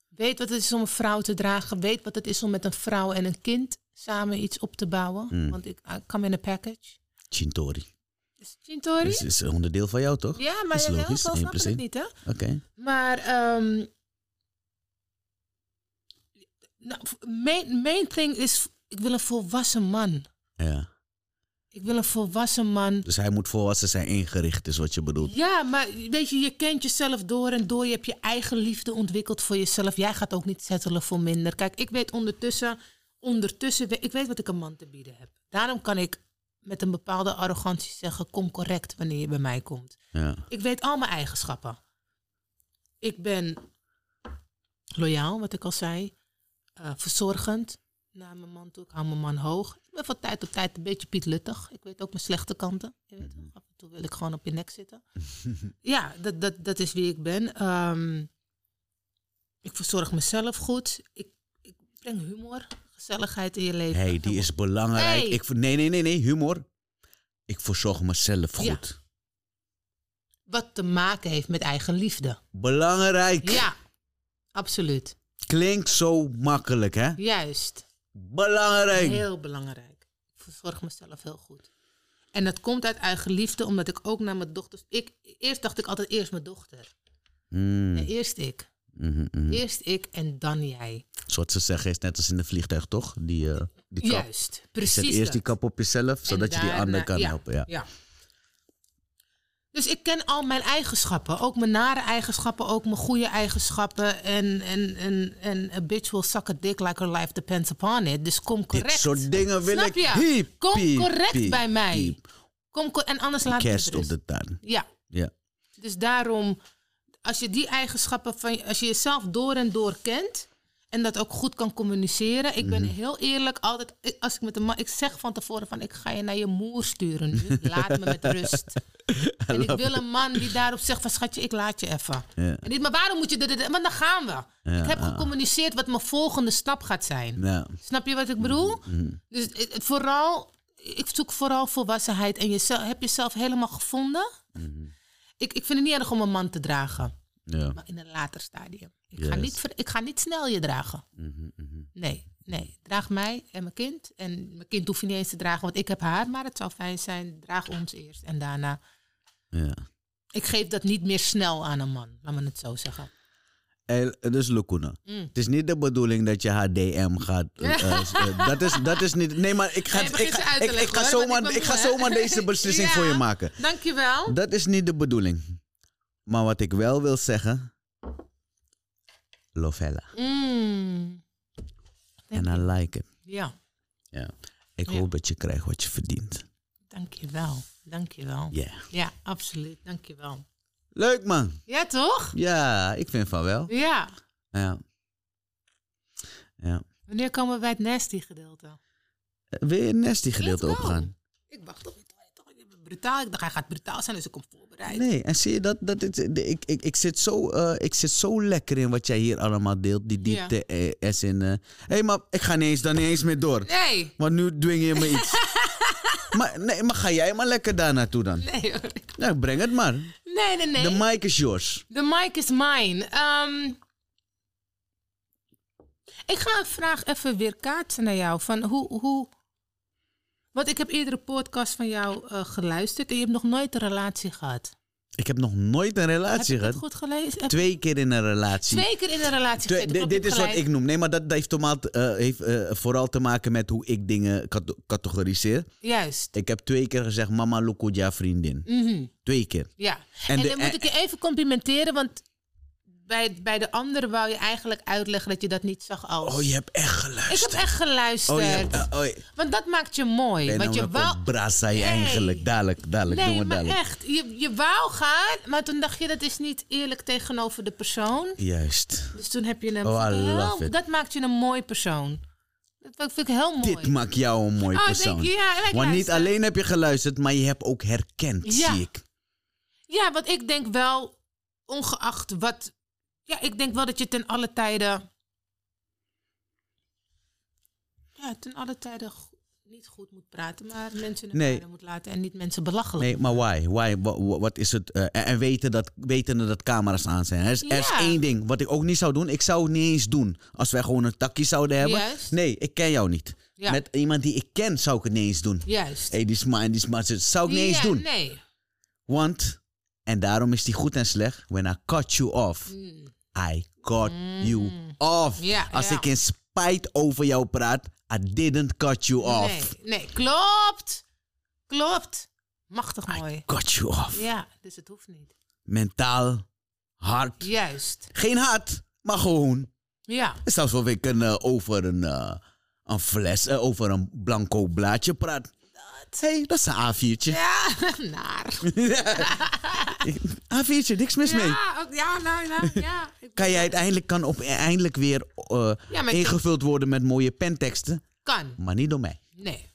Weet wat het is om een vrouw te dragen. Weet wat het is om met een vrouw en een kind samen iets op te bouwen.
Mm.
Want ik I come in a package.
Chintori.
Is het Chintori?
Dus het is een onderdeel van jou, toch?
ja, maar
is
ja, heel
logisch,
snel
één
snap
plus
ik
één.
het niet, hè?
Oké.
Maar ehm nou, mijn, mijn thing is, ik wil een volwassen man.
Ja.
Ik wil een volwassen man.
Dus hij moet volwassen zijn ingericht, is wat je bedoelt.
Ja, maar weet je, je kent jezelf door en door. Je hebt je eigen liefde ontwikkeld voor jezelf. Jij gaat ook niet settelen voor minder. Kijk, ik weet ondertussen, ondertussen, we- ik weet wat ik een man te bieden heb. Daarom kan ik met een bepaalde arrogantie zeggen, kom correct wanneer je bij mij komt.
Ja.
Ik weet al mijn eigenschappen. Ik ben loyaal, wat ik al zei. Eh, verzorgend naar mijn man toe. Ik hou mijn man hoog. Ik ben van tijd tot tijd een beetje pietluttig. Ik weet ook mijn slechte kanten. Je weet wel, af en toe wil ik gewoon op je nek zitten. ja, dat, dat, dat is wie ik ben. Ehm, ik verzorg mezelf goed. Ik, ik breng humor, gezelligheid in je leven.
hey, die is belangrijk.
Hey.
Ik, ver- nee, nee, nee, nee, humor. Ik verzorg mezelf goed.
Wat te maken heeft met eigen liefde.
Belangrijk.
Ja, absoluut.
Klinkt zo makkelijk, hè?
Juist.
Belangrijk.
Heel belangrijk. Ik verzorg mezelf heel goed. En dat komt uit eigen liefde, omdat ik ook naar mijn dochters. Ik, eerst dacht ik altijd eerst mijn dochter.
Mm,
Nee, eerst ik.
mhm, mhm.
Eerst ik en dan jij.
Zoals ze zeggen, is net als in de vliegtuig, toch? Die, eh, die kap.
Juist, precies.
Zet eerst
dat.
die kap op jezelf, zodat je die
daarna-
ander kan
ja.
helpen. Ja.
Ja. Dus ik ken al mijn eigenschappen. Ook mijn nare eigenschappen, ook mijn goede eigenschappen. En, en, en, en a bitch will suck a dick like her life depends upon it. Dus kom correct.
Dit soort dingen wil
Snap
ik.
je?
Hiep,
Kom
piep,
correct
piep,
bij mij.
piep.
Kom, co- en anders laat ik
Kerst
het
op
rust.
de tuin.
Ja,
Ja.
dus daarom, als je die eigenschappen van, als je jezelf door en door kent en dat ook goed kan communiceren. Ik
Mhm.
ben heel eerlijk, altijd ik- als ik met een man, ik zeg van tevoren van ik ga je naar je moer sturen nu. Laat me met rust. En ik wil een man die daarop zegt van schatje, ik laat je even.
Ja.
En niet, maar waarom moet je dit, dit- dit?" want dan gaan we.
Ja,
ik heb
ah.
gecommuniceerd wat mijn volgende stap gaat zijn.
Ja.
Snap je wat ik bedoel? Dus het- het vooral, ik zoek vooral volwassenheid en jezelf, heb jezelf helemaal gevonden. Ik, ik vind het niet erg om een man te dragen,
Ja.
maar in een later stadium. Ik, ga,
Juist.
niet, ver- ik ga niet snel je dragen.
Mhm, mhm.
Nee, nee. Draag mij en mijn kind. En mijn kind hoef je niet eens te dragen, want ik heb haar. Maar het zou fijn zijn, draag ons eerst en daarna.
ja.
Ik geef dat niet meer snel aan een man, laat me het zo zeggen.
En- Dus Lukuna.
Mm.
Het is niet de bedoeling dat je haar DM gaat. eh, eh, s- eh, dat, is, dat is niet. Nee, maar ik ga,
Nee, begin
ik
ze uit
ga,
te
ik, ik
leggen,
ga
hoor, want ik
zomaar,
ben
ik ga
moe, hè.
zomaar deze beslissing voor je
Ja.
maken.
Dankjewel.
Dat is niet de bedoeling. Maar wat ik wel wil zeggen. Lovella.
Mm,
En I like it.
ja,
Ja. Ik
Ja.
hoop dat je krijgt wat je verdient.
dankjewel. Dankjewel.
Ja.
Ja, absoluut. Dankjewel.
Leuk man.
Ja, toch?
Ja, ik vind van wel.
Ja.
Ja. ja.
Wanneer komen we bij het nasty gedeelte?
Eh, Wil je het nasty gedeelte
Let's go.
opgaan?
Ik wacht op je toch- je bent brutaal. Ik dacht, hij gaat brutaal zijn, dus ik kom voorbereid.
Nee, en zie je dat? dat het, de- ik, ik, ik, zit zo, eh, ik zit zo lekker in wat jij hier allemaal deelt. Die
Ja.
diepte eh, S in. Hé, hey, maar ik ga niet eens, dan niet eens meer door.
Nee.
Want nu dwing je me iets. maar, nee, maar ga jij maar lekker daar naartoe dan.
Nee, hoor.
Nou, breng het maar.
nee, nee. nee.
De mic is yours.
De mic is mine. Ehm, ik ga een vraag even weer kaatsen naar jou. Van hoe, hoe... Want ik heb eerdere podcast van jou eh, geluisterd en je hebt nog nooit een relatie gehad.
Ik heb nog nooit een
Heb
relatie
je dat
gehad.
goed gelezen? Heb-
Twee keer in een relatie.
Twee keer in een relatie
Twee-
gezeten,
di-
klopt,
dit
heb
is wat
gelijk.
ik noem. Nee, maar dat heeft, tomaat, eh, heeft eh, vooral te maken met hoe ik dingen kat- categoriseer.
Juist.
Ik heb twee keer gezegd, mama Lukuja vriendin.
Mhm.
Twee keer.
Ja,
En
en,
de-
dan moet ik je even complimenteren, want bij, bij de anderen wou je eigenlijk uitleggen dat je dat niet zag als...
Oh, je hebt echt
ik
geluisterd.
heb echt
Oh,
geluisterd.
je hebt, eh, oh, nou, je-
Want dat maakt je mooi.
ben
want
je
je wou...
brassai eigenlijk.
Nee.
Dadelijk, dadelijk, doen
Nee,
we
maar
dadelijk.
echt. Je, je wou gaan, maar toen dacht je dat is niet eerlijk tegenover de persoon.
Juist.
Dus toen heb je hem...
Oh, I
heel-
love it.
dat maakt je een mooi persoon. Dat vind ik heel mooi.
Dit maakt jou een mooi
Oh, denk
persoon.
je, ja, en ik
Want niet
luister.
alleen heb je geluisterd, maar je hebt ook herkend,
Ja.
zie ik.
Ja, want ik denk wel, ongeacht wat. Ja, ik denk wel dat je ten alle tijden. Ja, ten alle tijden go- niet goed moet praten, maar mensen hun
Nee.
waarde moet laten en niet mensen belachelijk.
Nee, maar why? why? Wa- wa- Wat is het? eh, en en weten dat, wetende dat camera's aan zijn. Er is, er is
Ja.
één ding wat ik ook niet zou doen. Ik zou het niet eens doen als wij gewoon een takkie zouden hebben.
Juist.
Nee, ik ken jou niet.
Ja.
Met iemand die ik ken zou ik het niet eens doen.
Juist.
Hé, die is maar en die is maar. Dat zou ik niet eens
Ja,
doen.
Nee.
Want, en daarom is die goed en slecht. When I cut you off, I cut you off.
Mm. Ja,
Als
ja.
ik in spijt over jou praat, I didn't cut you off.
Nee, nee, klopt. Klopt. Machtig mooi.
Cut you off.
Ja, dus het hoeft niet.
Mentaal, hard.
Juist.
Geen hard, maar gewoon.
Ja.
Het is zelfs wel weer kunnen over een, eh, een fles, eh, over een blanco blaadje praat. Hé, hey, dat is een A4'tje.
Ja, naar.
A4'tje, niks mis mee.
Ja, ook- ja, nou, nou, ja. Ik-
Kan jij uiteindelijk, kan op, eindelijk weer eh,
Ja, maar ik-
ingevuld worden met mooie penteksten,
Kan.
maar niet door mij.
Nee.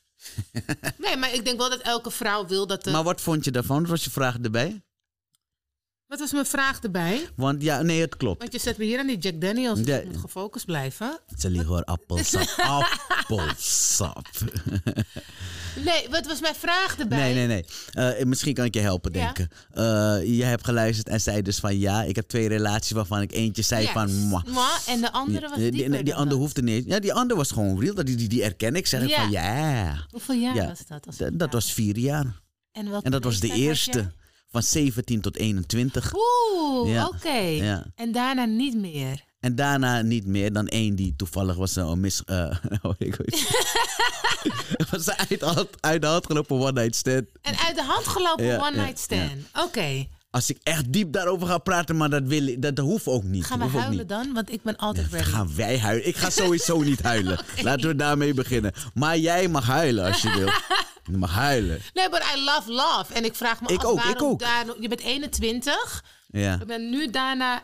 Nee, maar ik denk wel dat elke vrouw wil dat... de-
Maar wat vond je daarvan? Wat was je vraag erbij?
Wat was mijn vraag erbij?
Want ja, nee, het klopt.
Want je zet me hier aan die Jack Daniels. dus
Ja.
Ik moet gefocust blijven.
Ze liggen hoor, appelsap. Appelsap.
Nee, wat was mijn vraag erbij?
Nee, nee, nee. Eh, misschien kan ik je helpen
Ja.
denken. Eh, je hebt geluisterd en zei dus van ja, ik heb twee relaties waarvan ik eentje zei
Ja.
van... mwah.
Mwah, En de andere was
die,
dieper
die, die
dan
ander
dat.
hoefde niet. Ja, die ander was gewoon real. Dat Die, die, die erken ik. Zeg ik
Ja.
van ja.
Hoeveel jaar
Ja,
was dat? Als
Dat, dat was vier jaar.
en, welke
En dat was de
leeftijd had
eerste.
jij?
Van 17 tot 21.
Oeh,
Ja,
oké.
ja.
En daarna niet meer.
En daarna niet meer dan één die toevallig was een mis... eh, oh, ik weet het. was een uit, de hand- uit de hand gelopen one night stand.
En uit de hand gelopen
Ja,
one
ja,
night stand. Oké.
Als ik echt diep daarover ga praten, maar dat, wil, ik- dat, dat hoeft ook niet.
Gaan we
Hoeft ook
huilen
niet.
dan? Want ik ben altijd ready.
Gaan wij huilen? Ik ga sowieso niet huilen. Laten we daarmee beginnen. Maar jij mag huilen als je wil. Je mag huilen.
Nee, but I love love. En ik vraag me
Ik
af
ook, ik
waarom
ook.
daar- je bent 21.
Ja.
Ik ben nu daarna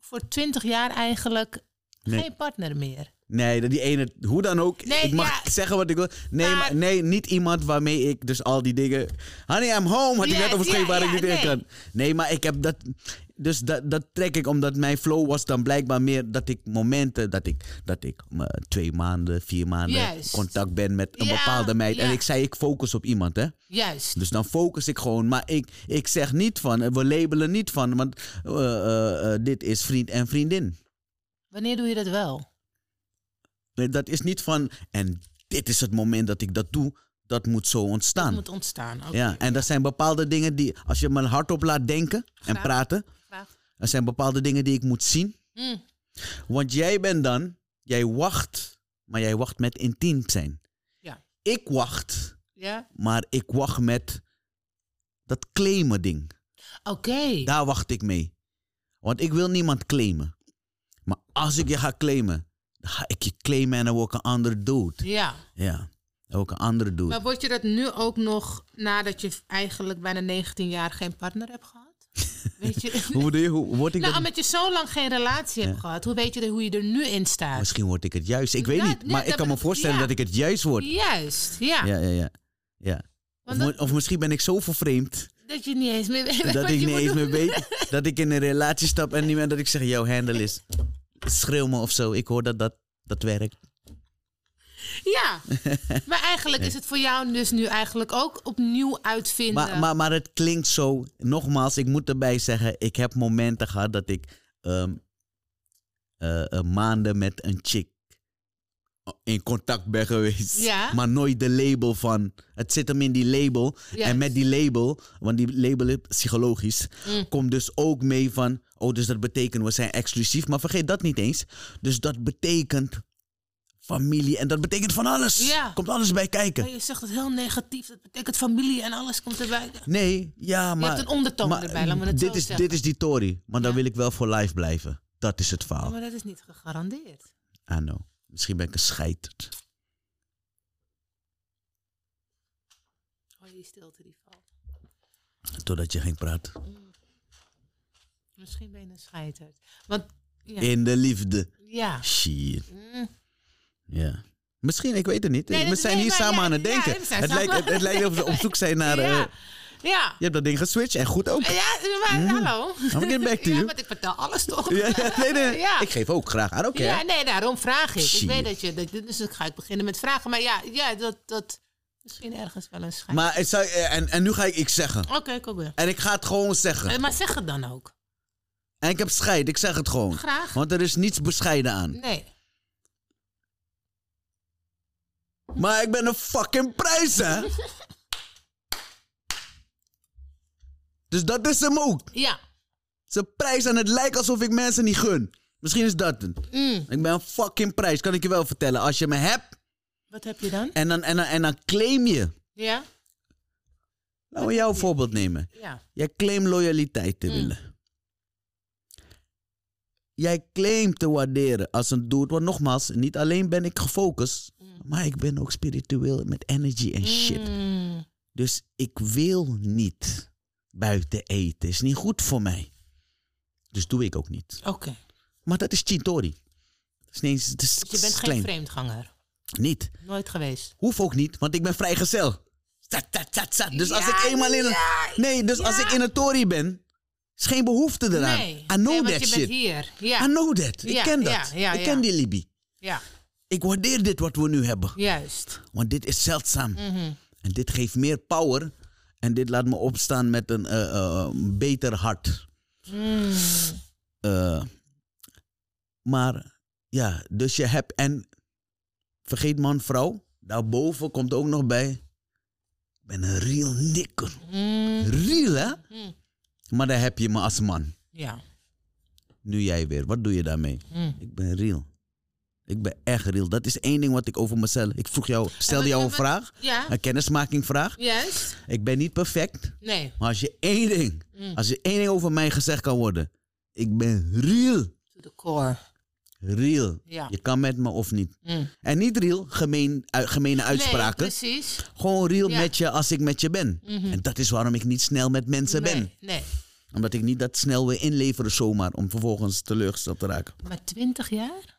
voor 20 jaar eigenlijk
Nee.
geen partner meer.
Nee, dat die ene, hoe dan ook.
Nee,
ik mag
ja.
zeggen wat ik wil. Nee,
Maar-
maar, nee, niet iemand waarmee ik dus al die dingen. Honey, I'm home. Had ik
Yes,
net overschreven
ja,
waar ik
ja,
niet in
nee.
kan. Nee, maar ik heb dat. Dus dat, dat trek ik omdat mijn flow was dan blijkbaar meer dat ik momenten. dat ik, dat ik me twee maanden, vier maanden.
Juist.
contact ben met een
Ja,
bepaalde meid. En
ja.
ik zei, ik focus op iemand, hè?
Juist.
Dus dan focus ik gewoon. Maar ik, ik zeg niet van, eh, we labelen niet van. Want eh, eh, eh, dit is vriend en vriendin.
Wanneer doe je dat wel?
Nee, dat is niet van, en dit is het moment dat ik dat doe. Dat moet zo
Het
ontstaan.
moet ontstaan. Oké.
ja, en dat zijn bepaalde dingen die, als je me hardop laat denken en
Graag.
praten,
Vraag.
er zijn bepaalde dingen die ik moet zien.
Mm,
Want jij bent dan, jij wacht, maar jij wacht met intiem zijn.
Ja.
Ik wacht,
ja.
maar ik wacht met dat claimen ding.
Oké.
Daar wacht ik mee. Want ik wil niemand claimen. Maar als ik je ga claimen, dan ga ik je claimen en dan word ik een ander dood.
Ja.
Ja, ook een andere doet.
Maar word je dat nu ook nog nadat je eigenlijk bijna 19 jaar geen partner hebt gehad? Weet je?
Hoe bedoel je? Hoe word ik
nou,
dat?
omdat je zo lang geen relatie hebt gehad, hoe weet je er, hoe je er nu in staat?
Misschien word ik het juist. Ik weet
Ja,
niet.
ja,
Maar ik
dat
kan me
bedoel-
voorstellen
ja.
dat ik het juist word.
Juist, ja.
Ja, ja, ja. ja. Of,
Want dat,
mo- of misschien ben ik zo vervreemd
dat je niet eens meer weet wat
dat
je
ik niet
moet
eens
doen.
meer weet dat ik in een relatie stap en niet meer dat ik zeg, yo, handle is. Schreeuw me of zo. Ik hoor dat dat, dat werkt.
Ja, maar eigenlijk is het voor jou dus nu eigenlijk ook opnieuw uitvinden.
Maar, maar, maar het klinkt zo. Nogmaals, ik moet erbij zeggen, ik heb momenten gehad dat ik ehm, eh, eh, maanden met een chick in contact ben geweest.
Ja.
Maar nooit de label van. Het zit hem in die label.
Juist.
En met die label, want die label is psychologisch,
Mm.
komt dus ook mee van. Oh, dus dat betekent we zijn exclusief. Maar vergeet dat niet eens. Dus dat betekent familie en dat betekent van alles.
Ja.
Komt alles bij kijken.
Maar je zegt het heel negatief, dat betekent familie en alles komt erbij.
Nee, ja, maar...
hebt een ondertoon erbij, laten we het
dit
zo
is,
zeggen.
Dit is die Tory, maar dan
Ja.
wil ik wel voor live blijven. Dat is het
Ja,
verhaal.
maar dat is niet gegarandeerd.
Ah, no. Misschien ben ik een scheiterd.
Hoor je Oh, die stilte die valt?
Totdat je ging praten.
Misschien ben je een scheiterd. Want, ja.
In de liefde.
ja.
Shit.
Mm.
Ja. Misschien, ik weet het niet.
Nee,
we
dat-
zijn
nee,
hier
maar
samen
ja,
aan het
ja,
denken.
we zijn
het,
samen
lijkt, het, het lijkt of we op zoek zijn naar... eh,
ja. ja.
je hebt dat ding geswitcht en goed ook.
Ja, maar hallo.
Mm-hmm. I'm getting back to
ja,
you.
want ik vertel alles toch?
Ja, ja, nee, nee.
Ja.
Ik geef ook graag. I don't care.
Ja, nee, daarom vraag ik.
Shit.
Ik weet dat je... Dat, dus dan ga ik beginnen met vragen. Maar ja, ja dat, dat... Misschien ergens wel een schijn.
Maar het zou, eh, en, en nu ga ik iets zeggen.
Oké, kom weer.
En ik ga het gewoon zeggen.
Eh, Maar zeg het dan ook.
En ik heb scheid, ik zeg het gewoon.
Graag.
Want er is niets bescheiden aan.
Nee.
Maar ik ben een fucking prijs, hè? Dus dat is hem ook.
Ja.
Ze prijs en het lijkt alsof ik mensen niet gun. Misschien is dat het.
Mm.
Ik ben een fucking prijs, kan ik je wel vertellen. Als je me hebt
Wat heb je dan?
en dan, en dan, en dan claim je.
Ja?
Laten we jouw voorbeeld nemen.
Ja.
Jij claimt loyaliteit te willen. Jij claimt te waarderen als een dude. Want nogmaals, niet alleen ben ik gefocust, maar ik ben ook spiritueel met energy en shit.
Mm.
Dus ik wil niet buiten eten. Is niet goed voor mij. Dus doe ik ook niet.
Oké.
Maar dat is Chintori. Dat is niet eens, het is,
Dus je bent
is
geen
klein.
vreemdganger.
Niet.
Nooit geweest.
Hoef ook niet, want ik ben vrijgezel. Zat, zat, zat, zat. Dus als
Ja,
ik eenmaal in een.
ja,
Nee, dus als ik in een Tory ben, is geen behoefte eraan.
Nee.
I know
nee, want
that
je
shit.
bent hier. Ja.
I know that. Ik
Ja,
ken dat.
ja, ja,
ik
ja.
ken die Libi.
ja.
Ik waardeer dit wat we nu hebben.
Juist.
Want dit is zeldzaam.
Mhm.
En dit geeft meer power. En dit laat me opstaan met een eh, eh, een beter hart.
Mm.
Eh, maar ja, dus je hebt. En vergeet man, vrouw. Daarboven komt ook nog bij. Ik ben een real nikker.
Mm.
Real, hè?
Mm.
Maar daar heb je me als man.
Ja.
Nu jij weer. Wat doe je daarmee?
Mm.
Ik ben real. Ik ben echt real. Dat is één ding wat ik over mezelf. Ik vroeg jou, stelde
wat-
jou een
en wat-
vraag.
Ja.
Een kennismakingvraag.
Juist.
Ik ben niet perfect.
Nee.
Maar als je één ding,
Mm.
als je één ding over mij gezegd kan worden. Ik ben real.
To the core.
Real.
Ja.
Je kan met me of niet.
Mm.
En niet real, gemeen, u- gemene uitspraken.
Nee, precies.
Gewoon real
Ja. Mhm.
met je als ik met je ben. En dat is waarom ik niet snel met mensen
nee,
ben.
Nee.
Omdat ik niet dat snel weer inleveren zomaar. Om vervolgens teleurgesteld te raken.
Maar 20 jaar?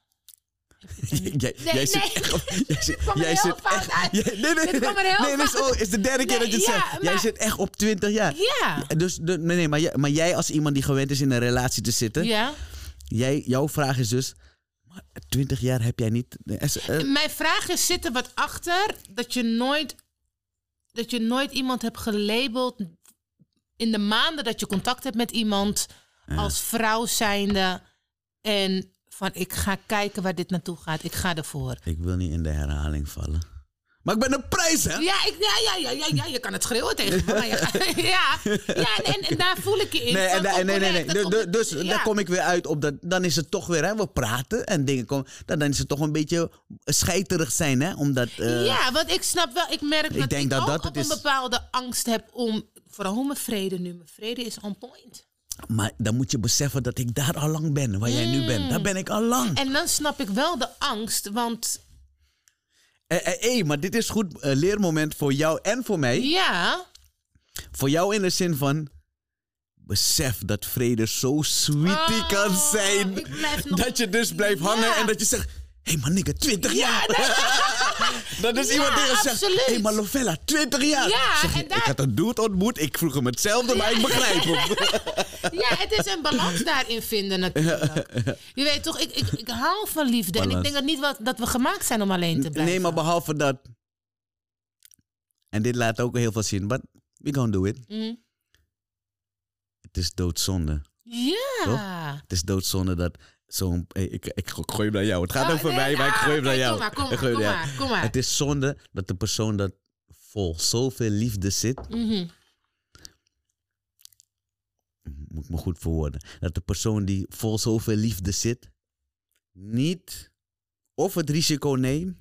jij, jij
nee.
zit echt op- Jij zit,
kwam er
jij
heel
zit
fout
echt-
uit.
jij- nee, nee, nee.
Dit kwam er heel
nee, dit is, oh, is de derde keer dat je het
Nee,
zegt.
ja,
Jij
maar-
zit echt op 20 jaar.
Ja.
Dus, de- nee, nee, maar, jij, maar jij als iemand die gewend is in een relatie te zitten.
Ja.
Jij, jouw vraag is dus. Maar 20 jaar heb jij niet. eh, is- eh,
Mijn vraag is, zit er wat achter dat je nooit, dat je nooit iemand hebt gelabeld in de maanden dat je contact hebt met iemand als vrouw zijnde en van ik ga kijken waar dit naartoe gaat, ik ga ervoor.
ik wil niet in de herhaling vallen. Maar ik ben een prijs, hè?
Ja, ik, ja, ja, ja, ja, ja, je kan het schreeuwen tegen me. maar Ja, ja, ja en, en daar voel ik je in.
Nee, en
van,
da-
oh,
en nee, nee, nee.
correct, dat
Du- du-
komt-
Dus
ja.
daar kom ik weer uit op dat. Dan is het toch weer, hè? We praten en dingen komen. Dan, dan is het toch een beetje scheiterig zijn, hè? Omdat. eh,
ja, want ik snap wel, ik merk dat
denk
ik
dat
ook
dat
op
het
een
is.
bepaalde angst heb om, vooral mijn vrede nu, mijn vrede is on point.
Maar dan moet je beseffen dat ik daar al lang ben, waar jij nu
Mm.
bent. Daar ben ik al lang.
En dan snap ik wel de angst, want
Hé, Eh, maar dit is goed eh, leermoment voor jou en voor mij.
ja,
Voor jou in de zin van. Besef dat vrede zo sweetie
Oh,
kan zijn.
ik blijf nog-
Dat je dus blijft hangen
Ja.
en dat je zegt. Hé, hey, maar nigga, 20 jaar. dat is
Ja,
iemand die je zegt.
absoluut.
hey, maar Lovella, 20 jaar.
Ja,
Zeg je,
en daar-
Ik had een dude ontmoet, ik vroeg hem hetzelfde, maar ik begrijp hem.
ja, het is een balans daarin vinden natuurlijk. Je weet toch, ik, ik, ik hou van liefde en
Balans.
ik denk dat niet wat, dat we gemaakt zijn om alleen te blijven.
Nee, maar behalve dat. En dit laat ook heel veel zien, but we gonna do it.
Mhm.
Het is doodzonde.
Ja.
Het is doodzonde dat zo'n. eh, Ik, ik gooi hem naar jou. Het gaat
Oh,
over
nee,
mij, maar ik
ah,
gooi hem naar
oké,
jou.
kom maar, kom
Ik
maar,
gooi hem
kom
naar jou.
maar, kom maar.
Het is zonde dat de persoon dat vol zoveel liefde zit.
Mhm.
Moet ik me goed verwoorden. Dat de persoon die vol zoveel liefde zit. niet of het risico neemt.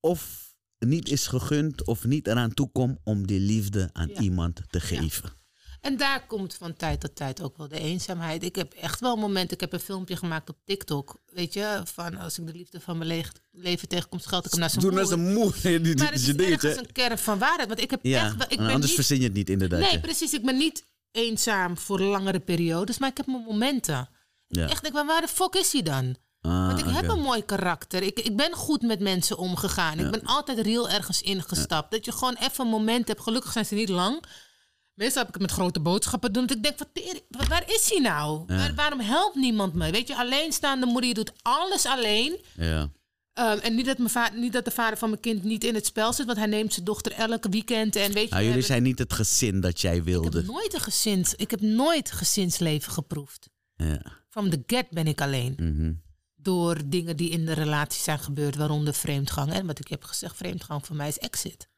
of niet is gegund of niet eraan toekomt om die liefde aan
Ja.
iemand te geven.
En daar komt van tijd tot tijd ook wel de eenzaamheid. Ik heb echt wel momenten, ik heb een filmpje gemaakt op TikTok. Weet je, van als ik de liefde van mijn le- leven tegenkom, scheld ik hem naar zijn
Toen
moeder.
was nou een moe. Die, die,
Maar het
die-
is
je dingetje.
ergens een kern van waarheid. Want ik heb
Ja,
echt... wel- Ik
en
ben
anders
niet
verzin je het niet inderdaad.
Nee,
ja.
precies. Ik ben niet eenzaam voor langere periodes, maar ik heb mijn momenten.
Ja.
Echt, ik ben, waar de fuck is hij dan?
Ah,
Want ik heb
oké.
een mooi karakter. Ik, ik ben goed met mensen omgegaan. Ik ben altijd real ergens ingestapt. Dat je gewoon even een moment hebt. Gelukkig zijn ze niet lang. Meestal heb ik het met grote boodschappen doen. Dat ik denk, wat, tering- wat- waar is hij nou? Waar- waarom helpt niemand me? Weet je, alleenstaande moeder, je doet alles alleen.
Ja.
Ehm, en niet dat, mijn va- niet dat de vader van mijn kind niet in het spel zit. Want hij neemt zijn dochter elke weekend. En weet
Ah,
je, we
jullie
hebben-
zijn niet het gezin dat jij
ik heb
wilde.
nooit een gezins, ik heb nooit gezinsleven geproefd.
Ja.
From the get ben ik alleen.
mhm.
Door dingen die in de relatie zijn gebeurd, waaronder vreemdgang. En wat ik heb gezegd, vreemdgang voor mij is exit.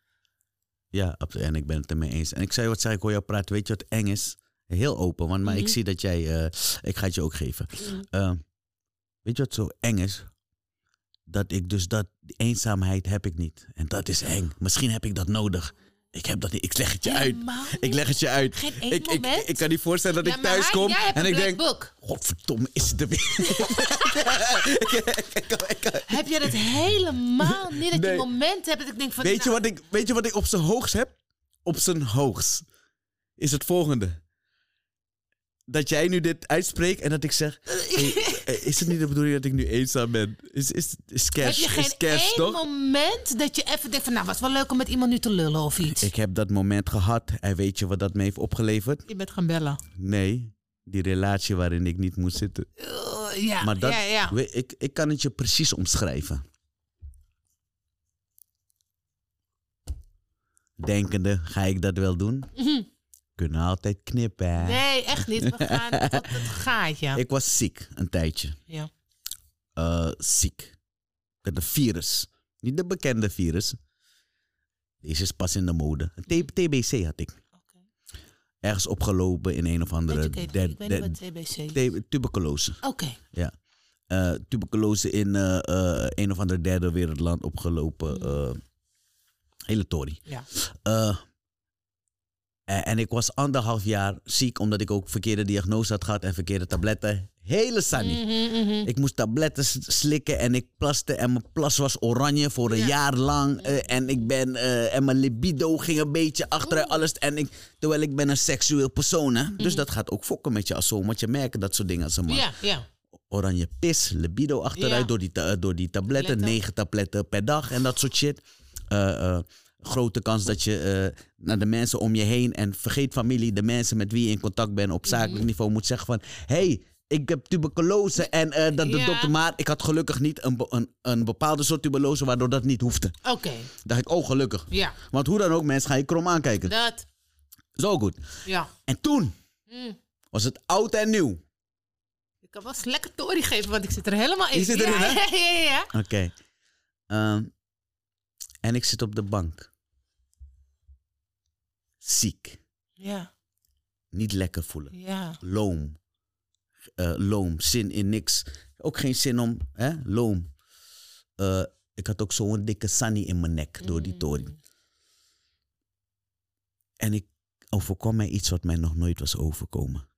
Ja, absoluut. En ik ben het ermee eens. En ik zei wat zei ik hoor jou praten. Weet je wat eng is? Heel open, want maar ik
Mhm.
zie dat jij. eh, ik ga het je ook geven. Eh, weet je wat zo eng is? Dat ik dus dat die eenzaamheid heb ik niet. En dat is eng. Misschien heb ik dat nodig. Ik heb dat niet. Ik leg het je uit.
Helemaal
Ik leg het je uit.
Geen één
Ik, ik,
moment.
ik kan niet voorstellen dat
Ja,
ik
maar
thuis
hij-
kom
jij hebt
en
een
ik
black
denk.
book.
Godverdomme, is het er weer?
Heb jij dat helemaal niet? Dat
Nee.
je momenten hebt dat ik denk van...
Weet je,
nou,
wat ik, weet je wat ik op zijn hoogst heb? Op zijn hoogst is het volgende. Dat jij nu dit uitspreekt en dat ik zeg... hey, eh, is het niet de bedoeling dat ik nu eenzaam ben? Is, is, is
Heb
cash,
je geen
is cash,
één
toch?
moment dat je even denkt van... Nou, was wel leuk om met iemand nu te lullen of iets.
Ik heb dat moment gehad en weet je wat dat me heeft opgeleverd?
Je bent gaan bellen.
Nee, die relatie waarin ik niet moet zitten.
Eh, ja,
Maar dat,
ja, ja.
we- ik, ik kan het je precies omschrijven. Denkende, ga ik dat wel doen?
Mhm.
Kunnen altijd knippen. hè?
Nee, echt niet. We gaan tot het gaatje.
Ik was ziek een tijdje.
Ja.
Eh, ziek. Met een virus. Niet de bekende virus. Deze is pas in de mode. Een T- TBC had ik.
Oké.
Ergens opgelopen in een of andere...
Educate me.
der-
Ik weet
der-
niet wat TBC is.
T- tuberculose.
Oké.
eh, tuberculose in eh, eh, een of ander derde wereldland opgelopen.
Mm.
eh, hele tory.
Ja.
Eh, en, en ik was anderhalf jaar ziek omdat ik ook verkeerde diagnose had gehad en verkeerde tabletten. Hele sunny.
Mhm, mhm.
Ik moest tabletten s- slikken en ik plaste en mijn plas was oranje voor een
Ja.
jaar lang. eh, en, ik ben, eh, en mijn libido ging een beetje achteruit. Alles, en ik, terwijl ik ben een seksueel persoon. Hè? Dus
Mm.
dat gaat ook fokken met je als zoon. Want je merkt dat soort dingen als een man
Ja, ja.
oranje pis, libido achteruit
Ja.
door, die ta- eh, door die tabletten.
Tabletten.
Negen tabletten per dag en dat soort shit. Eh, eh, grote kans dat je eh, naar de mensen om je heen en vergeet familie, de mensen met wie je in contact bent op zakelijk
Mhm.
niveau moet zeggen van... hey, ik heb tuberculose en eh, dat de
Ja.
dokter... Maar ik had gelukkig niet een, be- een, een bepaalde soort tuberculose waardoor dat niet hoefde.
Oké.
Dacht ik, oh gelukkig.
Ja.
Want hoe dan ook, mensen gaan je krom aankijken.
Dat.
Zo goed.
Ja.
En toen
Mm.
was het oud en nieuw.
Ik kan wel eens lekker tory geven, want ik zit er helemaal in.
Je zit
ja,
erin, hè?
Ja, ja, ja, ja.
Oké. Ehm, en ik zit op de bank. Ziek.
Ja,
Niet lekker voelen.
ja.
Loom. Eh, loom. Zin in niks. Ook geen zin om. Hè? Loom. Eh, ik had ook zo'n dikke sunny in mijn nek door
Mm. Mhm.
die toring. En ik overkwam mij iets wat mij nog nooit was overkomen.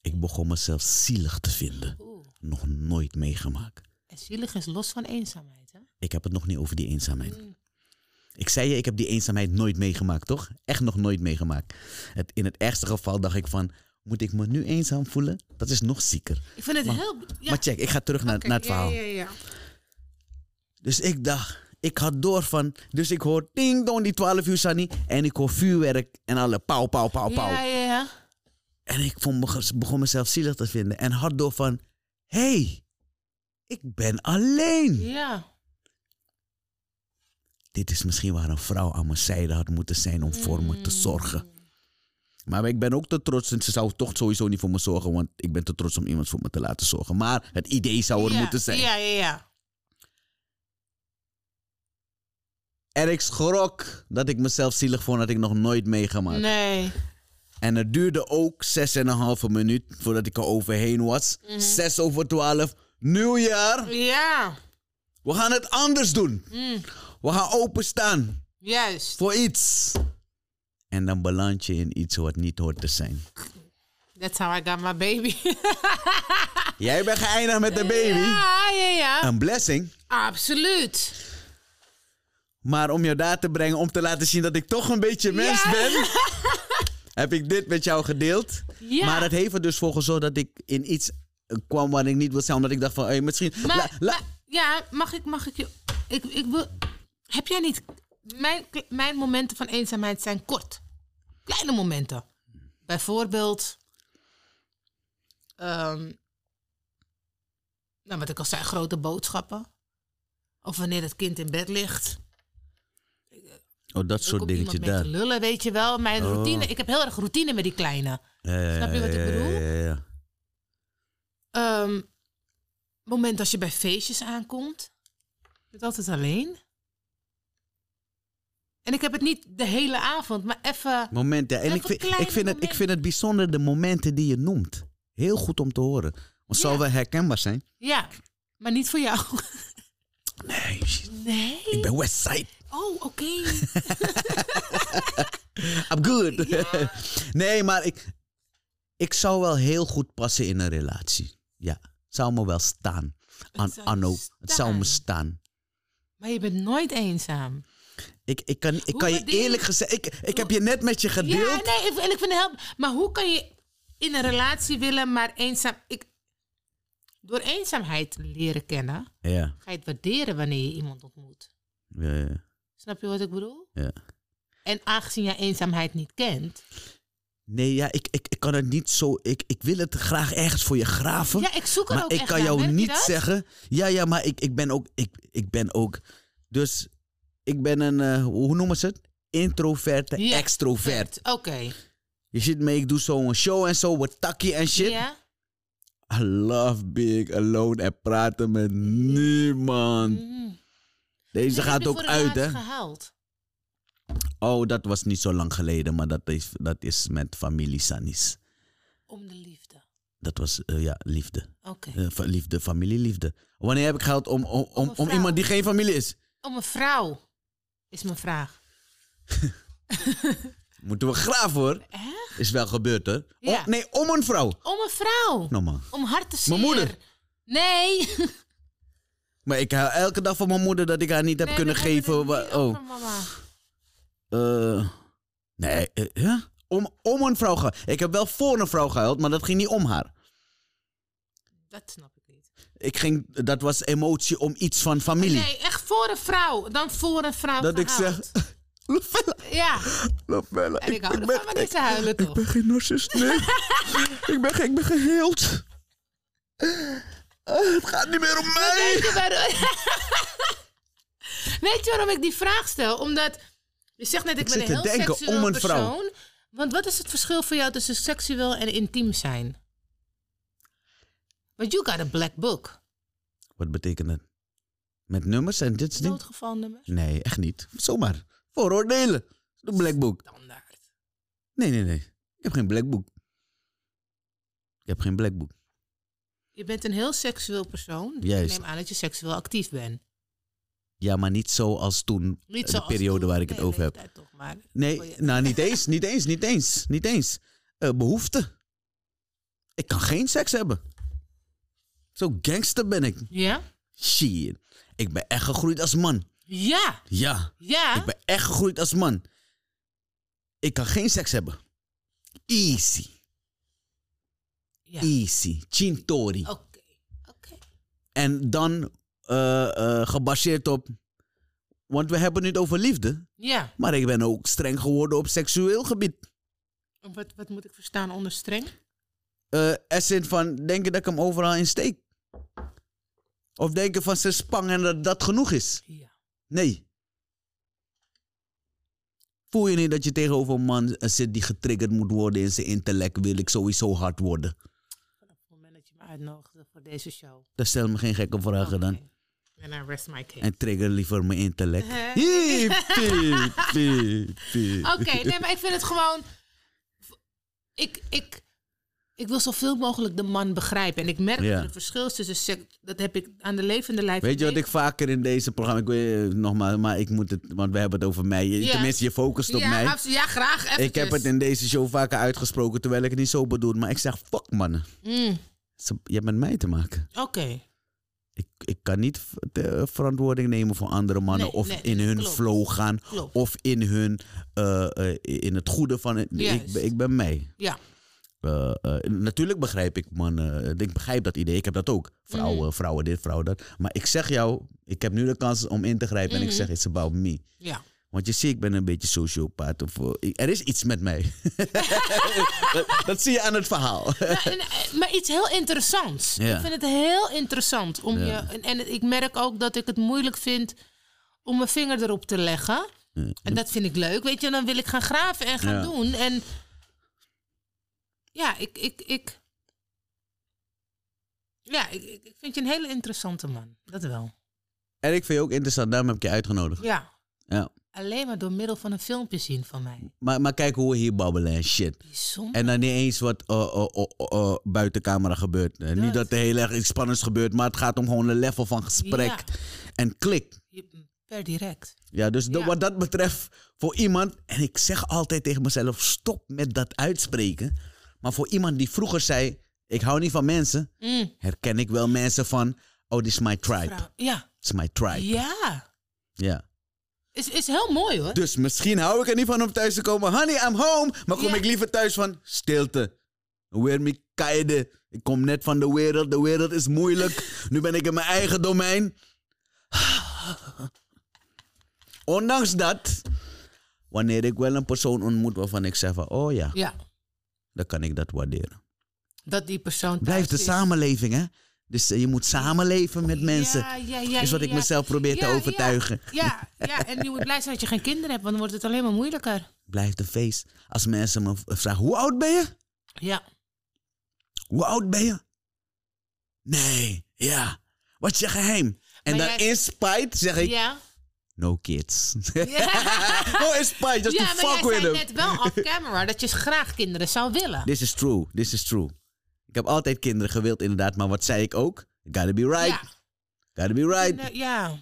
Ik begon mezelf zielig te vinden.
Oeh.
Nog nooit meegemaakt.
En zielig is los van eenzaamheid, hè?
Ik heb het nog niet over die eenzaamheid.
Mm.
Ik zei je, ik heb die eenzaamheid nooit meegemaakt, toch? Echt nog nooit meegemaakt. Het, in het ergste geval dacht ik van, moet ik me nu eenzaam voelen? Dat is nog zieker.
Ik vind het heel... Ja.
Maar check, ik ga terug naar,
Oké,
naar het verhaal.
Ja, ja, ja.
Dus ik dacht, ik had door van, dus ik hoor ding dong die 12 uur Sunny en ik hoor vuurwerk en alle pauw, pauw, pauw, pauw.
Ja, ja, ja.
En ik vond me, begon mezelf zielig te vinden en had door van, hé, hey, ik ben alleen.
Ja.
Dit is misschien waar een vrouw aan mijn zijde had moeten zijn om voor me
Mhm. Mm.
te zorgen. Maar ik ben ook te trots. En ze zou toch sowieso niet voor me zorgen. Want ik ben te trots om iemand voor me te laten zorgen. Maar het idee zou er
Ja,
moeten zijn.
Ja, ja, ja.
En ik schrok dat ik mezelf zielig vond. Dat ik nog nooit meegemaakt.
Nee.
En het duurde ook 6,5 minuut voordat ik er overheen was.
Mhm.
6 over 12. Nieuwjaar.
Ja.
We gaan het anders doen.
Mm.
We gaan openstaan
Juist.
voor iets. En dan beland je in iets wat niet hoort te zijn.
That's how I got my baby.
Jij bent geëindigd met de baby.
ja, ja, ja.
Een blessing.
Absoluut.
Maar om jou daar te brengen, om te laten zien dat ik toch een beetje mens
Ja.
ben, heb ik dit met jou gedeeld.
Ja.
Maar het heeft er dus voor gezorgd dat ik in iets eh, kwam waar ik niet wil zijn. Omdat ik dacht van, hey, misschien...
Maar,
la- la-
maar- ja, mag ik, mag ik je... Ik, ik wil... Heb jij niet... Mijn, mijn momenten van eenzaamheid zijn kort. Kleine momenten. Bijvoorbeeld... ehm, nou, wat ik al zei, grote boodschappen. Of wanneer het kind in bed ligt.
oh, dat
Er
soort
komt iemand
dingetje
mee
daar.
te lullen, weet je wel. Mijn
Oh.
routine... Ik heb heel erg routine met die kleine.
Ja, ja,
Snap je
ja,
wat ik
ja,
bedoel?
ja, ja, ja.
Ehm, moment als je bij feestjes aankomt. Je bent altijd alleen. En ik heb het niet de hele avond, maar even...
Momenten. En
Even
ik vind,
kleine
ik, vind het, ik
momenten.
vind het bijzonder de momenten die je noemt. Heel goed om te horen. Want zal
Ja.
wel herkenbaar zijn.
Ja, maar niet voor jou.
Nee,
Nee?
ik ben Westside.
Oh, oké.
I'm good. nee, maar ik, ik zou wel heel goed passen in een relatie. Ja, zou me wel staan. An,
zou je
anno, het zou me
staan.
staan.
maar je bent nooit eenzaam.
Ik, ik kan, ik
Hoe
kan je
bedoel je?
eerlijk gezegd... Ik, ik heb je net met je
Ja,
gedeeld.
nee, ik- en ik vind het help. Maar hoe kan je in een relatie willen, maar eenzaam. Ik, door eenzaamheid leren kennen,
Ja,
ga je het waarderen wanneer je iemand ontmoet.
ja, ja,
Snap je wat ik bedoel?
ja.
En aangezien jij eenzaamheid niet kent.
Nee, ja, ik, ik, ik kan het niet zo... Ik, ik wil het graag ergens voor je graven.
Ja, ik zoek er
maar
ook
ik
echt
kan
naar,
jou
merk je
niet
dat?
zeggen... Ja, ja, maar ik, ik ben ook... Ik, ik ben ook... Dus ik ben een... eh, hoe noemen ze het? Introverte,
Ja.
extrovert.
Oké.
Je ziet me, ik doe zo'n show en zo, wat takkie en shit.
Ja?
I love being alone en praten met niemand.
Mm.
Deze
Heb je
gaat
er
ook
voor het
uit, hè?
laatst gehuild?
Oh, dat was niet zo lang geleden, maar dat is, dat is met familie Sanis.
Om de liefde.
Dat was, eh, ja, liefde.
Oké.
Eh, fa- liefde, familieliefde. Wanneer heb ik geld om, om,
Om
om,
een
om
vrouw.
iemand die geen familie is?
Om een vrouw is mijn vraag.
Moeten we graven, hoor.
Echt?
Is wel gebeurd, hè?
Ja.
Om- nee, om een vrouw.
Om een vrouw.
Nou, man.
Om hart te zien.
Mijn moeder.
Nee.
Maar ik huil elke dag van mijn moeder dat ik haar niet heb
Nee,
kunnen
dat
geven.
hebben we
wa-
niet
oh.
over, mama.
Eh, nee, eh, hè? om, om een vrouw gehuild. Ik heb wel voor een vrouw gehuild, maar dat ging niet om haar.
Dat snap ik niet.
Ik ging, dat was emotie om iets van familie.
Nee, echt voor een vrouw. Dan voor een vrouw
dat ik zeg,
gehaald.
Lovella,
Ja,
Lovella,
en ik hou
ben-
ervan, maar niet te huilen
ik
toch?
ben geen narcist, nee. ik, ben, ge- ik ben geheeld. Eh, het gaat niet meer om mij.
Weet je, waarom... Weet je waarom ik die vraag stel? Omdat, je zegt net, ik,
Ik
ben
zit
een
te
heel
denken,
seksueel
om een vrouw.
persoon. Want wat is het verschil voor jou tussen seksueel en intiem zijn? Want you got a black book.
Wat betekent dat? Met nummers en dit soort dingen?
Noodgevalnummer.
Nee, echt niet. Zomaar. Vooroordelen. De Black Book.
Standaard.
Nee, nee, nee. Ik heb geen Black Book. Ik heb geen Black Book.
Je bent een heel seksueel persoon. Dus
Juist.
ik neem aan dat je seksueel actief bent.
Ja, maar niet zo als toen.
Niet
eh, de
zoals
periode
toen.
waar ik het
Nee,
over heb.
leeftijd Toch maar.
Nee,
Oh, ja.
nou niet eens, niet eens, niet eens, niet eens. Eh, behoefte. Ik kan geen seks hebben. Zo gangster ben ik.
Ja?
Shit. Ik ben echt gegroeid als man.
Ja,
Ja,
ja.
ik ben echt gegroeid als man. Ik kan geen seks hebben. Easy,
ja. Oh.
easy. Chintori.
Oké, oké.
En dan eh, eh, gebaseerd op... Want we hebben het over liefde.
Ja,
Maar ik ben ook streng geworden op seksueel gebied.
wat, wat moet ik verstaan onder streng?
eh als in van, denk je dat ik hem overal in steek? Of denken van, ze spang en dat dat genoeg is?
Ja.
Nee. Voel je niet dat je tegenover een man eh, zit die getriggerd moet worden in zijn intellect, wil ik sowieso hard worden?
Vanaf het moment dat je me uitnodigde Ah, voor deze show.
Dan Dus stel me geen gekke vragen dan.
En I rest my case.
En trigger liever mijn intellect.
Hè?
Hippie, pie, pie.
Oké, nee, maar ik vind het gewoon... Ik, ik, ik wil zoveel mogelijk de man begrijpen. En ik merk
Ja.
dat er verschil is tussen seks... Dat heb ik aan de levende lijf...
Weet je wat ik
beleefd.
vaker in deze programma... Ik weet eh, nogmaals, maar ik moet het... Want we hebben het over mij. Je-
Ja.
Tenminste, je focust op
ja,
mij.
absolu- ja, graag. Eventjes.
Ik heb het in deze show vaker uitgesproken, terwijl ik het niet zo bedoel. Maar ik zeg, fuck mannen.
Mm,
Ze- Je hebt met mij te maken.
Oké.
Ik, ik kan niet v- de eh, verantwoording nemen voor andere mannen.
Nee,
of
nee,
in hun
klopt.
flow gaan.
Klopt.
Of in hun... eh, eh, in het goede van... Het, ik,
Juist.
ben- ik ben mij.
Ja.
Eh, eh, natuurlijk begrijp ik mannen. Ik begrijp dat idee. Ik heb dat ook. Vrouwen,
Mhm.
vrouwen dit, vrouwen dat. Maar ik zeg jou... Ik heb nu de kans om in te grijpen.
Mhm.
En ik zeg, it's about me.
Ja.
Want je ziet, ik ben een beetje sociopaat. Of, eh, ik- er is iets met mij. dat, dat zie je aan het verhaal.
Nou, en, eh, maar iets heel interessants.
Ja.
Ik vind het heel interessant. Om je, en, en ik merk ook dat ik het moeilijk vind om mijn vinger erop te leggen. En dat vind ik leuk. Weet je, dan wil ik gaan graven en gaan
Ja.
doen. En ja, ik, ik, ik. Ja, ik, ik ik vind je een hele interessante man. Dat wel.
En ik vind je ook interessant, daarom heb ik je uitgenodigd.
Ja.
Ja.
Alleen maar door middel van een filmpje zien van mij.
Maar, maar kijk hoe we hier babbelen en shit.
Bijzonder.
En dan niet eens wat eh, eh, eh, eh, eh, buiten camera gebeurt. Eh, Niet dat er heel erg iets spannends gebeurt, maar het gaat om gewoon een level van gesprek
Ja.
en klik.
Je- Per direct.
Ja, dus de-
Ja.
wat dat betreft, voor iemand, en ik zeg altijd tegen mezelf, stop met dat uitspreken. Maar voor iemand die vroeger zei, ik hou niet van mensen,
Mm,
herken ik wel mensen van, oh, dit is my tribe.
vrouw. Ja.
Dit is my tribe. Ja.
Ja. Is, is heel mooi hoor.
Dus misschien hou ik er niet van om thuis te komen, honey, I'm home. Maar kom
Ja.
ik liever thuis van, stilte. Weer me kaide. Ik kom net van de wereld, de wereld is moeilijk. nu ben ik in mijn eigen domein. Ondanks dat, wanneer ik wel een persoon ontmoet waarvan ik zeg van, oh ja,
Ja.
dan kan ik dat waarderen.
Dat die persoon. thuis
Blijft de
is.
samenleving, hè? Dus eh, je moet samenleven met mensen.
Ja, ja, ja,
is wat
ja,
ik
ja.
mezelf probeer
Ja,
te
ja.
overtuigen.
Ja, ja, en je moet blij zijn dat je geen kinderen hebt, want dan wordt het alleen maar moeilijker.
Blijft een feest. Als mensen me v- vragen, hoe oud ben je?
Ja.
Hoe oud ben je? Nee, ja. Wat is je geheim? En
Maar
dan
jij-
in spijt zeg ik,
Ja.
no kids.
Ja.
oh, in spijt, just
Ja,
to
maar
fuck
jij
with
zei
him.
net wel off camera dat je graag kinderen zou willen.
This is true, this is true. Ik heb altijd kinderen gewild inderdaad, maar wat zei ik ook? Gotta be right,
Ja.
gotta be right.
Nou, ja.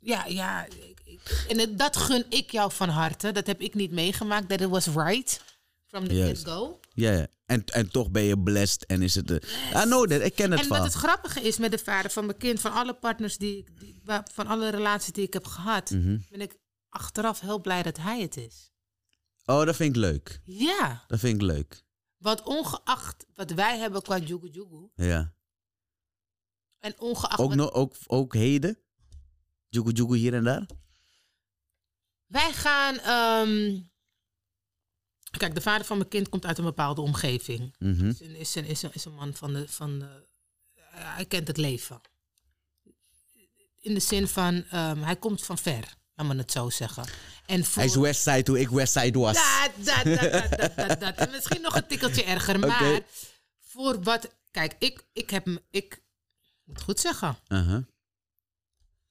Ja, ja. ik- ik- En het- dat gun ik jou van harte. Dat heb ik niet meegemaakt. That it was right from the
Juist.
get-go.
Ja, ja. En, en toch ben je blessed en is het... de. I know that, ik ken het
En wat
wel.
het grappige is met de vader van mijn kind, van alle partners die, ik- die waar- van alle relaties die ik heb gehad,
Mhm.
ben ik achteraf heel blij dat hij het is.
Oh, dat vind ik leuk.
Ja,
Dat vind ik leuk,
want ongeacht wat wij hebben qua Jugu Jugu,
ja.
en ongeacht
Ook,
wat-
no, ook, ook heden? Joegoe joegoe hier en daar?
Wij gaan. ehm, Kijk, de vader van mijn kind komt uit een bepaalde omgeving.
Mhm.
Is een, is een, is een, is een man van de. Van de eh, hij kent het leven. In de zin van. ehm, hij komt van ver, laat me het zo zeggen. En voor,
Hij is Westside hoe ik Westside was.
dat, dat, dat, dat, dat, dat, dat. En misschien nog een tikkeltje erger. Maar
Oké.
voor wat. Kijk, ik, ik heb. m- Ik ik moet het goed zeggen.
Aha.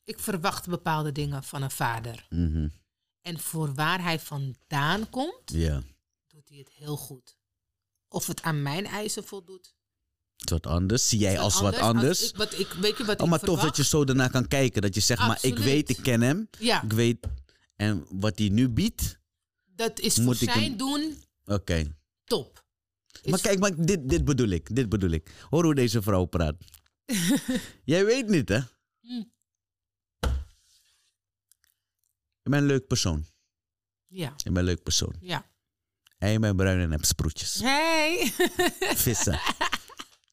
Ik verwacht bepaalde dingen van een vader.
Mhm.
En voor waar hij vandaan komt.
Ja,
doet hij het heel goed. Of het aan mijn eisen voldoet.
het is wat anders. Zie jij
Wat
als wat
als
anders.
ik- wat ik, weet je wat
Oh,
ik
maar tof
verwacht?
dat je zo daarna kan kijken. Dat je zegt, maar ik
Absoluut.
weet, ik ken hem.
Ja,
Ik weet, en wat hij nu biedt.
dat is
Moet
voor
ik hem-
zijn doen
Oké.
top. Is-
Maar kijk, maar dit, dit bedoel ik. Dit bedoel ik. Hoor hoe deze vrouw praat. jij weet niet, hè?
Hm.
Hmm. Je bent een leuk persoon.
Ja,
Je bent een leuk persoon.
ja.
En je bent bruin en hebt sproetjes.
Hey!
Vissen.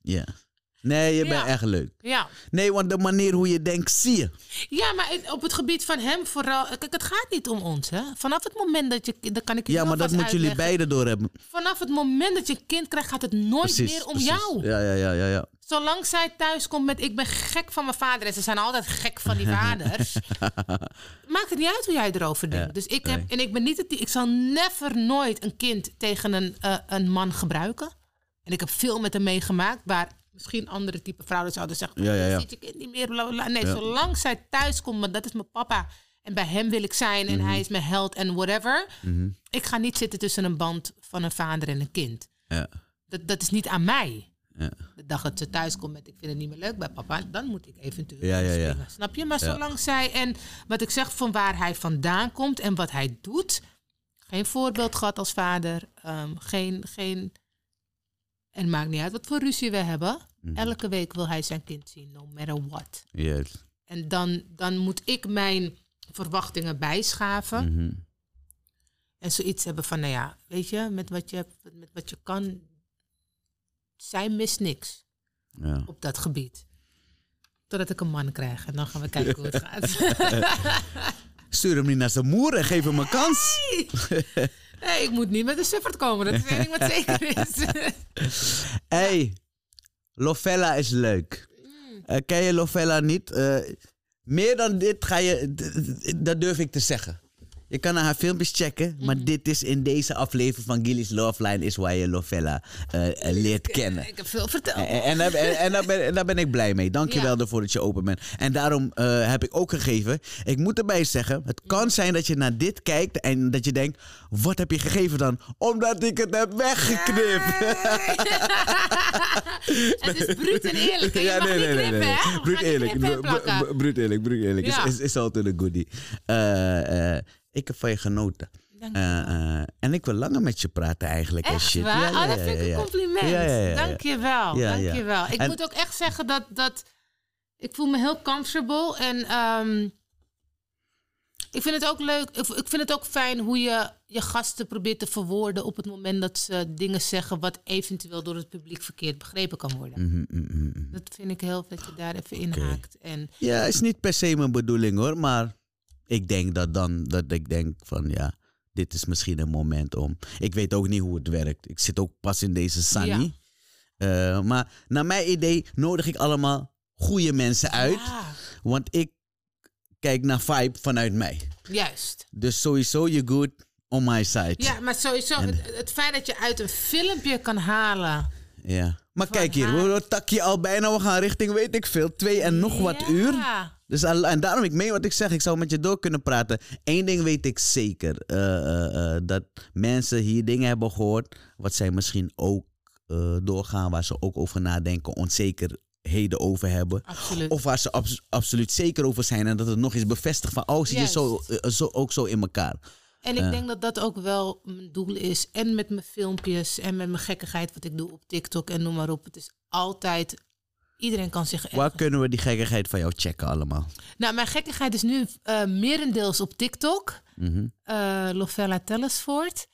Ja. Nee, je bent
Ja.
echt leuk.
ja.
Nee, want de manier hoe je denkt, zie je.
ja, maar het- op het gebied van hem vooral... Kijk, het gaat niet om ons, hè. Vanaf het moment dat je... Dan kan ik je
Ja,
heel
maar dat
vast
moeten jullie
uitleggen.
beiden doorhebben.
Vanaf het moment dat je een kind krijgt, gaat het nooit
Precies.
meer om
precies.
jou.
Ja, ja, ja, ja. ja.
Zolang zij thuis komt met ik ben gek van mijn vader en ze zijn altijd gek van die vaders. maakt het niet uit hoe jij erover denkt.
Ja,
dus ik
nee.
heb, en ik ben niet het die, ik zal never nooit een kind tegen een, eh, een man gebruiken. En ik heb veel met hem meegemaakt waar misschien andere type vrouwen zouden zeggen:
Ja, ja, ja.
"Je ziet je kind niet meer. Bla, bla, bla." Nee, zolang zij thuis komt, maar dat is mijn papa. En bij hem wil ik zijn en
Mhm.
hij is mijn held en whatever. Ik ga niet zitten tussen een band van een vader en een kind.
ja.
Dat, dat is niet aan mij.
Ja.
De dag dat ze thuis komt met ik vind het niet meer leuk bij papa, dan moet ik eventueel
Ja, ja, ja.
springen. Snap je? Maar zolang zij en wat ik zeg van waar hij vandaan komt en wat hij doet. Geen voorbeeld gehad als vader. ehm, geen, geen. En het maakt niet uit wat voor ruzie we hebben.
Mhm.
Elke week wil hij zijn kind zien, no matter what.
Juist.
En dan, dan moet ik mijn verwachtingen bijschaven.
Mhm.
En zoiets hebben van, nou ja, weet je, met wat je, hebt, met wat je kan. Zij mist niks
ja.
op dat gebied. Totdat ik een man krijg. En dan gaan we kijken hoe het gaat.
Stuur hem niet naar zijn moer en geef hem een kans.
Nee, ik moet niet met een suffert komen. Dat is één ding wat zeker is.
hey, Lovella is leuk.
Mm.
Eh, ken je Lovella niet? Eh, meer dan dit ga je... d- d- Dat durf ik te zeggen. Je kan naar haar filmpjes checken, maar
Mhm.
dit is in deze aflevering van Gilly's Love Line is waar je Lovella eh, eh, leert kennen.
Ik heb veel verteld.
En, en, daar- en, en daar, ben, en daar ben ik blij mee. Dank je wel
Ja.
ervoor dat je open bent. En daarom eh, heb ik ook gegeven. Ik moet erbij zeggen, het kan zijn dat je naar dit kijkt en dat je denkt: wat heb je gegeven dan? Omdat ik het heb weggeknipt.
Het is bruut en eerlijk. hè? Je mag niet knippen, hè? We gaan
Bruut
niet
eerlijk.
knippen en
Bru-
plakken.
bru- Bruut eerlijk, bruut eerlijk.
Ja.
Is, is, is altijd een goodie. Eh, eh, ik heb van je genoten.
Dank
Eh, eh, en ik wil langer met je praten eigenlijk. en
Echt
shit.
waar?
Ja, ja,
oh, dat vind
ja,
ik
ja.
een compliment.
Ja, ja, ja, ja.
Dank je wel.
Ja,
dank
ja.
je wel. Ik
En-
moet ook echt zeggen dat, dat... Ik voel me heel comfortable. En ehm, ik vind het ook leuk. Ik, ik vind het ook fijn hoe je je gasten probeert te verwoorden... op het moment dat ze dingen zeggen... wat eventueel door het publiek verkeerd begrepen kan worden.
Mhm, mhm, mhm.
Dat vind ik heel dat je daar even inhaakt. En
Ja, is niet per se mijn bedoeling hoor, maar ik denk dat dan, dat ik denk van ja, dit is misschien een moment om. Ik weet ook niet hoe het werkt. Ik zit ook pas in deze Sunny.
Ja.
Eh, maar naar mijn idee nodig ik allemaal goede mensen uit,
Ja,
want ik kijk naar vibe vanuit mij.
juist.
Dus sowieso je good on my side.
Ja, maar sowieso,
En-
het, het feit dat je uit een filmpje kan halen.
Ja. Maar
Van
kijk hier, we
haar.
we takje al bijna, we gaan richting weet ik veel, twee en nog wat
Ja.
uur. Dus al- en daarom ik meen wat ik zeg. Ik zou met je door kunnen praten. Eén ding weet ik zeker. eh, eh, eh, dat mensen hier dingen hebben gehoord. Wat zij misschien ook eh, doorgaan. Waar ze ook over nadenken. Onzekerheden over hebben.
Absoluut.
Of waar ze abs- absoluut zeker over zijn. En dat het nog eens bevestigt van... Oh, zit je zo, eh, zo, ook zo in elkaar.
En ik denk dat dat ook wel mijn doel is. En met mijn filmpjes en met mijn gekkigheid wat ik doe op TikTok en noem maar op. Het is altijd, iedereen kan zich
Waar
ergens-
kunnen we die gekkigheid van jou checken allemaal?
Nou, mijn gekkigheid is nu eh, merendeels op TikTok.
Mhm.
eh Lovella Tellersvoort.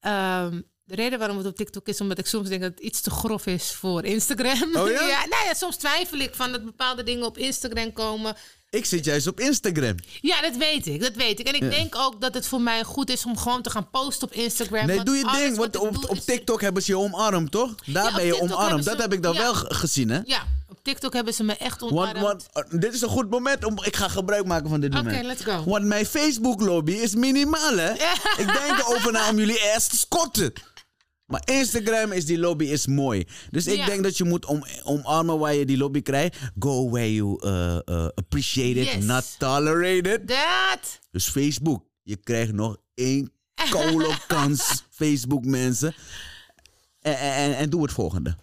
Ehm, de reden waarom het op TikTok is, omdat ik soms denk dat het iets te grof is voor Instagram.
Oh ja?
nou ja, soms twijfel ik van dat bepaalde dingen op Instagram komen.
Ik zit juist op Instagram.
Ja, dat weet ik, dat weet ik. En ik denk ook dat het voor mij goed is om gewoon te gaan posten op Instagram.
Nee,
want
doe je
alles
ding.
wat
Want
ik
op,
doe
op
is-
TikTok hebben ze je omarmd, toch? Daar
Ja, op
ben je
TikTok
omarmd.
hebben ze-
Dat heb ik dan
ja.
wel ge- gezien, hè?
Ja, op TikTok hebben ze me echt
Want,
omarmd.
want eh, dit is een goed moment om. Ik ga gebruik maken van dit
Oké,
moment.
let's go.
Want mijn Facebook lobby is minimaal, hè? Ik denk erover na om jullie ass te scotten. Maar Instagram is die lobby is mooi. Dus ik
Ja.
denk dat je moet om, omarmen waar je die lobby krijgt. Go where you eh, eh, appreciate it,
Yes.
not tolerate it.
Dat!
Dus Facebook, je krijgt nog één koude kans, Facebook mensen. En, en, en- en doe het volgende.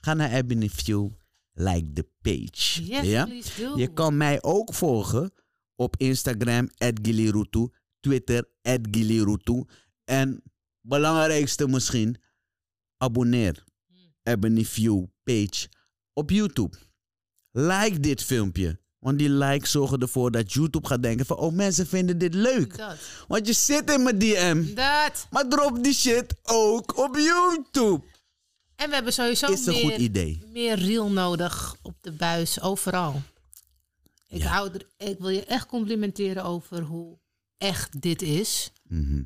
Ga naar Ebony View, like the page.
Yes, please do.
Je kan mij ook volgen op Instagram, @gilirutu, Twitter, @gilirutu En belangrijkste misschien, abonneer Ebony View page op YouTube. Like dit filmpje. Want die likes zorgen ervoor dat YouTube gaat denken van... oh, mensen vinden dit leuk.
Dat.
Want je zit in mijn DM.
Dat.
Maar drop die shit ook op YouTube.
En we hebben sowieso
Is een
meer,
goed idee.
meer reel nodig op de buis, overal. Ik,
Ja.
hou er, ik wil je echt complimenteren over hoe echt dit is.
Mhm.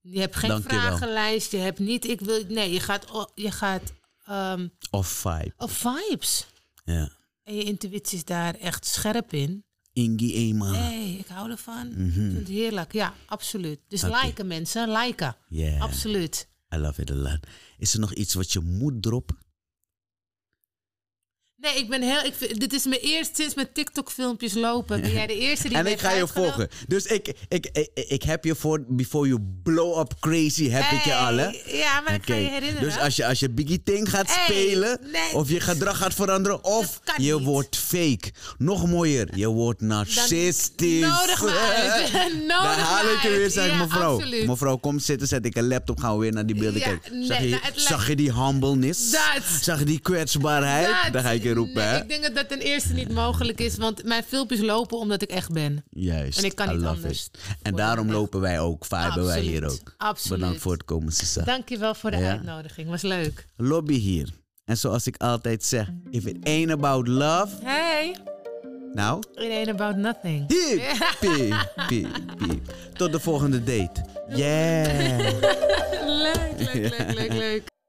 Je hebt geen
Dank je wel.
vragenlijst, je hebt niet, ik wil, nee, je gaat, o- je gaat ehm,
Of vibe.
op vibes.
Ja.
En je intuïtie is daar echt scherp in.
Ingi Ema.
Hé, hey, ik hou ervan.
Mhm.
Ik vind het heerlijk, ja, absoluut. Dus
Dank je.
liken mensen, liken.
Yeah.
Absoluut.
I love it a lot. Is er nog iets wat je moet droppen?
Nee, ik ben heel. Ik, vind- dit is mijn eerst sinds mijn TikTok-filmpjes lopen. Ben jij de eerste die
en
me
ik ga
heeft
je
uitgenodigd?
volgen. Dus ik, ik, ik, ik heb je voor Before You Blow Up Crazy heb ik je
Hey,
al, hè?
Ja, maar ik
Oké.
ga je herinneren.
Dus als je, als je Biggie Ting gaat
Hey,
spelen,
nee.
of je gedrag gaat veranderen, of
Dat kan
je
niet.
wordt fake. Nog mooier, je wordt narcistisch.
nodig me uit. Nodig
Daar haal
me
ik je weer,
uit.
zei ik,
Ja,
mevrouw.
absoluut.
Mevrouw, kom zitten, zet ik een laptop, gaan we weer naar die beelden
Ja,
kijken.
nee,
Zag, je,
nou, het lijkt-
zag je die humbleness?
Dat.
Zag je die kwetsbaarheid?
Dat-
Daar ga ik je roepen,
nee,
hè?
Ik denk dat dat ten eerste niet mogelijk is, want mijn filmpjes lopen omdat ik echt ben.
Juist.
En ik kan
I
niet
love
anders.
it. En daarom lopen wij ook, viben wij
Absoluut,
hier ook.
absoluut.
Bedankt voor het komen, Sisa.
Dankjewel voor de
Ja.
uitnodiging, was leuk.
Lobby hier. En zoals ik altijd zeg, if it ain't about love,
Hey,
nou,
it ain't about nothing.
piep, piep, piep, piep. Tot de volgende date. Yeah.
Leuk, leuk, leuk, leuk, leuk.